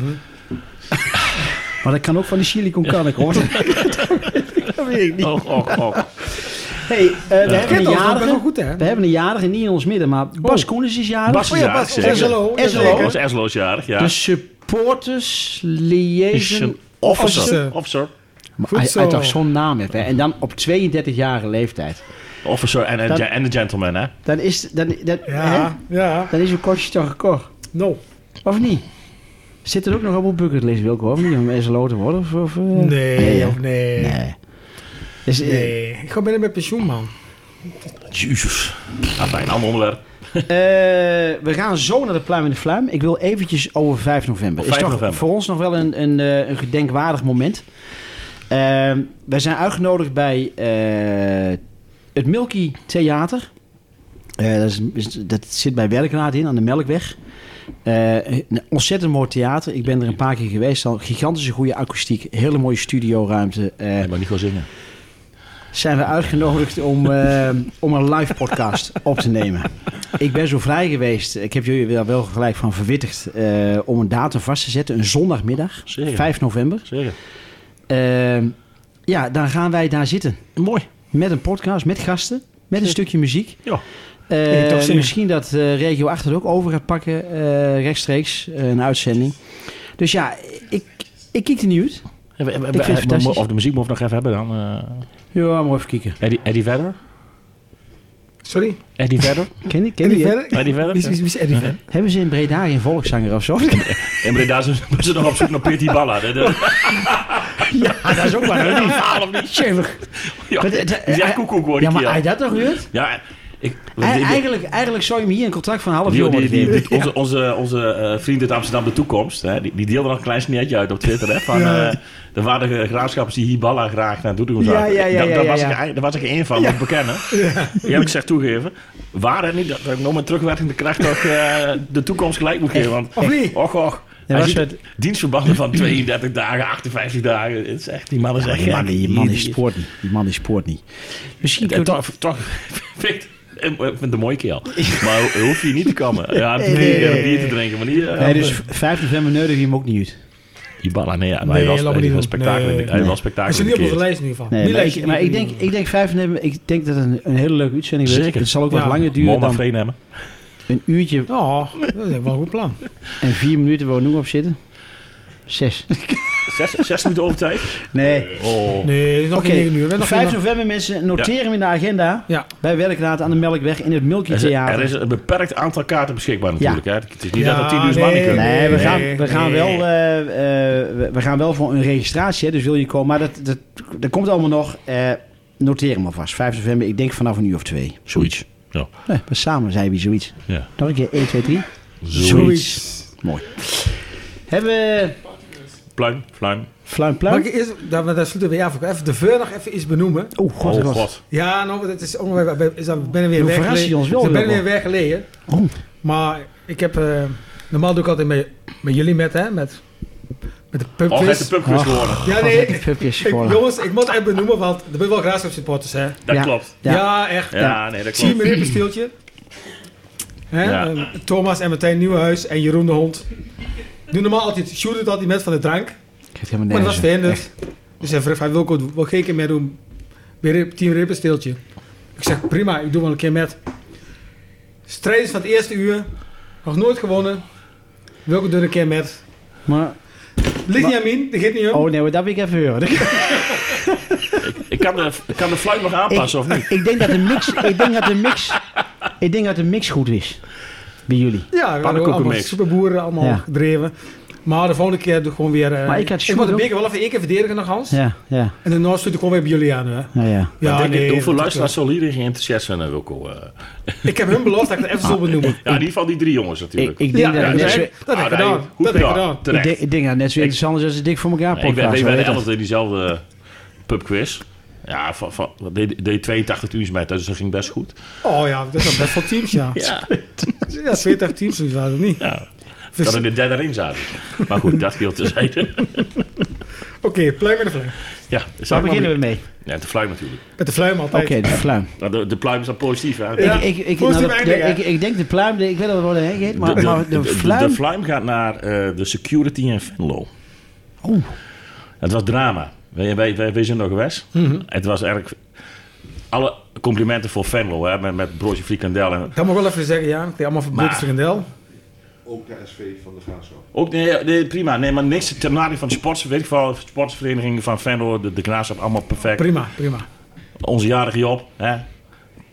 S2: maar dat kan ook van de chili con carne komen. dat weet ik niet.
S3: Och, och, och.
S2: Hey, eh, we, hebben een
S4: Kent ons, dat
S2: jarige,
S4: bent wel goed, hè?
S2: we hebben een jarige niet in ons midden, maar Bas
S4: Oh.
S2: Koenens is jarig.
S3: Bas is
S4: ja,
S3: jarig,
S4: Bas,
S3: zeker.
S4: SLO,
S2: SLO.
S3: Oh,
S4: zeker.
S3: was Eslo's jarig, ja.
S2: De Supporters Liaison
S3: Officer.
S2: Officer.
S3: Officer. Officer.
S2: Maar
S4: Goed
S2: Hij
S4: zo.
S2: hij toch zo'n naam heeft, hè? En dan op 32-jarige leeftijd.
S3: Officer en
S2: Dat-
S3: een- en een gentleman, hè?
S2: Dan is, dan, dan,
S4: Ja,
S2: hè?
S4: ja.
S2: dan is uw kostje toch gekocht.
S4: No.
S2: Of niet? Zit er ook nog op een bucketlist, Wilco? Of niet? Om SLO te worden? Of, of, eh?
S4: Nee,
S2: hè?
S4: of nee. Nee.
S2: nee. Dus, eh,
S4: Ik ga binnen met pensioen, man.
S3: Jezus. Ah, bij een ander onderwerp.
S2: eh, we gaan zo naar de pluim in de fluim. Ik wil eventjes over 5 november.
S3: Op 5
S2: is toch
S3: november.
S2: voor ons nog wel een, een, eh, een gedenkwaardig moment. Ehm, wij zijn uitgenodigd bij eh, het Milky Theater. Eh, dat, is- is- dat zit bij Werkenaard in, aan de Melkweg. Eh, een ontzettend mooi theater. Ik ben er een paar keer geweest. Al gigantische goede akoestiek. Hele mooie studioruimte. Eh,
S3: maar niet gewoon zingen.
S2: zijn we uitgenodigd om, eh, om een live podcast op te nemen. Ik ben zo vrij geweest, ik heb jullie daar wel gelijk van verwittigd, eh, om een datum vast te zetten. Een zondagmiddag,
S3: Zeker.
S2: 5 november.
S3: Zeker.
S2: Eh, ja, dan gaan wij daar zitten.
S3: Mooi.
S2: Met een podcast, met gasten, met een stukje muziek.
S3: Ja.
S2: Eh,
S4: Ik toch zin in.
S2: misschien dat eh, Regio 8 het ook over gaat pakken, eh, rechtstreeks, eh, een uitzending. Dus ja, ik, ik kijk er niet uit.
S3: Ik
S2: het fantastisch.
S3: Of de muziek moet nog even hebben dan. eh,
S2: Ja, maar even kijken.
S3: Eddie, Eddie Vedder?
S4: Sorry?
S3: Eddie Vedder?
S2: Ken je, ken
S4: Eddie
S2: je-
S4: Verder?
S3: Eddie Vedder?
S4: Wie is- wie is Eddie Verder?
S2: Hebben ze in Breda geen volkszanger of zo?
S3: En Breda zijn zijn ze nog op zoek naar Peter Balla. Dat- dat-
S2: Ah, dat is ook maar een verhaal of niet? Schimmig.
S3: Ja,
S2: Maar de- de-
S3: die zegt koekoek hoor
S2: Ja,
S3: ik
S2: maar
S3: hier.
S2: hij dat toch gebeurd?
S3: Ja, ik...
S2: Eigenlijk, eigenlijk zou je hem hier een contract van een half
S3: die,
S2: jaar
S3: die,
S2: moeten
S3: die,
S2: geven.
S3: die- onze onze, onze eh, vriend uit Amsterdam, de toekomst, hè, die, die deelde nog een klein sneertje uit op Twitter. Hè, van eh, de waardige graafschappers die hier ballen graag naartoe doen.
S2: Ja, ja, ja,
S3: daar,
S2: ja,
S3: daar
S2: ja,
S3: was
S2: ja.
S3: Ik, er- daar was ik één van, moet ik bekennen. Ja. ik zeg toegeven. Waar het niet dat, dat ik nog met terugwerkende kracht nog eh, de toekomst gelijk moet geven. Want,
S4: Of niet?
S3: Och, och. Hij
S2: was
S3: zit-
S2: het-
S3: Dienstverbanden van 32 dagen, 58 dagen. Het is echt, die man is
S2: Ja,
S3: echt
S2: die, man,
S3: gek.
S2: die man die spoort niet. Die man die spoort niet. Misschien
S3: En
S2: kunnen we-
S3: toch, toch vind ik ik vind het een mooie keel. Maar ho- hoef je niet te kammen. Ja,
S2: nee, nee,
S3: bier,
S2: nee,
S3: bier te drinken. Maar niet, eh,
S2: Nee, dus 5 november nodig je hem ook niet uit.
S3: Ibala, nee, ja, maar
S4: Nee,
S3: hij was,
S4: laat me
S3: hij
S4: niet
S3: was
S4: doen.
S3: spektakel.
S4: Nee.
S3: in de- Hij
S2: Nee.
S3: was
S4: Hij
S3: spektakel.
S4: zit niet op
S3: in de
S4: onze
S3: keer.
S4: lijst in ieder geval.
S2: Nee,
S4: Die
S2: maar
S4: lijst
S2: ik, maar ik, denk, ik denk 5 november, ik denk dat het een, een hele leuke uitzending wordt.
S3: Zeker.
S2: Het zal ook
S4: Ja.
S2: wat langer duren
S3: Moma
S2: dan
S3: meenemen.
S2: een uurtje
S4: Oh, dat is wel een goed plan.
S2: en 4 minuten waar we nu op zitten. 6.
S3: Zes, zes minuten over tijd.
S2: Nee.
S3: Oh.
S4: Nee, het is nog
S2: Oké,
S4: geen 9 uur. We hebben nog
S2: 5
S4: geen-
S2: november mensen, noteer hem in de agenda.
S4: Ja.
S2: Bij Werkraad aan de Melkweg in het Milky
S3: Er, is,
S2: Theater.
S3: er is een beperkt aantal kaarten beschikbaar natuurlijk. Hè. Het is niet
S4: Ja,
S3: dat er tien uur mannen
S4: nee.
S3: kunnen.
S2: Nee, we gaan, we
S4: nee.
S2: gaan, wel, eh, eh, we- we gaan wel voor een registratie, hè, dus wil je komen. Maar dat, dat dat komt allemaal nog. Eh, noteer hem alvast. 5 november, ik denk vanaf een uur of twee.
S3: Zoiets. Ja.
S2: Nee, maar samen zijn we zoiets.
S3: ja.
S2: Nog een keer, 1, 2, 3. Mooi. Hebben we...
S3: Pluim, pluim.
S2: Fluim,
S4: Mag
S2: pluim?
S4: ik eerst, daar, daar sluiten we af. Even de veur nog even iets benoemen.
S2: Oeh, god,
S3: oh
S2: god.
S3: god.
S4: Ja, nou, het is ongeveer, is dan ben er weer
S2: Dan
S4: weg
S2: verras je
S4: geleden.
S2: ons wel
S4: Dus ik ben
S2: weer
S4: er weer weg geleden.
S2: Oh.
S4: Maar ik heb, eh, normaal doe ik altijd met, met jullie met, hè, met, met de
S3: Oh, het is
S4: pubquiz.
S3: de pubquiz
S2: Ach.
S3: geworden.
S4: ja,
S2: Wat
S4: nee,
S2: heb
S4: ik,
S2: ik pubjes
S4: ik-
S2: voor?
S4: jongens, ik moet even benoemen, want er zijn wel graafschap supporters, hè.
S3: Dat
S2: Ja.
S3: klopt.
S4: Ja,
S2: Ja.
S4: echt.
S3: Ja,
S2: Ja.
S3: nee, dat
S4: Zie
S3: klopt.
S4: me in een steeltje. Hè?
S3: Ja.
S4: ehm, Thomas en Martijn Nieuwenhuis en Jeroen de Hond. Doe normaal altijd, shoot het altijd met van de drank.
S2: Ik heb helemaal
S4: Maar
S2: nergens.
S4: dat was verhinderd. Dus hij vroeg, hij wil ik ook wel geen keer meer doen. Weer een team rippensteeltje. Ik zeg, prima, ik doe wel een keer met. Strijders van het eerste uur. Nog nooit gewonnen. Wilco doet een keer met.
S2: Maar,
S4: Ligt niet aan min, dat geeft niet om.
S2: oh nee, maar dat wil ik even horen.
S3: Ik kan de, ik kan de fluit nog aanpassen, of niet?
S2: Ik denk dat de mix, ik denk dat de mix, ik denk dat de mix goed is bij jullie.
S4: ja, we hadden ook allemaal
S3: pannenkoekenmix.
S4: superboeren, allemaal
S2: Ja.
S4: gedreven. Maar de volgende keer doe ik gewoon weer... eh,
S2: Maar ik had
S4: moet de
S2: Sjoerd
S4: beker wel even één keer verdedigen nog, Hans.
S2: Ja, ja,
S4: En de Noord stuurt ik gewoon weer bij jullie aan, hè.
S2: ja, ja.
S3: Ik denk, hoeveel
S4: dat-
S3: luisteraars zullen hierin geïnteresseerd zijn, eh, Wilco? eh?
S4: Ik heb hun beloofd dat ik het even zal benoemen.
S3: Ja, in ieder geval die drie jongens
S2: Ik,
S3: natuurlijk.
S2: ik
S4: Ja,
S2: denk
S4: dat
S2: dat
S3: ja,
S2: het net
S3: nee.
S2: zo,
S4: heb
S2: ik
S4: dat heb ik
S3: Ah, nee,
S4: gedaan.
S3: Goed
S4: Dat heb ik
S3: gedaan.
S4: gedaan.
S3: Terecht.
S2: denk- ik denk dat het net zo interessant is als de Dik voor elkaar
S3: Nee, ik ben,
S2: podcast.
S3: ik
S2: hoor,
S3: ben
S2: weet dat.
S3: altijd in diezelfde eh, pubquiz. Ja, van, van, dat deed, deed 82 uurtjes met, dus dat ging best goed.
S4: Oh ja, dat zijn best wel teams, ja.
S3: Ja.
S4: Ja, 40 teams, dus waren het niet.
S3: Ja.
S4: Vers-
S3: Dat er de derde in zaten. Maar goed, dat geldt te zijn.
S4: Oké, pluim en de fluim.
S3: Ja, zou
S2: Waar
S3: ik
S2: beginnen
S3: maar-
S2: we mee?
S3: Ja, de fluim natuurlijk.
S4: Met de fluim
S2: Oké,
S4: altijd.
S2: de pluim.
S3: Nou, De, de pluim is dan positief, hè?
S4: Ja.
S2: Ik, ik, ik,
S4: Positieve
S2: nou, de- de-
S4: eindigen, hè?
S2: ik, ik denk de pluim, de- ik weet dat het wel een heet, maar de, maar de,
S3: de,
S2: fluim...
S3: fluim gaat naar eh, de security in Venlo.
S2: Oeh.
S3: Het was drama. Wij, wij, wij, wij zijn nog geweest.
S2: Mhm.
S3: Het was eigenlijk... Alle complimenten voor Venlo, hè, met, met broodje frikandel. En,
S4: Dat moet ik wel even zeggen, ja. Ik heb allemaal
S3: Maar-
S4: verblikt frikandel.
S7: Ook de SV van de Graafschap.
S3: ook, nee, nee, prima. Nee, maar niks ten nadele van de sports, weet ik veel, sportsverenigingen van Venlo, de, de Graafschap, allemaal perfect.
S4: Prima, prima.
S3: Onze jarige Job, hè.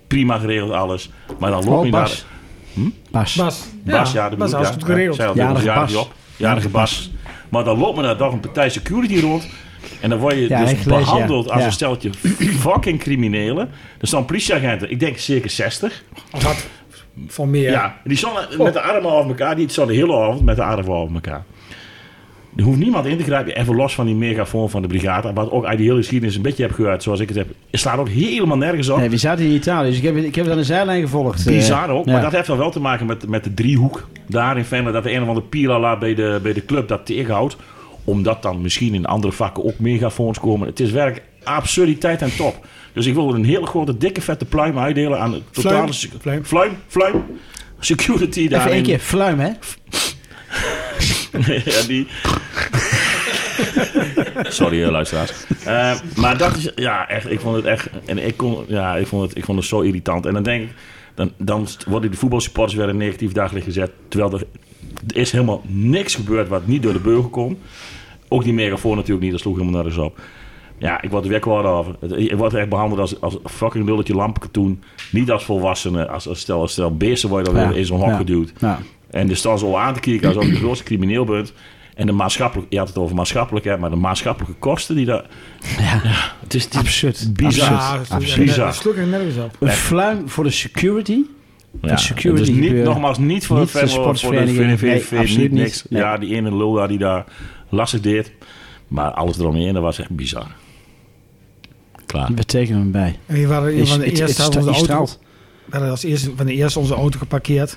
S3: Prima geregeld alles. Maar dan loop
S2: Oh,
S3: je
S2: Bas.
S3: naar...
S2: Bas.
S4: Bas.
S3: Bas, ja, de
S4: Bas,
S3: bedoel ik,
S4: alles
S3: ja.
S4: goed
S3: Ja,
S4: geregeld.
S3: zei al,
S2: Jarige
S3: onze jarige
S2: Bas.
S3: Job. Jarige Bas. Maar dan loopt men daar toch een partij security rond. En dan word je
S2: Ja,
S3: dus
S2: heb ik gelezen,
S3: behandeld
S2: ja.
S3: als
S2: Ja.
S3: een steltje fucking criminelen. Er staan politieagenten, ik denk circa 60.
S4: Of wat? Van meer.
S3: Ja. en Die stonden met de armen over elkaar. Die stonden de hele avond met de armen over elkaar. Er hoeft niemand in te grijpen. Even los van die megafoon van de brigade. Wat ook uit die hele geschiedenis een beetje heb gehoord. Zoals ik het heb. Het slaat ook helemaal nergens op.
S2: Nee, we zaten in Italië, dus ik heb, ik heb het aan de zijlijn gevolgd. eh.
S3: Bizar ook,
S2: Ja.
S3: maar dat heeft dan wel te maken met, met de driehoek. Daar in Venlo, dat de een of andere pilala bij de, bij de club dat tegenhoudt. Omdat dan misschien in andere vakken ook megafoons komen. Het is werk absurditeit en top. Dus ik wil er een hele grote, dikke, vette pluim uitdelen aan de totale...
S4: Fluim,
S3: sec-
S4: fluim.
S3: fluim, fluim. Security daar.
S2: Even één
S3: in-
S2: keer, fluim hè?
S3: ja, die... Sorry, eh, luisteraars. Eh, maar dat is... Ja, echt. Ik vond het echt... En ik, kon, ja, ik, vond het, ik vond het zo irritant. En dan denk ik... Dan, dan worden de voetbalsupporters weer in een negatief daglicht gezet. Terwijl er, er is helemaal niks gebeurd wat niet door de burger kon. Ook die megafoon natuurlijk niet. Dat sloeg helemaal nergens op. Ja, ik word er wekward over. Het- Ik word echt behandeld als, als een fucking lulletje lampkatoen. Niet als volwassenen. Als, als stel, als stel beesten word je dan weer in zo'n hok
S2: Ja.
S3: geduwd.
S2: Ja.
S3: En dus de staan zo aan te kijken alsof je de grootste crimineel bent. En de maatschappelijke, je had het over maatschappelijkheid, maar de maatschappelijke kosten die daar.
S2: Ja.
S3: Het is, het is
S2: Absurd.
S3: bizar.
S4: Ah, Ja, dat sloeg-
S3: Absoluut.
S4: dat sloeg ik nergens op.
S2: Een fluim voor de security.
S3: ja,
S2: security
S3: het is niet,
S2: gebeuren.
S3: nogmaals, niet voor
S2: Niet
S3: de
S2: de
S3: Venlo, voor de
S2: sportsvereniging.
S3: VNV,
S2: Nee, absoluut
S3: niet niks.
S2: niet. Nee.
S3: Ja, die ene lul daar die daar lastig deed. Maar alles eromheen, dat was echt bizar. Klaar.
S2: Dat betekent hem bij.
S4: En hier waren hier
S2: Is-
S4: van de
S2: het- het
S4: eerste
S2: stra-
S4: hadden we
S2: het
S4: onze auto.
S2: straalt.
S4: We hadden als eerste van de eerste onze auto geparkeerd.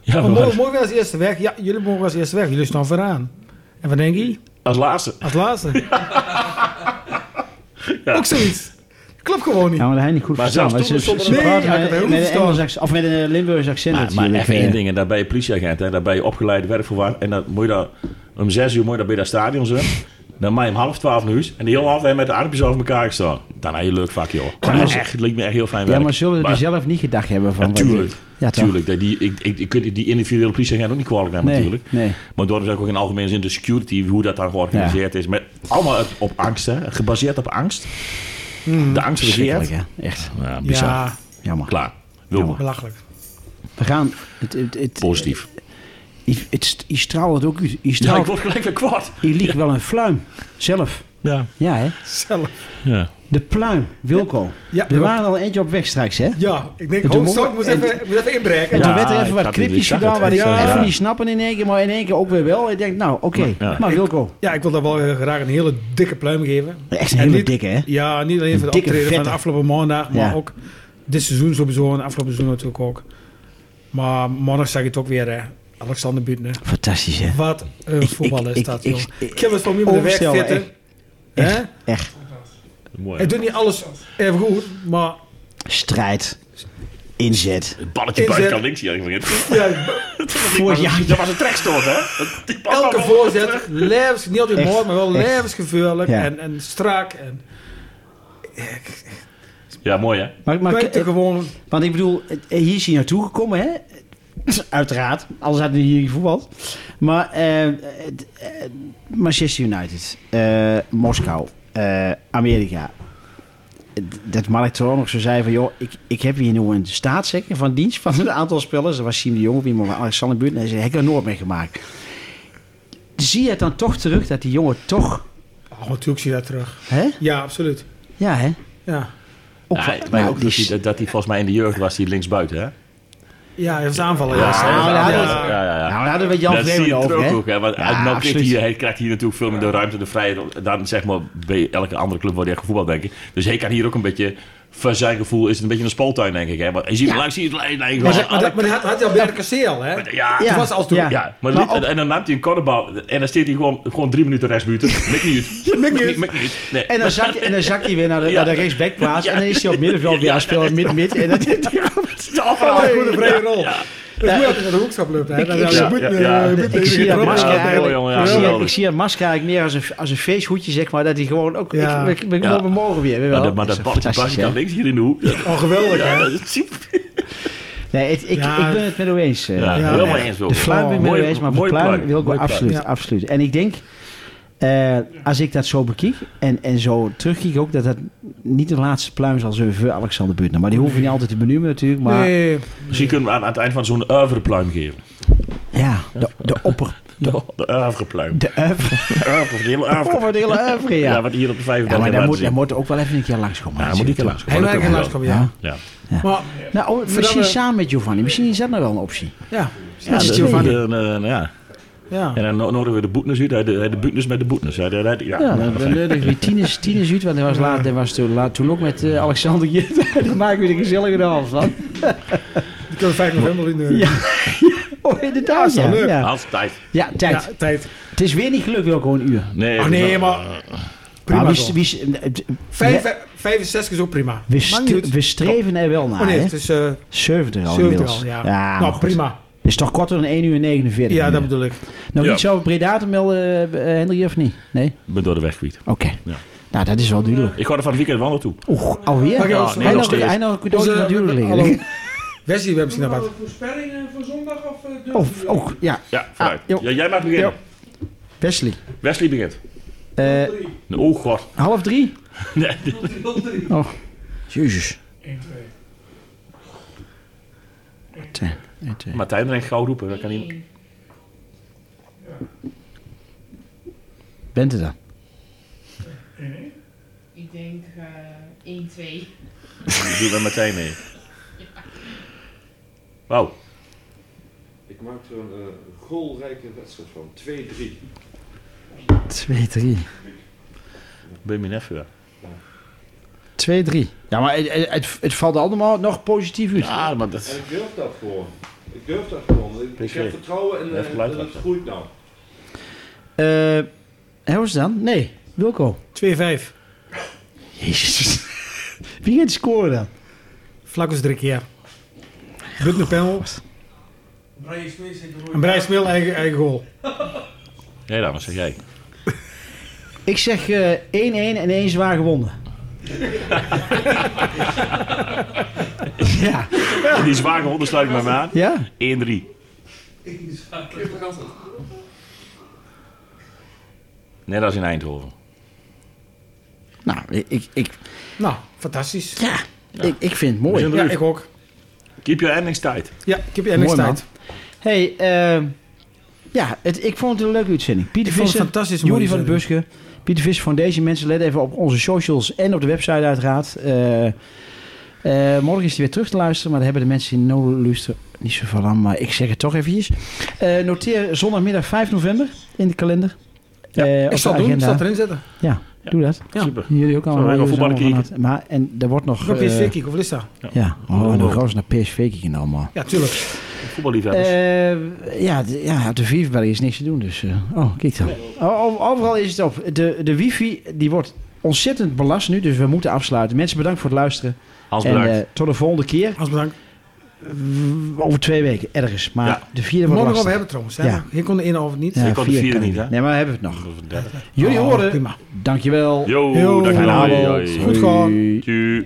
S3: Ja,
S4: Maar
S3: maar
S4: Oh, mogen mogen we als eerste weg? Ja, jullie mogen als eerste weg. Jullie staan vooraan. En wat denk je?
S3: als laatste.
S4: Als laatste. Ook zoiets. Klopt gewoon niet.
S2: Ja, maar hij niet goed
S3: Maar
S2: verstaan.
S3: zelfs toen
S2: ze-
S3: stond er
S2: ze
S3: een-
S2: praten
S4: Nee, hij kan het heel
S2: met,
S4: goed
S2: met een
S4: verstaan.
S2: Engels accent, of met een Limburgs accent
S3: Maar, maar
S2: natuurlijk.
S3: even
S2: eh.
S3: één ding, en daar ben je politieagent, hè, daar ben je opgeleid werkvoorwaar. En dan moet je daar om zes uur moet je daar bij dat stadion zijn. Dan maak je om half twaalf nu en de hele avond heb je met de armpjes over elkaar gestaan. Dan heb je een leuk vak, joh. Maar echt, het leek me echt heel fijn
S2: Ja,
S3: werk.
S2: maar zullen we er zelf niet gedacht hebben van...
S3: Natuurlijk.
S2: Ja, toch?
S3: Tuurlijk, dat die, ik, ik, ik kun die individuele politieagent ook niet kwalijk nemen
S2: Nee,
S3: natuurlijk.
S2: nee.
S3: Maar daarom zeg ik ook in algemene zin de security, hoe dat dan georganiseerd is. Met, allemaal uit- op angst, hè. gebaseerd op angst. De angst regeert.
S2: Verschrikkelijk, hè? Echt.
S3: Ja, bizar.
S4: Ja,
S2: Jammer.
S3: Klaar. Wilma,
S4: belachelijk.
S2: We gaan... Het, het, het,
S3: positief.
S2: het, het, je straalt het ook uit. Je
S3: Ja, ik
S2: straalt...
S3: word gelijk weer kwaad.
S2: Je liet wel een fluim. Zelf.
S3: Ja,
S2: Ja, hè?
S4: Zelf.
S3: ja.
S2: De pluim, Wilco.
S4: Ja,
S2: er waren al eentje op weg straks, hè?
S4: ja ik denk,
S2: En toen
S4: oh, zo,
S2: mocht-
S4: ik moet
S2: en-
S4: even, ik moet even inbreken.
S2: En
S3: Ja,
S2: toen werd er
S3: ik
S2: even wat
S3: had het,
S2: cryptisch
S3: ik zag
S2: gedaan,
S3: het.
S2: waar ik
S4: Ja.
S2: even
S3: Ja.
S2: niet snappen in één keer, maar in één keer ook weer wel. Ik denk, nou, oké.
S3: Ja.
S2: Maar Wilco,
S4: Ja, ik wil daar wel eh, graag een hele dikke pluim geven.
S2: echt een
S4: En
S2: hele
S4: niet-
S2: dikke, hè?
S4: Ja, niet alleen voor de
S2: Dikke
S4: optreden van de
S2: vette.
S4: afgelopen maandag, maar
S2: Ja.
S4: ook dit seizoen sowieso en afgelopen seizoen natuurlijk ook. Maar maandag zag ik het ook weer, hè. Alexander Buutner.
S2: Fantastisch, hè?
S4: Wat een
S2: Ik-
S4: voetballer
S2: ik-
S4: is
S2: ik-
S4: dat,
S2: ik-
S4: joh.
S2: ik-
S4: Ik heb het van mijn weg
S2: Onvoorstelbaar,
S4: zitten. Hè?
S2: Echt
S3: Mooi.
S4: Hij doet niet alles even goed, maar
S2: strijd, inzet.
S3: Het balletje
S4: Inzet.
S3: buiten kan links hier. Ik vergeet.
S4: ja,
S3: Vorig jaar. Dat was een trekstoot, hè? Dat- die bal
S4: elke
S3: kwam
S4: voorzet, levens, niet altijd
S2: Echt,
S4: mooi, maar wel
S2: echt.
S4: levensgevaarlijk
S2: Ja.
S4: en, en strak. En,
S3: op. Ja, mooi, hè?
S2: Maar, maar,
S4: maar gewoon,
S2: want ik bedoel, eh, hier is hij naartoe gekomen, hè? Uiteraard, anders hadden we hier niet voetbal. Maar eh, eh, eh, Manchester United, eh, Moskou, eh, Amerika. D- Dat Mark Toron nog zo zei van... joh, ik, ik heb hier nu een staatszekker van dienst van een aantal spelers. Dat was Siem de Jong of iemand, maar Alexander Buurt. En hij zei, heb ik er nooit mee gemaakt. Zie je het dan toch terug dat die jongen toch...
S4: oh, natuurlijk zie je dat terug.
S2: Hè?
S4: Ja, absoluut.
S2: Ja, hè?
S4: Ja,
S2: Ook,
S3: Ja,
S2: wel-
S3: maar dus-
S2: nou,
S3: ook
S2: die
S3: dat,
S2: s-
S3: hij, dat hij volgens mij in de jeugd was, die linksbuiten, hè?
S4: ja hij was aanvallen.
S2: Ja,
S4: ja,
S2: nou, ja, dat-
S3: ja, ja. ja.
S2: Nou, daar hadden we Jan
S3: dat zie
S2: Vreeman
S3: je
S2: over,
S3: ook,
S2: hè?
S3: ook, hè? Want
S2: Ja,
S3: nou krijgt
S2: absoluut.
S3: hij, hij krijgt hier natuurlijk veel meer de ruimte, de vrijheid. Dan zeg maar bij elke andere club wordt hij echt gevoetbald, denk ik. Dus hij kan hier ook een beetje, van zijn gevoel is het een beetje een speeltuin, denk ik. Hè? Maar hij ziet ja. langs, hij ziet het lijn.
S4: Maar, maar, dat- maar dat had, had hij al bij de kasseel, hè?
S3: Ja,
S4: Toen was het al toen.
S2: Ja.
S3: Ja, maar eh,
S2: Maar
S3: liet- en dan neemt hij een cornerbal en dan steekt hij gewoon, gewoon drie minuten rechtsbuiten. Mik niet. uit. Mik niet. Mik niet. uit. Nee.
S2: En dan zakt, en dan zakt hij weer naar de,
S3: Ja.
S2: naar de rechtsbackplaats. En dan is hij op middenveld weer aan het spelen, mid-mid. En dat,
S4: Dat is gewoon een vrije rol. Dat is mooi dat hij naar de hoekschap loopt, hè?
S2: Ik-
S4: Dat-
S2: ik-
S4: dat-
S2: ja,
S4: dat moet,
S3: ja,
S4: eh,
S3: ja.
S4: moet
S3: Ik
S4: tegen
S2: ik zie
S4: de
S2: dat
S4: trap
S3: Masker
S2: masker
S4: gaan.
S3: mooi,
S2: eigenlijk,
S3: jongen, ja,
S2: ik zie dat- ik
S3: geweldig.
S2: zie dat masker eigenlijk meer als een, als een feesthoedje, zeg maar. Dat hij gewoon ook...
S4: Ja.
S2: Ik, ik, ik,
S3: Ja.
S2: ik morgen weer, weet je
S3: Maar,
S2: wel.
S3: dat- maar
S2: is
S3: dat balletje
S2: fantastisch,
S3: buiten kan
S2: hè?
S3: links hier in de hoek. Ja,
S4: Oh, geweldig, hè?
S3: dat is super.
S2: Nee, het- ik,
S4: Ja.
S2: ik ben het met u eens. eh.
S3: Ja,
S4: Ja.
S3: helemaal eens wel.
S2: De fluit ben ik met
S3: Mooi-
S2: u eens, maar
S3: mooi
S2: de pluim
S3: pluim,
S2: wil ik wel
S3: mooi
S2: absoluut,
S4: pluim. Ja.
S2: absoluut. En ik denk, eh, als ik dat zo bekijk en, en zo terugkijk ook... dat dat niet de laatste pluim zal zijn voor Alexander Butner. Maar die hoeven niet altijd te benoemen natuurlijk, maar...
S4: Nee,
S3: Misschien kunnen we aan, aan het eind van zo'n oeuvrepluim geven.
S2: Ja, de, de opper.
S3: De oeuvrepluim.
S2: De oeuvre.
S3: Oeuvre, de hele oeuvre.
S2: Over de hele oeuvre,
S3: Ja,
S2: ja.
S3: wat hier op de
S2: Ja,
S3: vijfde
S2: maar daar moet,
S3: ja,
S2: daar moet ook wel even een keer langskomen.
S3: Ja, moet ik er langs.
S4: hij wil eigenlijk langskomen, ja.
S3: Ja.
S4: Maar,
S2: Nou, oh, misschien
S4: Verdamme.
S2: samen met Giovanni. Misschien is dat nou wel een optie.
S4: ja.
S3: Ja,
S4: Dat is
S3: de-
S4: Giovanni.
S3: de- de- de- eh, ja.
S4: Ja.
S3: En dan no- nodigen we de boetnes uit. Hij de, hij de boetnes met de boetnes. Hij de- hij de- Ja,
S2: Ja,
S3: nou,
S2: dan
S3: fijn.
S2: leurde ik weer Tines, Tines uit. Want hij was, laat, hij was toen, laat, toen ook met eh, Alexander hier. dan maken we er gezellig de half van.
S4: Die kunnen we 5 november in de
S2: Ja. Oh, inderdaad.
S4: Ja,
S2: Ja,
S4: leuk.
S2: ja.
S3: Haast tijd.
S2: ja tijd.
S4: ja, tijd.
S2: Het is weer niet gelukt, wel gewoon een uur.
S3: Nee,
S4: Oh
S3: dat-
S4: nee, maar prima
S2: Maar
S4: toch.
S2: we, we,
S4: Vijf-
S2: we,
S4: vijf en zes is ook prima.
S2: we,
S4: Maakt
S2: stu-
S4: niet uit.
S2: we streven er wel naar.
S4: Oh nee,
S2: hè?
S4: het is eh
S2: 70 al
S4: 70
S2: inmiddels.
S4: al, ja.
S2: maar
S4: nou,
S2: goed.
S4: prima.
S2: Het is toch korter dan 1 uur 49.
S4: Ja, dat bedoel ik.
S2: Nog
S3: Ja.
S2: iets over Breda te melden, eh, eh, Henry, of niet? Nee?
S3: Ik ben door de weg kwijt.
S2: Oké.
S3: Ja.
S2: Nou, dat is wel duidelijk.
S3: Ik ga er van het weekend wel naartoe.
S2: Oeh, alweer?
S4: Oké,
S3: ons-
S2: hij
S3: nog
S2: nog,
S3: steeds.
S2: hij nog een cadeautje
S4: Onze-
S2: van duurlijk liggen.
S4: hallo. Wesley, we hebben misschien nog wat.
S8: voorspellingen voor zondag of eh, durf
S2: Of, ook, ja.
S3: Ja, vooruit.
S2: Ah, joh.
S3: ja, jij mag beginnen.
S2: Wesley.
S3: Wesley begint.
S2: Eh,
S3: Oh god.
S2: half drie?
S3: Nee,
S2: Oh. Jezus.
S8: 1-2.
S2: Twee, één, twee.
S3: Martijn erin gauw roepen. Dat kan niet.
S2: Bent het dan?
S8: Ik denk eh 1-2.
S3: Doe bij Martijn mee. Wauw.
S7: Ik maak er een eh, goalrijke wedstrijd van. 2-3.
S2: Twee, drie.
S3: Ben je nef, ja.
S2: Twee, drie. Ja, maar het, het- het, het valt allemaal nog positief uit.
S3: Ja, maar dat...
S7: En ik durf dat gewoon. Ik durf dat gewoon. Ik, ik
S3: PSV.
S7: heb vertrouwen in
S3: Even
S7: eh,
S3: geluid
S7: dat het
S3: laten.
S7: groeit nou.
S2: Eh, hoe is het dan? Nee, Wilco.
S4: 2-5.
S2: Jezus. Wie gaat scoren dan?
S4: Vlakkers drie keer. Butner panel.
S8: Brian Smith zit er
S4: En Brian Smil eigen, eigen goal.
S3: Nee, dan, wat zeg jij?
S2: Ik zeg eh, 1-1 en 1 zwaar gewonnen. ja.
S3: Die zware honden sluit ik bij me aan.
S2: Ja?
S3: 1-3. Net als in Eindhoven.
S2: Nou, ik, ik, ik-
S4: Nou, fantastisch.
S2: ja, Ik, ik vind het
S3: We
S2: mooi.
S3: zijn
S4: Ja,
S3: er
S4: ik ook.
S3: Keep your endings tight.
S4: Ja, ik heb je niks
S2: Mooi, man.
S4: tijd.
S2: hey, ehm, eh, ja, het, ik vond het een leuke uitzending. Pieter
S4: Ik vond het
S2: Visser,
S4: fantastisch.
S2: Jury van de Buske, Pieter Visser Foundation. Mensen, let even op onze socials en op de website uiteraard. Eh, eh, morgen is hij weer terug te luisteren, maar daar hebben de mensen die no luisteren niet zoveel aan. Maar ik zeg het toch eventjes. Eh, noteer zondagmiddag 5 november in de kalender. Eh, op
S4: ik
S2: de
S4: zal het doen, ik
S2: agenda.
S4: zal het erin zetten.
S2: Ja,
S3: Ja.
S2: doe dat.
S4: Ja.
S3: Super.
S2: Jullie ook allemaal.
S3: we gaan
S2: jullie zijn
S3: voetballen
S2: allemaal van harte. Maar en er wordt
S4: Ik
S2: nog.
S4: heb
S2: eh,
S4: PSV kijken, hoeveel is dat?
S2: ja, oh, en dan gaan ze naar PSV kijken allemaal.
S4: Ja, tuurlijk.
S3: Voetballiefhebbers.
S2: Eh, ja, de, ja, op de Vivibel is niks te doen. Dus, eh, oh, kijk dan. O- o- Overal is het op. De, de wifi die wordt ontzettend belast nu, dus we moeten afsluiten. Mensen, bedankt voor het luisteren.
S3: Hans,
S2: en
S3: bedankt.
S2: eh, tot de volgende keer.
S4: Hans, bedankt.
S2: W- Over twee weken, ergens. Maar
S3: Ja.
S2: de vierde wordt
S4: Morgen
S2: lastig.
S4: over hebben trouwens. Hè?
S2: Ja.
S4: Hier kon de ene of niet.
S2: Ja, Oh,
S3: Ik kan de
S2: vier
S3: vierde
S2: kan
S3: niet, hè? Oh,
S2: Nee, maar hebben we het nog. Jullie
S4: Jullie
S2: horen.
S4: Prima.
S2: Dankjewel.
S3: Yo,
S4: Yo,
S3: dankjewel.
S2: Fijne
S3: Hoi,
S2: avond.
S3: hoi.
S4: Goed gewoon.
S2: Doei.
S3: Tjoe.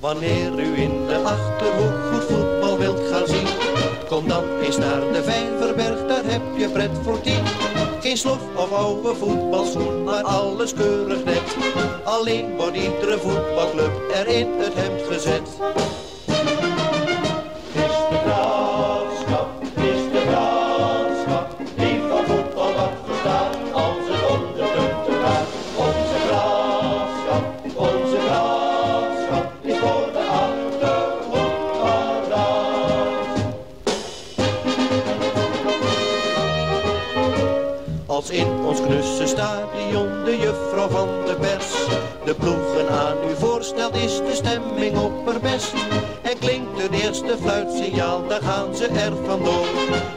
S9: Wanneer u in de Achterhoek goed voetbal wilt gaan zien Kom dan eens naar de Vijverberg, daar heb je pret voor tien Geen slof of oude voetbalschoen, maar alles keurig net Alleen wordt iedere voetbalclub er in het hemd gezet Het is de graafschap, het is de graafschap Die van voetbal wat verstaat, als het om de punten gaat Onze graafschap, onze graafschap is voor de achterhoek paraat Als in ons knusse stadion de juffrouw van de pers De ploegen aan u voorstelt is de stemming opperbest En klinkt het eerste fluitsignaal, daar gaan ze er vandoor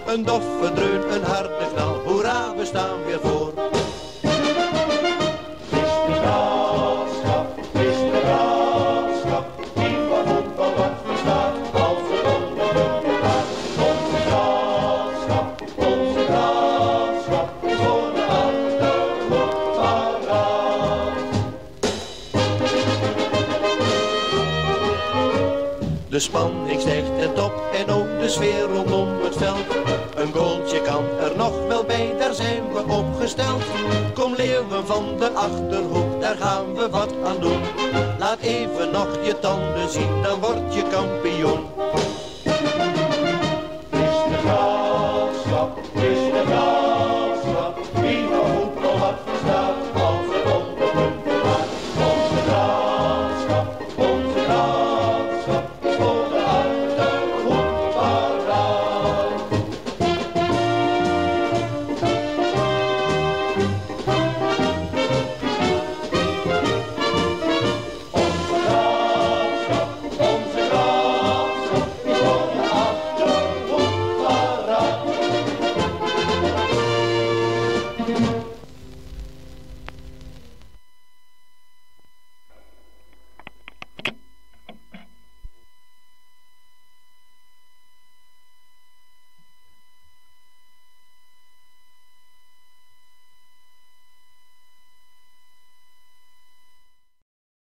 S9: Een doffe dreun, een harde knal, hoera we staan weer voor is de graafschap, is de graafschap, die van voetbal wat verstaat, als het om de punten gaat. Onze graafschap, onze graafschap, is voor de achterhoek paraat. De spanning stijgt ten top en ook de sfeer rondom het veld. Een goaltje kan er nog wel bij, daar zijn we opgesteld. Kom leeuwen van de Achterhoek, daar gaan we wat aan doen. Laat even nog je tanden zien, dan word je kampioen.